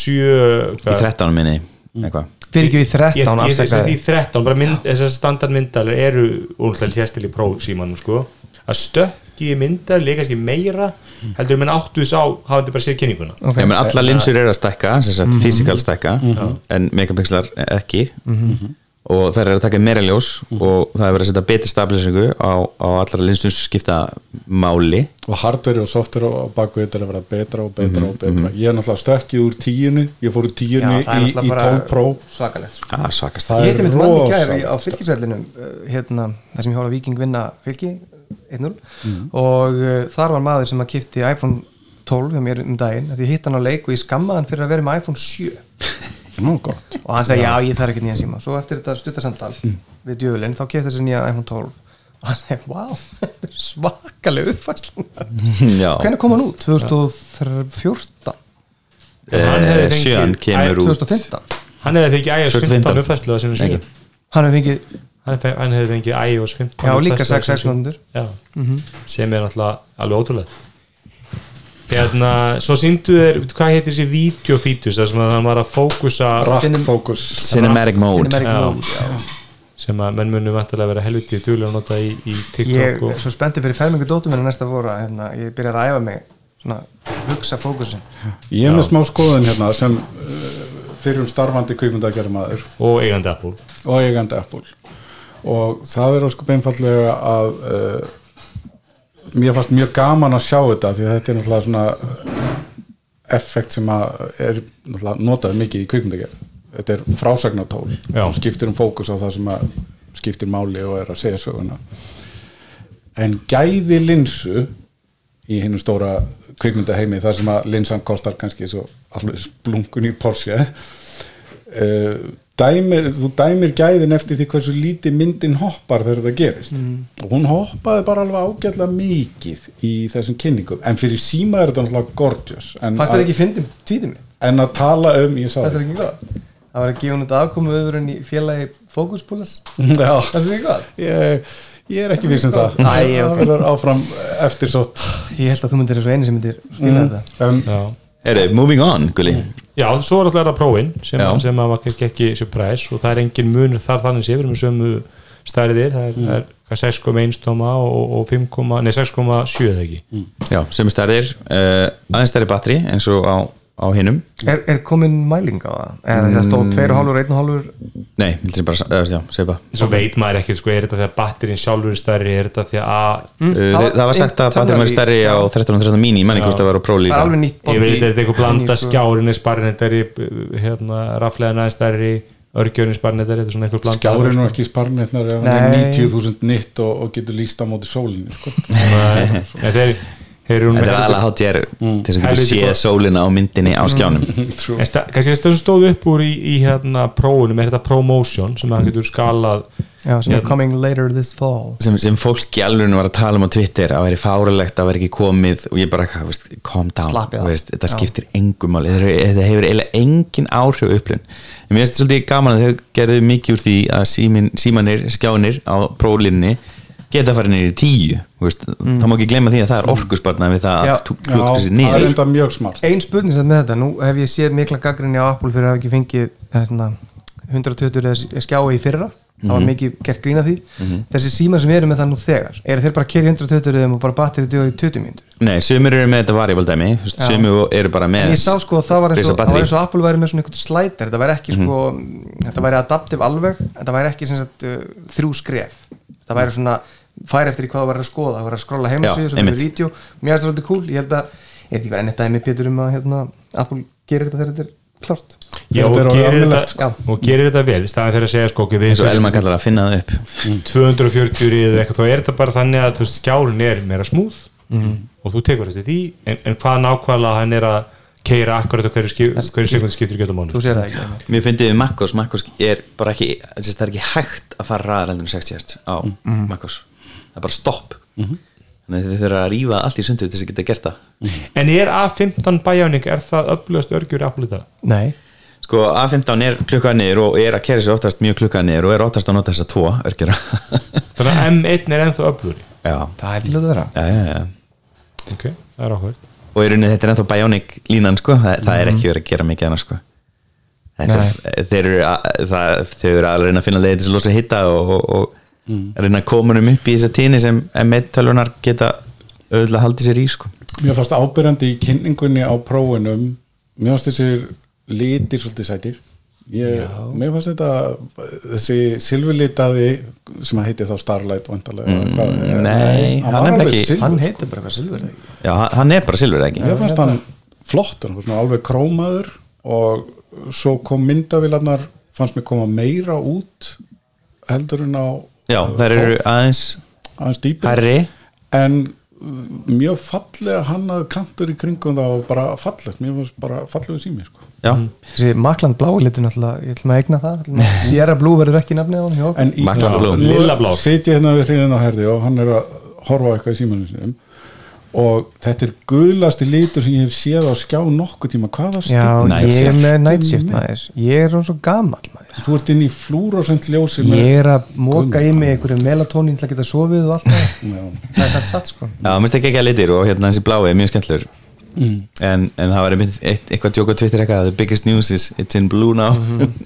Speaker 2: 1,7
Speaker 3: í
Speaker 2: hvað-
Speaker 3: 13 minni
Speaker 5: Mm.
Speaker 3: eitthvað
Speaker 5: Fyrir ekki við
Speaker 2: Ég- ég-
Speaker 5: 13
Speaker 2: ég-
Speaker 5: afsakaði
Speaker 2: ég- í 13, bara mynd, þessar standardmyndalir eru úrlega sérstil í prófsímanum sko. að stökki myndal er kannski meira,
Speaker 5: Hmm.
Speaker 2: heldur menn áttu þess á hafandi bara sér kynninguna
Speaker 5: Ok. Mhm.
Speaker 3: okay. menn, alla linsur eru að stækka sem sagt, physical stækka en megapixlar ekki
Speaker 5: Mhm.
Speaker 3: og það er að taka meira ljós og það er verið að setja betri stabilisingu á, á allra linsum sem skipta máli
Speaker 4: og hardveri og software á baku þetta er að vera betra og betra og betra ég er náttúrulega stökkið úr tíunni ég fór úr tíunni í, í 12 Pro
Speaker 5: Svakalegt sko
Speaker 3: ah, svakast
Speaker 4: Það
Speaker 5: Ég
Speaker 4: er
Speaker 5: hitti mitt mann í gæri
Speaker 4: rosalegt.
Speaker 5: á fylgisvellinum uh, hérna, þar sem ég hóla Viking vinna fylgi 1-0
Speaker 4: Mm.
Speaker 5: og uh, þar var maður sem að kipti iPhone 12 hjá mér um daginn af því ég hitt hann á leik og ég skammaði hann fyrir að vera með iPhone 7
Speaker 4: nú gott Mm.
Speaker 5: og hann sagði já, ég þarf ekki nýja síma svo eftir þetta stuttasamtal við djöfulinn þá kipti þessi nýja iPhone 12 og hann sagði, wow, þetta er svakaleg uppfærsla
Speaker 3: Já.
Speaker 5: hvernig kom hann út? 2014?
Speaker 2: Hann hefði
Speaker 3: Eh,
Speaker 2: fengið-
Speaker 3: síðan kemur
Speaker 2: Æ,
Speaker 3: út
Speaker 5: 2015?
Speaker 2: hann hefði fengið iOS 15
Speaker 3: 2015.
Speaker 2: uppfærslu að sinni síðan
Speaker 3: Ekki.
Speaker 5: Hann hefur fengið
Speaker 2: hann, fe- hann hefði fengið iOS 15
Speaker 5: Já, líka
Speaker 2: uppfærslu á
Speaker 5: 6
Speaker 2: sinni síðunni.
Speaker 5: sekúndur.
Speaker 2: Já. sem er náttúrulega alveg ótrúlega hérna, svo síndu þeir hvað heitir þessi videofítus þar sem að hann var að fókusa
Speaker 5: Cinem-
Speaker 4: Rockfocus
Speaker 3: Cinematic mode
Speaker 5: Cinematic
Speaker 2: Já.
Speaker 5: Mode, já.
Speaker 2: sem að menn munu vantilega vera helviti duglega að nota í, í
Speaker 5: ég
Speaker 2: TikTok
Speaker 5: er
Speaker 2: og,
Speaker 5: svo spenntur fyrir fermingu dóttum minna næsta voru að hérna, ég byrjar að æfa mig svona hugsa fókusin
Speaker 4: Ég er með smá skoðun hérna sem uh, fyrir um starfandi kvikmyndakjærum aður
Speaker 2: og eigandi Apple
Speaker 4: og eigandi Apple og það er óskup einfallega að uh, mér fannst mjög gaman að sjá þetta því að þetta er náttúrulega svona effekt sem að er náttúrulega notað mikið í kvikmyndagerð þetta er frásagnatól
Speaker 2: Já.
Speaker 4: og skiptir um fókus á það sem að skiptir máli og er að segja söguna en gæði linsu í hinn stóra kvikmyndaheimi þar sem að linsan kostar kannski svo alveg splungun í Porsche uh, dæmir, þú dæmir gæðin eftir því hversu lítið myndin hoppar þegar þetta gerist
Speaker 5: Mm.
Speaker 4: og hún hoppaði bara alveg ágætlega mikið í þessum kynningum en fyrir síma er þetta náttúrulega gorgeous en,
Speaker 5: fannst
Speaker 4: að-
Speaker 5: þér ekki fyndið, tvítið mig
Speaker 4: en að tala um ég sá
Speaker 5: fannst
Speaker 4: það
Speaker 5: þér ekki góð það var að gefa hún þetta afkomu öðrun í félagi fókuspúlas
Speaker 4: Já,
Speaker 5: fannst þér ekki góð
Speaker 4: ég, ég er ekki viss um það
Speaker 5: Nei, ok.
Speaker 4: það verður áfram eftir sott
Speaker 5: ég held að þú myndir þessu eini sem myndir skilja þetta
Speaker 4: en
Speaker 2: já.
Speaker 3: Eru, moving on, Gulli
Speaker 2: já, svo er alltaf þetta prófin sem,
Speaker 3: Já.
Speaker 2: sem að var kannski ekki surprise og það er engin munur þar þannig sé, við erum með sömu stærðir, það er, mm. er hvað, 6,1 tóma og, og 5, nei 6,7 eða ekki
Speaker 3: Já, sömu stærðir uh, aðeins stærri batteri eins og á, á hinnum
Speaker 5: er, er komin mæling á það? er það stóð 2,5 og 1,5
Speaker 3: Nei, ég heldur sem bara, eða, já, segja bara
Speaker 2: svo veit maður ekkert sko, er þetta þegar batterin sjálfur er stærri, er þetta því að
Speaker 3: Uh,
Speaker 5: það
Speaker 3: þeir-
Speaker 5: var
Speaker 3: það var sagt að
Speaker 5: internally-
Speaker 3: batterið væri stærri á 13-13 mini, manni hvort það var á próli
Speaker 5: það er alveg nýtt
Speaker 2: ég veit þetta er eitthvað blanda
Speaker 5: Ný, sko.
Speaker 2: skjárin er sparrin þetta er hérna, rafleðan aðeins stærri örgjörin er sparrin þetta er svona eitthvað blanda
Speaker 4: Gjárið nú ekki sparnirnar ef hann er
Speaker 5: Nei.
Speaker 4: 90.000 nitt og, og getur líst á móti sólinni sko.
Speaker 2: Nei, nei, þeir, þeir eru
Speaker 3: Þetta
Speaker 2: með
Speaker 3: er aðalega HDR til þess að getur
Speaker 2: Helviti
Speaker 3: séð
Speaker 2: gott.
Speaker 3: sólina á myndinni á skjánum
Speaker 2: En sta- kannski þetta sem stóð upp úr í, í hérna prófunum er þetta promotion sem hann getur skalað
Speaker 5: já, sem er
Speaker 2: Hérna.
Speaker 5: coming later this fall
Speaker 3: sem, sem fólk í alveg var að tala um á Twitter að væri fáralegt, að væri ekki komið og ég bara, eitthvað, veist, calm down
Speaker 5: Slappið af.
Speaker 3: veist, þetta
Speaker 5: Já.
Speaker 3: skiptir engum máli þetta hefur- þetta hefur eiginlega engin áhrif á upplun en mér finnst svolítið gaman að þau gerðu mikið úr því að símin, símanir, skjánir á prólinni geta farið niður í tíu þú veist, það má ekki glemma því að það er orkusbarnað við það
Speaker 5: Mm. Já.
Speaker 3: að
Speaker 4: Já,
Speaker 3: klukka
Speaker 4: það
Speaker 3: sér
Speaker 4: er
Speaker 3: niður
Speaker 4: enda mjög smart
Speaker 5: ein spurning sem með þetta, nú hef ég séð mikla gaggrinni á Apple fyrir að hafa ekki fengið hérna, þessna, 120 eða skjái í fyrra það var mikið gert grína því þessi síma sem eru með það nú þegar eru þeir bara að kerja 120 eða og bara batterið dugar í 20 mínútur
Speaker 3: Nei, sömur eru með þetta varjabaldæmi
Speaker 5: Já.
Speaker 3: sömur eru bara með
Speaker 5: en ég sá sko að það var eins og,
Speaker 3: risa
Speaker 5: það var
Speaker 3: batterí.
Speaker 5: eins og Apple væri með svona eitthvað slætar þetta væri
Speaker 3: Mhm.
Speaker 5: ekki sko, þetta væri adaptive alveg þetta væri ekki sem sagt uh, þrjú skref þetta væri svona, færi eftir í hvað það væri að skoða það væri að skrolla heimasíðu,
Speaker 3: Já,
Speaker 5: svo fyrir
Speaker 3: einmitt.
Speaker 5: vídeo mér er þetta svolítið cool, ég held að ég veit ekki hvað enn þetta er mér betur um að hérna, Apple gerir þetta þegar þetta er klárt
Speaker 2: Já, og,
Speaker 4: Þetta er orðið
Speaker 2: gerir
Speaker 4: almennilegt,
Speaker 2: þetta, og gerir þetta vel í staðan fyrir að segja sko ok, við
Speaker 3: eins og
Speaker 2: erum
Speaker 3: Elma kallar að finna það upp
Speaker 2: 240 eða eitthvað þá er þetta bara þannig að þú veist, skjárin er meira smúð og þú tekur eftir því en, en hvað nákvæmlega hann er að keira akkurat og hverju, skip, hverju sekund skiptir gjöldum
Speaker 5: þú
Speaker 2: mánu
Speaker 5: sér það ekki einmitt.
Speaker 3: Mér fyndið við Makkos, Makkos er bara ekki þess, það er ekki hægt að fara ræðar heldur en 60 hertz á Makkos það er bara stopp þannig að þið þurfa að rífa allt í sundu til þess að geta gert það
Speaker 2: En er A15 Bionic, er það upplöðast örgjur Apple í dag?
Speaker 5: Nei,
Speaker 3: sko A15 er klukkað niður og er að kæra sér oftast mjög klukkað niður og er oftast að nota þess að tvo örgjara
Speaker 2: Þannig að M1 er ennþá upplöðri
Speaker 3: já,
Speaker 5: það held ég ljóta að vera
Speaker 3: já, já, já
Speaker 2: Ok, það er áhverð
Speaker 3: og í rauninni þetta er ennþá Bionic línan sko, það, það er ekki verið að gera mikið annars sko Þetta er- þeir eru að- það- þau eru að reyna að finna leiði til þess að losa hitta og, og, og reyna að koma um upp í þessa tíni sem M1 tölunar geta auðvitað haldið sér í sko
Speaker 4: Mér fannst ábyrjandi í kynningunni á prófunum Mér fannst þessir litir svolítið sætir ég, Mér fannst þetta þessi silfurlitaði sem að heiti þá Starlight vantarlega mm, hvað, eh,
Speaker 3: nei,
Speaker 4: hann
Speaker 3: hann
Speaker 4: var
Speaker 3: er
Speaker 4: alveg
Speaker 3: ekki-
Speaker 4: silfur
Speaker 5: Hann
Speaker 4: sko.
Speaker 5: heitir bara eitthvað silfur eða ekki?
Speaker 3: já, hann- hann er bara silfur eða ekki
Speaker 4: Mér fannst hann flott hann var svona alveg krómaður og svo kom myndavilarnar fannst mér koma meira út heldur en á
Speaker 3: já, þær eru aðeins
Speaker 4: aðeins dýpir
Speaker 3: herri
Speaker 4: en uh, mjög fallega hann að kantur í kringum það og bara fallegt, mér fannst bara fallegu sími sko.
Speaker 3: já,
Speaker 5: Þessi makland blái litur náttúrulega, ég ætlum að eigna það ætlum að- Sierra Blue verður ekki nafnið á hann hjá okkur.
Speaker 4: en í
Speaker 3: Magla blóm.
Speaker 4: nú
Speaker 2: Lilla blóm.
Speaker 4: sit ég hérna við hliðin á herði og hann er að horfa á eitthvað í símanum sinum og þetta er guðlasti litur sem ég hef séð á skjá nokkuð tíma hvaða
Speaker 5: Já,
Speaker 4: stíl
Speaker 3: Night
Speaker 5: ég er
Speaker 3: shift.
Speaker 5: með night shift maður Ég er hún svo gamall maður
Speaker 4: þú ert inn í flúrosent ljósi með-
Speaker 5: Ég er að móka í mig einhverju melatonin til að geta sofið og allt það
Speaker 4: Já.
Speaker 5: Það er satt satt sko
Speaker 3: já, mér finnst ekki ekki að litir og hérna þessi blái er mjög skemmtlur en, en það var einmitt eitt, eitthvað djók á Twitter eitthvað the biggest news is it's in blue now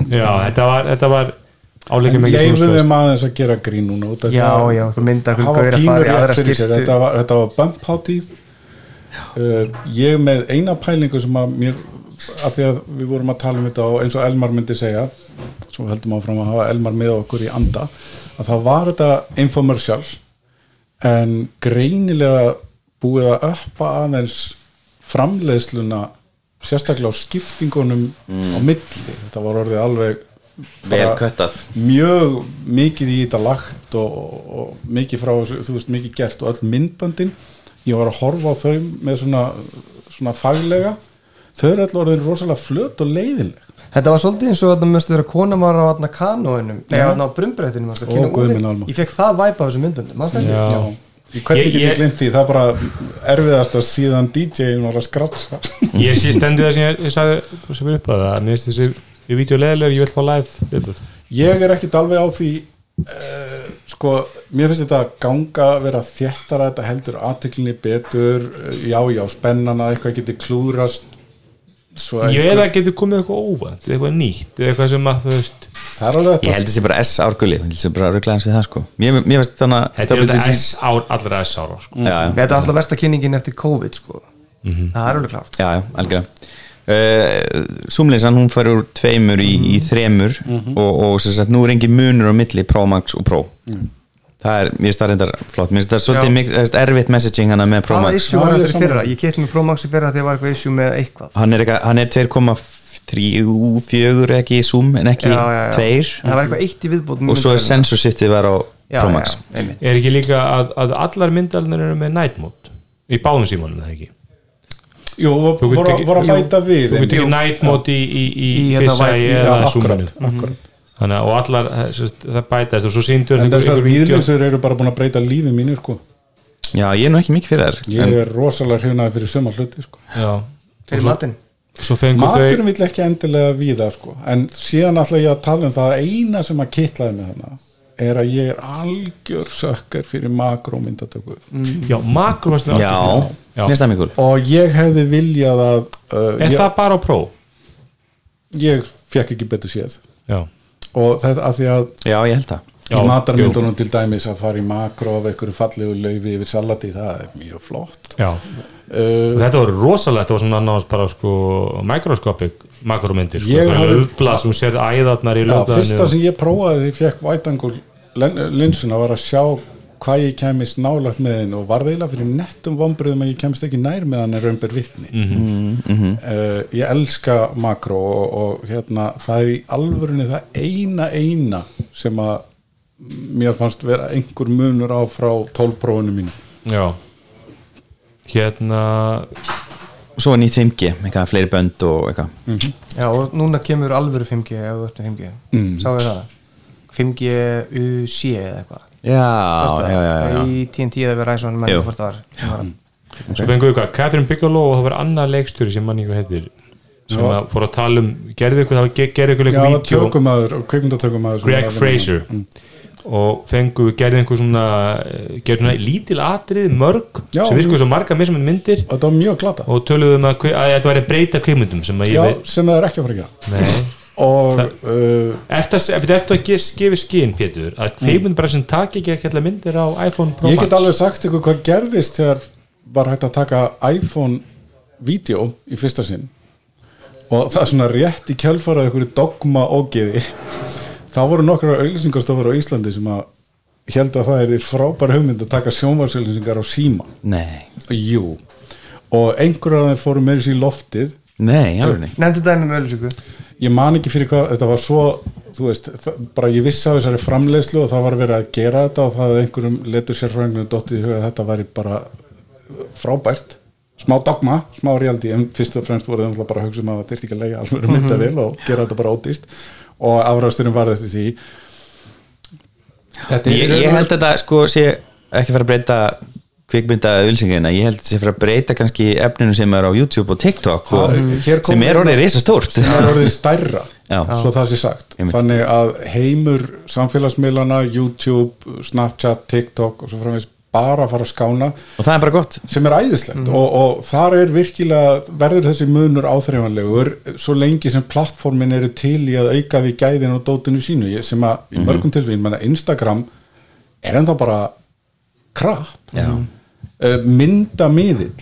Speaker 2: Já, þetta var, þetta var áleika
Speaker 4: en um
Speaker 2: mikið
Speaker 4: leifu
Speaker 2: snúðspóst.
Speaker 4: þeim aðeins að gera grín núna út af því
Speaker 5: Já,
Speaker 4: að-
Speaker 5: já, einhver mynd að
Speaker 4: hafa
Speaker 5: einhver gaur að
Speaker 4: pínur
Speaker 5: fara í aðra
Speaker 4: rétt fyrir sér
Speaker 5: skiptu.
Speaker 4: þetta var, þetta var bump hátíð uh, ég með eina pælingu sem að mér af því að við vorum að tala um þetta og eins og Elmar myndi segja svo heldum áfram að hafa Elmar með okkur í anda að það var þetta infomercial en greinilega búið að öppa aðeins framleiðsluna sérstaklega á skiptingunum á milli, þetta var orðið alveg
Speaker 3: vel
Speaker 4: bara-
Speaker 3: kvettað
Speaker 4: mjög mikið í þetta lagt og, og, og mikið frá þessu, þú veist, mikið gert og öll myndböndin ég var að horfa á þau með svona, svona faglega þau eru öll orðin rosalega flöt og leiðinleg
Speaker 5: Þetta var svolítið eins og þarna mjögstu þegar kona var á þarna kanóinum Nei,
Speaker 4: Já.
Speaker 5: þarna á brumbrettinu manstu,
Speaker 4: Ó,
Speaker 5: Kína
Speaker 4: guð
Speaker 5: Úri.
Speaker 4: minn almáttugur.
Speaker 5: Ég fekk það væpa á þessum myndböndum manstu ekki?
Speaker 2: Já.
Speaker 4: Ég- hvernig
Speaker 2: Ég-
Speaker 4: get
Speaker 2: ég-
Speaker 4: ég glimt því, það er bara erfiðast að síðan DJ-in var að skratsa
Speaker 2: Ég sé stendur það sem ég, ég sagði sem er upp að það, mér finnst þessi ég vítjó leðilegur, ég vil fá live viðbörð.
Speaker 4: ég er ekkit alveg á því uh, sko, mér finnst þetta ganga að vera þéttara, þetta heldur aðteklinni betur, eh, já, já, spennan að eitthvað geti klúðrast svo
Speaker 2: Ég
Speaker 4: eitthvað-
Speaker 2: veit að getur komið eitthvað óvænt eitthvað nýtt, eitthvað sem að þú veist
Speaker 4: Það er alveg þetta
Speaker 3: ég held þessi bara S árguli ég held þessi bara rugglaðans við það sko mér, mér veist þannig
Speaker 2: Þetta er þetta S ár, allra S ára sko.
Speaker 3: já, já.
Speaker 5: Þetta er alltaf versta kynningin eftir COVID sko. Það er alveg klárt
Speaker 3: Já, já, algjörlega uh, Zoomlinsan, hún fær úr tveimur í, í þremur
Speaker 5: Mhm.
Speaker 3: og, og sem sagt, nú er engin munur á milli Pro Max og Pro það er, mér finnst það reyndar flott mér finnst það
Speaker 5: Mm. Já.
Speaker 3: svolítið mik- þú veist, erfitt messaging hana með Pro
Speaker 5: Það var
Speaker 3: Max
Speaker 5: issue
Speaker 4: Já,
Speaker 5: var
Speaker 4: ég er
Speaker 5: eftir fyrra
Speaker 4: sammála.
Speaker 5: Ég keitt með Pro Max í fyrra þegar var eitthvað issue með eitthvað
Speaker 3: hann er, eitthvað- hann er 2,34 ekki í Zoom en ekki
Speaker 5: Já, já, já.
Speaker 3: 2
Speaker 5: En Það var eitthvað eitt í viðbót með
Speaker 3: og svo er
Speaker 5: myndböndunum.
Speaker 3: sensor shiftið var á
Speaker 5: Já,
Speaker 3: Pro
Speaker 5: já,
Speaker 3: Max
Speaker 5: já, einmitt.
Speaker 2: Er ekki líka að, að allar myndalnir eru með night mode í báðum símanum, er það ekki
Speaker 4: Jú,
Speaker 2: Þú
Speaker 4: voru,
Speaker 2: getur
Speaker 4: voru,
Speaker 2: ekki-
Speaker 4: að bæta við
Speaker 2: Þú getur
Speaker 4: einmitt.
Speaker 2: ekki night mode í, í, í
Speaker 5: Í hérna
Speaker 2: fissa
Speaker 5: væ-
Speaker 2: eða Mhm.
Speaker 4: Já,
Speaker 2: zoominu
Speaker 4: akkurat, akkurat.
Speaker 2: Þannig að og allar, eh, sem sagt, það bætast og svo síndur
Speaker 4: En þessar víðlýsur eru bara búin að breyta lífi mínu sko.
Speaker 3: já, ég er nú ekki mikið fyrir þær
Speaker 4: Ég er rosalega hrifnaði fyrir suma hluti sko.
Speaker 5: Fyrir matinn
Speaker 2: Svo fengur sko, þau
Speaker 4: Maturum vill ekki endilega víða sko. En síðan ætla ég að tala um það að eina sem að kittlaði með hana er að ég er algjör sökkar fyrir makrómyndatöku
Speaker 2: Já, makrum að
Speaker 3: já,
Speaker 2: Já.
Speaker 3: mér finnst það mikul
Speaker 4: og ég hefði viljað að uh,
Speaker 2: Er
Speaker 4: ég,
Speaker 2: það bara á pró?
Speaker 4: ég fekk ekki betur séð
Speaker 2: Já,
Speaker 4: og þess að því að
Speaker 3: já, ég held það
Speaker 2: Já,
Speaker 4: í matarmyndunum til dæmis að fara í makró af einhverju fallegu laufi yfir salati það er mjög flott
Speaker 2: já
Speaker 4: uh,
Speaker 2: Og Þetta var rosalega, þetta var svona annars bara sko mikroskopik makrumyndir sko,
Speaker 4: Ég hafði-
Speaker 2: löfblað sem sér æðarnar í
Speaker 4: Já, fyrsta
Speaker 2: löfblaðinu
Speaker 4: sem ég prófaði þegar ég fekk vætangul linsuna var að sjá hvað ég kemist nálagt með henn og varð eiginlega fyrir nettum vombriðum að ég kemst ekki nær með hann en raunber vittni
Speaker 2: Mhm,
Speaker 4: uh, ég elska makró og, og hérna það er í alvörunni það eina eina sem að mér fannst vera einhver munur á frá tólprófunu mínu
Speaker 2: Já Hérna
Speaker 3: svo er nýtt 5G, eitthvað fleiri bönd og eitthvað
Speaker 5: Já, og núna kemur alvöru 5G ef þú ert með 5G Sáu þið það? 5G UC eða eitthvað
Speaker 3: já,
Speaker 5: Sástu það?
Speaker 3: já, já, já, já.
Speaker 5: Í TNT eða við ræsum
Speaker 3: Jú.
Speaker 5: hvort það var, sem
Speaker 4: Hmm.
Speaker 5: var að-
Speaker 2: Svo fengum við hvað, Catherine Bigelow og það var annar leikstjóri sem mann ykkur heitir sem að fór að tala um, gerði ykkur það var- gerði ykkur
Speaker 4: Já,
Speaker 2: leikur
Speaker 4: það
Speaker 2: vídeo
Speaker 4: tökumæður og kvikmyndatökumæður sem var
Speaker 2: Greg
Speaker 4: að vinna.
Speaker 2: Fraser
Speaker 4: Mm.
Speaker 2: og fengu, gerði einhver svona eh, gerði svona lítil atrið, mörg
Speaker 4: Já.
Speaker 2: sem virkuðu svo marga mismunandi myndir
Speaker 4: og þetta var mjög glata
Speaker 2: og töluðum að, hve- að þetta væri að breyta kvikmyndum sem að
Speaker 4: Já,
Speaker 2: ég veit
Speaker 4: sem það er ekki að fara að gera
Speaker 2: Nei.
Speaker 4: og
Speaker 2: Það-
Speaker 4: uh,
Speaker 2: Ertu að, ertu ertu að ge- gefa skinn, Pétur að kvikmynd bara sem taki ekki ekki allar myndir á iPhone Pro
Speaker 4: Mm. ég get
Speaker 2: Max?
Speaker 4: alveg sagt ykkur hvað gerðist þegar var hægt að taka iPhone vídeo í fyrsta sinn og það er svona rétt í kjálfarað ykkur dogma ógeði þá voru nokkrar auðlýsingastofur á Íslandi sem að held að það er því frábær hugmynd að taka sjónvarsauðlýsingar á síma
Speaker 3: nei,
Speaker 4: jú, og einhverjar af þeim fóru með þessi í loftið
Speaker 3: nei, alveg
Speaker 5: Nefndu dæmi um sko. með öllisöku
Speaker 4: ég man ekki fyrir hvað, þetta var svo þú veist, það, bara ég vissi af þessari framleiðslu og það var verið að gera þetta og það að einhverjum letur sérfræðingum dottið í huga að þetta væri bara frábært smá dogma, smá reality en fyrst og fremst voru það náttúrulega bara að hugsa um að það þyrfti ekki að lega alveg
Speaker 3: Mhm.
Speaker 4: myndavél og gera þetta bara ódýrt og afræðsturinn var þessi því Þetta
Speaker 3: ég, ég held að þetta sko sé ekki fara að breyta kvikmynda auðlýsingina, ég held að þetta sé fara að breyta kannski efninu sem er á YouTube og TikTok og,
Speaker 4: Það- hér kom-
Speaker 3: sem er orðið reysa stórt
Speaker 4: það er orðið stærra
Speaker 3: Já.
Speaker 4: svo það sé sagt
Speaker 3: Einmitt.
Speaker 4: þannig að heimur samfélagsmiðlana YouTube, Snapchat, TikTok og svo framvegis bara að fara að skána
Speaker 3: og það er bara gott
Speaker 4: sem er æðislegt
Speaker 3: Mhm.
Speaker 4: og, og þar er virkilega verður þessi munur áþreifanlegur svo lengi sem plattformin eru til í að auka við gæðin og dótinu sínu ég- sem að
Speaker 3: Mhm.
Speaker 4: í mörgum tilfellum, menna Instagram er ennþá bara krap uh, mynda miðill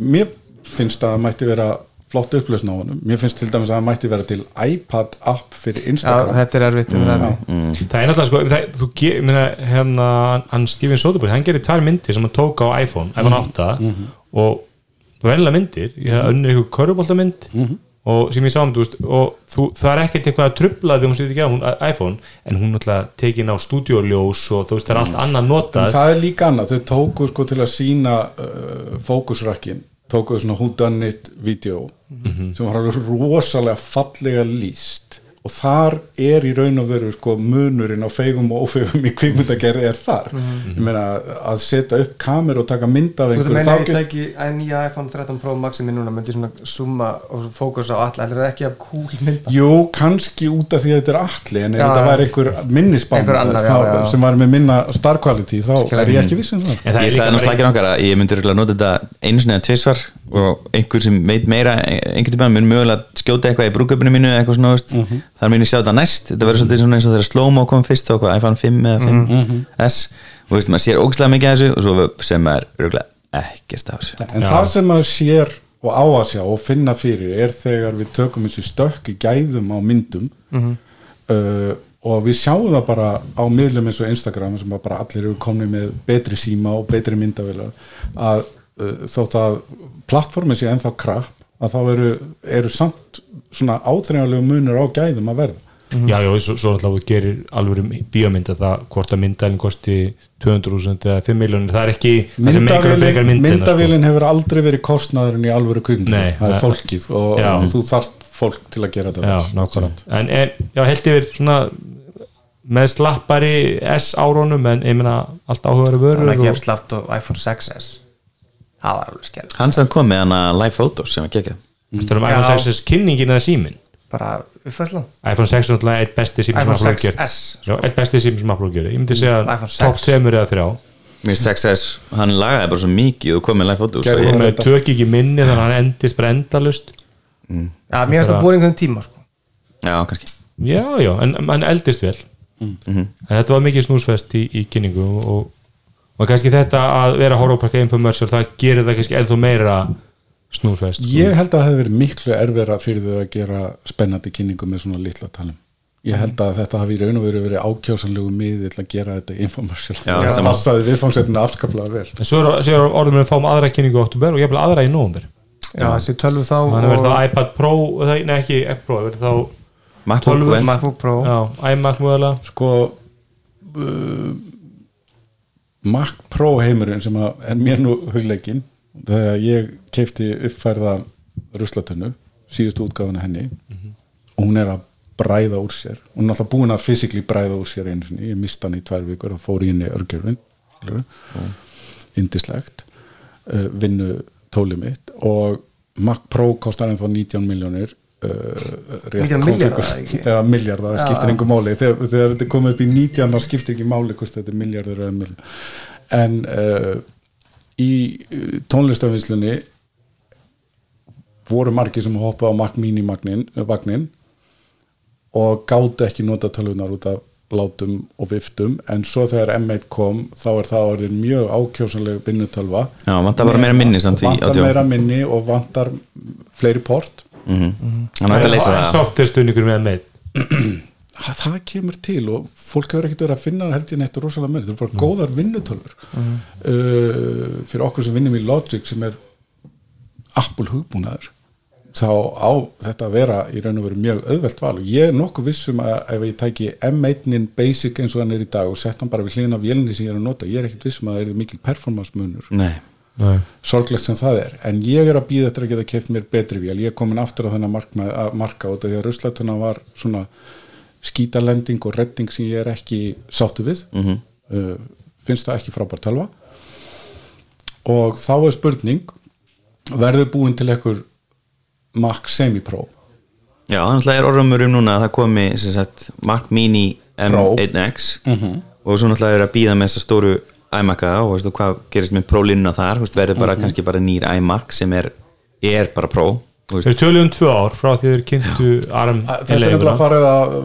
Speaker 4: mér finnst að það mætti vera flott upplösn á honum, mér finnst til dæmis að það mætti vera til iPad app fyrir
Speaker 5: Já,
Speaker 4: Instagram
Speaker 5: þetta er erfitt um mm.
Speaker 2: það er náttúrulega sko það, þú ge, minna, hérna, hann Steven Soderbergh hann gerir tvær myndir sem hann tók á iPhone iPhone 8 og verðilega myndir, ég hafði önnur eitthvað körfuboltamynd og sem ég sá um þú veist og þú, það er ekkert eitthvað að trubla þegar hún setur ekki á hún iPhone, en hún náttúrulega tekin á stúdíoljós og þú veist það er allt annað notað
Speaker 4: En það er líka annað, þau tóku sko til að sína uh, fókusrakkin tóku svona who done it video
Speaker 5: Mhm.
Speaker 4: sem var alveg rosalega fallega líst og þar er í raun og veru sko munurinn á feigum og ófeigum í kvikmyndagerði er þar
Speaker 5: Mhm.
Speaker 4: ég meina að setja upp kamer og taka mynd af
Speaker 5: Þú veist að
Speaker 4: einhverju
Speaker 5: meina
Speaker 4: þá
Speaker 5: ef ég
Speaker 4: get-
Speaker 5: tæki að nýja iPhone 13 Pro Maxi minn núna myndi svona summa og fókus á alla Þetta er ekki af cool mynda
Speaker 4: Jú, kannski út af því að þetta er allir en ef
Speaker 5: Já,
Speaker 4: þetta
Speaker 5: já.
Speaker 4: væri einhver minnisbann
Speaker 5: Einhver annar, já, já, já.
Speaker 4: sem var með minna star quality þá
Speaker 5: Skilja.
Speaker 4: er ég ekki viss um það
Speaker 2: En það er
Speaker 3: ég
Speaker 2: líka
Speaker 3: sagði
Speaker 2: bara
Speaker 3: náttúrulega ekki nokkar að ég myndi örugglega nota þetta einu sinni eða tvissvar og einhver sem veit meira einhvern tímann mun mögulega skjóta eitthvað í brúköpunni mínu eða eitthvað svona, veist,
Speaker 2: Mhm.
Speaker 3: þar mun ég sjá þetta næst þetta verður svolítið svona eins og þegar slow-mo kom fyrst og hvað, iPhone 5 eða 5S
Speaker 2: Mhm.
Speaker 3: og veist, maður sér ógislega mikið af þessu og svo sem er röglega ekkert af þessu
Speaker 4: En það sem maður sér og á að sjá og finna fyrir er þegar við tökum þessi stökk í gæðum á myndum
Speaker 5: Mhm.
Speaker 4: uh, og við sjáum það bara á miðlum eins og Instagram sem að bara allir eru komni með betri síma og betri myndavilar að uh, þótt að plattformin sé ennþá krapp að þá eru, eru samt svona áþreifanlegu munur á gæðum að verða
Speaker 2: Já, já, svo, svo alltaf þú gerir alvöru bíómynda það hvort að myndalinn kosti 200.000 eða 5 miljónir, það er ekki það sem meikar upp
Speaker 4: myndavélin,
Speaker 2: eitthvað myndina sko.
Speaker 4: myndavélin hefur aldrei verið kostnaðurinn í alvöru kvikmynd
Speaker 2: Nei,
Speaker 4: það er
Speaker 2: nei.
Speaker 4: fólkið og
Speaker 2: Já.
Speaker 4: þú þarft fólk til að gera þetta
Speaker 2: Já,
Speaker 4: vel.
Speaker 2: nákvæmlega en, en já, held yfir svona með slappari S árónum en ég meina allt áhugaður
Speaker 5: Það er
Speaker 2: vörur
Speaker 5: ekki
Speaker 2: og,
Speaker 5: jafn slaft og iPhone 6s Það var alveg skell
Speaker 3: hann sem kom með hann að live photos sem að gegja
Speaker 2: Þetta er um iPhone
Speaker 5: Já.
Speaker 2: 6 kynningin eða símin
Speaker 5: Bara uppfærslan
Speaker 2: iPhone 6 er náttúrulega eitt besti símin sem
Speaker 5: iPhone
Speaker 2: Apple gerir
Speaker 5: 6s
Speaker 2: Já, eitt besti símin sem Apple gerir, ég myndi segja
Speaker 5: Mm, iPhone 6.
Speaker 2: top 2 eða 3
Speaker 3: mér finnst 6S, hann lagaði bara svo mikið og kom með live photos
Speaker 4: Gerði
Speaker 3: og
Speaker 2: og
Speaker 3: ég,
Speaker 4: það.
Speaker 2: með tök ekki minni þannig að hann endist bara endalust
Speaker 5: Já, mér finnst það búin einhvern tíma sko
Speaker 3: já, kannski
Speaker 2: Já, já, en hann eldist vel
Speaker 5: Mm.
Speaker 2: en þetta var mikið snúsfest í, í kynningu og, og, og kannski þetta að vera að horfa á pakka infomercial það gerir það kannski ennþá meira snúsfest
Speaker 4: Ég held að það hefur verið miklu erfera fyrir þau að gera spennandi kynningu með svona litla talum. Ég held að þetta hafi í raun og veru verið ákjásanlegu miðið til að gera þetta infomercial.
Speaker 3: Já,
Speaker 4: það
Speaker 3: sama.
Speaker 4: passaði viðfangsefninu afskaplega vel.
Speaker 2: En svo er, svo er orðum við að fáum aðra kynningu á oktober og ég vil aðra í nóvumber
Speaker 5: Já, þessi 12 þá
Speaker 2: þannig að verður
Speaker 5: og
Speaker 2: það iPad Pro, það- nei ekki iPad Pro, verður þá
Speaker 3: MacBook
Speaker 2: 12
Speaker 3: Went
Speaker 5: MacBook Pro
Speaker 2: já, iMac múðalega
Speaker 4: Sko, uh, Mac Pro heimurinn sem að, en mér nú hugleikin, þegar ég keipti uppfærða ruslatunnu, síðustu útgáfuna henni, og hún er að bræða úr sér. Hún er alltaf búin að fysikli bræða úr sér einu sinni. Ég mista hann í tvær vikur og fór í henni örgjörfin. Mm indislegt uh, vinnu tólið mitt og Mac Pro kostar ennþá 19 miljónir uh,
Speaker 5: 19 milljarða, ekki?
Speaker 4: eða miljardar, það
Speaker 5: Já.
Speaker 4: skiptir engu máli þegar, þegar þetta er komið upp í 19 þá skiptir ekki máli hvort þetta er miljardur eða miljardur en uh, í uh, tónlistafinslunni voru margir sem hoppa á Mac Mini magnin, vagnin og gátu ekki nota tölvunar út af látum og viftum en svo þegar M1 kom þá er það orðin mjög ákjósanleg vinnutölva
Speaker 3: Já, vantar bara meira minni samt í- á
Speaker 4: vantar
Speaker 3: djó.
Speaker 4: meira minni og vantar fleiri port
Speaker 3: hann hætti að leysa
Speaker 2: En
Speaker 3: það
Speaker 2: soft er stunningur með með
Speaker 4: það, það kemur til og fólk hefur ekkert verið að finna held ég neitt rosalega með, þetta eru bara góðar vinnutölvur uh, fyrir okkur sem vinnum í Logic sem er Apple hugbúnaður þá á þetta að vera í raun og veru mjög auðvelt val og ég er nokkuð vissum að ef ég tæki M1-in basic eins og hann er í dag og sett hann bara við hliðin af vélinni sem ég er að nota, ég er ekkert vissum að það er mikil performance munur
Speaker 3: nei,
Speaker 4: sorglegt sem það er, en ég er að býða eftir að geta keft mér betri vél, ég er komin aftur á þennan markma, að marka út af því að ruslatuna var svona skítalending og redding sem ég er ekki sáttu við uh, finnst það ekki frábært tölva og þá er spurning verður búin til ekkur Mac Semi-Pro
Speaker 3: Já, þannig að er orðumur um núna að það komi sem sagt, Mac Mini
Speaker 4: Pro.
Speaker 3: M1X og svo náttúrulega er að býða með þessa stóru iMac-a og veistu, hvað gerist með Pro-línuna þar veistu, verður bara kannski bara nýr iMac sem er, er bara Pro þú veist.
Speaker 2: Þeir töluðu um tvö ár frá því þeir kynntu ARM
Speaker 4: Þetta er nefnilega farið að,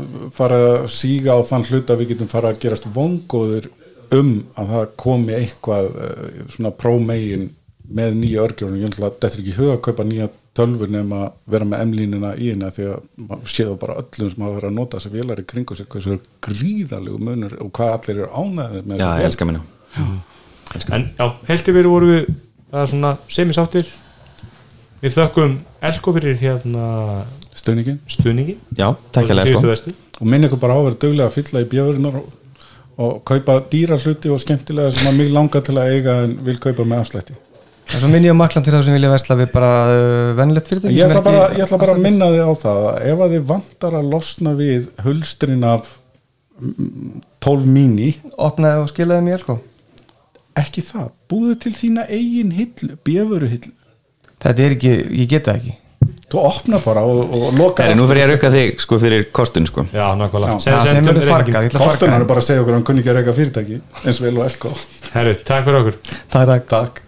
Speaker 4: farið að síga á þann hlut að við getum farið að gerast vongóðir um að það komi eitthvað eh, svona prómegin með nýja örgjörnum, ég ætla að þetta er ekki í hug að kaupa nýja tölfur nema að vera með M-línuna í hérna því að maður séðu bara öllum sem hafa verið að nota þess að vélar í kringu sig hversu gríðalegu munur og hvað allir eru ánæðið með
Speaker 3: já,
Speaker 4: þessa
Speaker 3: ég
Speaker 4: vél.
Speaker 3: elska minna
Speaker 2: En já, held yfir voru við það er svona semisáttir Við þökkum Elko fyrir hérna
Speaker 4: stuðningin
Speaker 2: stuðningi
Speaker 3: já, takk
Speaker 2: Og
Speaker 3: hérlega
Speaker 2: síðustu
Speaker 3: sko.
Speaker 2: vesti.
Speaker 4: og minna ykkur bara á að vera duglega að fylla í bjöðurinnar og, og kaupa dýra hluti og skemmtilega sem að mig langar til að eiga en vil kaupa með afslætti
Speaker 5: En svo minn ég á maklam til það sem vilja versla við bara uh, vennilegt fyrir
Speaker 4: ég ætla, bara, ég ætla bara að minna þig á það að ef að þið vantar að losna við hulstrin af mm, 12 mini
Speaker 5: Opnaði og skilaði mér sko
Speaker 4: ekki það, búðu til þína eigin hillu, bjöfuru hillu
Speaker 5: Þetta er ekki, ég get það ekki
Speaker 4: þú opna bara og, og loka
Speaker 3: Herri, nú fyrir ég að rukka þig sko fyrir kostun sko
Speaker 2: Já, nákvæmlega
Speaker 4: Já.
Speaker 2: Sen-
Speaker 5: Já,
Speaker 2: sen-
Speaker 5: Þeim verður
Speaker 2: reikningin.
Speaker 5: fargað, ég ætla að farga
Speaker 4: kostunar bara að segja okkur að hann kunni ekki að reyka fyrirtæki eins vel og elko
Speaker 2: Herru, takk fyrir okkur
Speaker 5: Takk, takk, takk.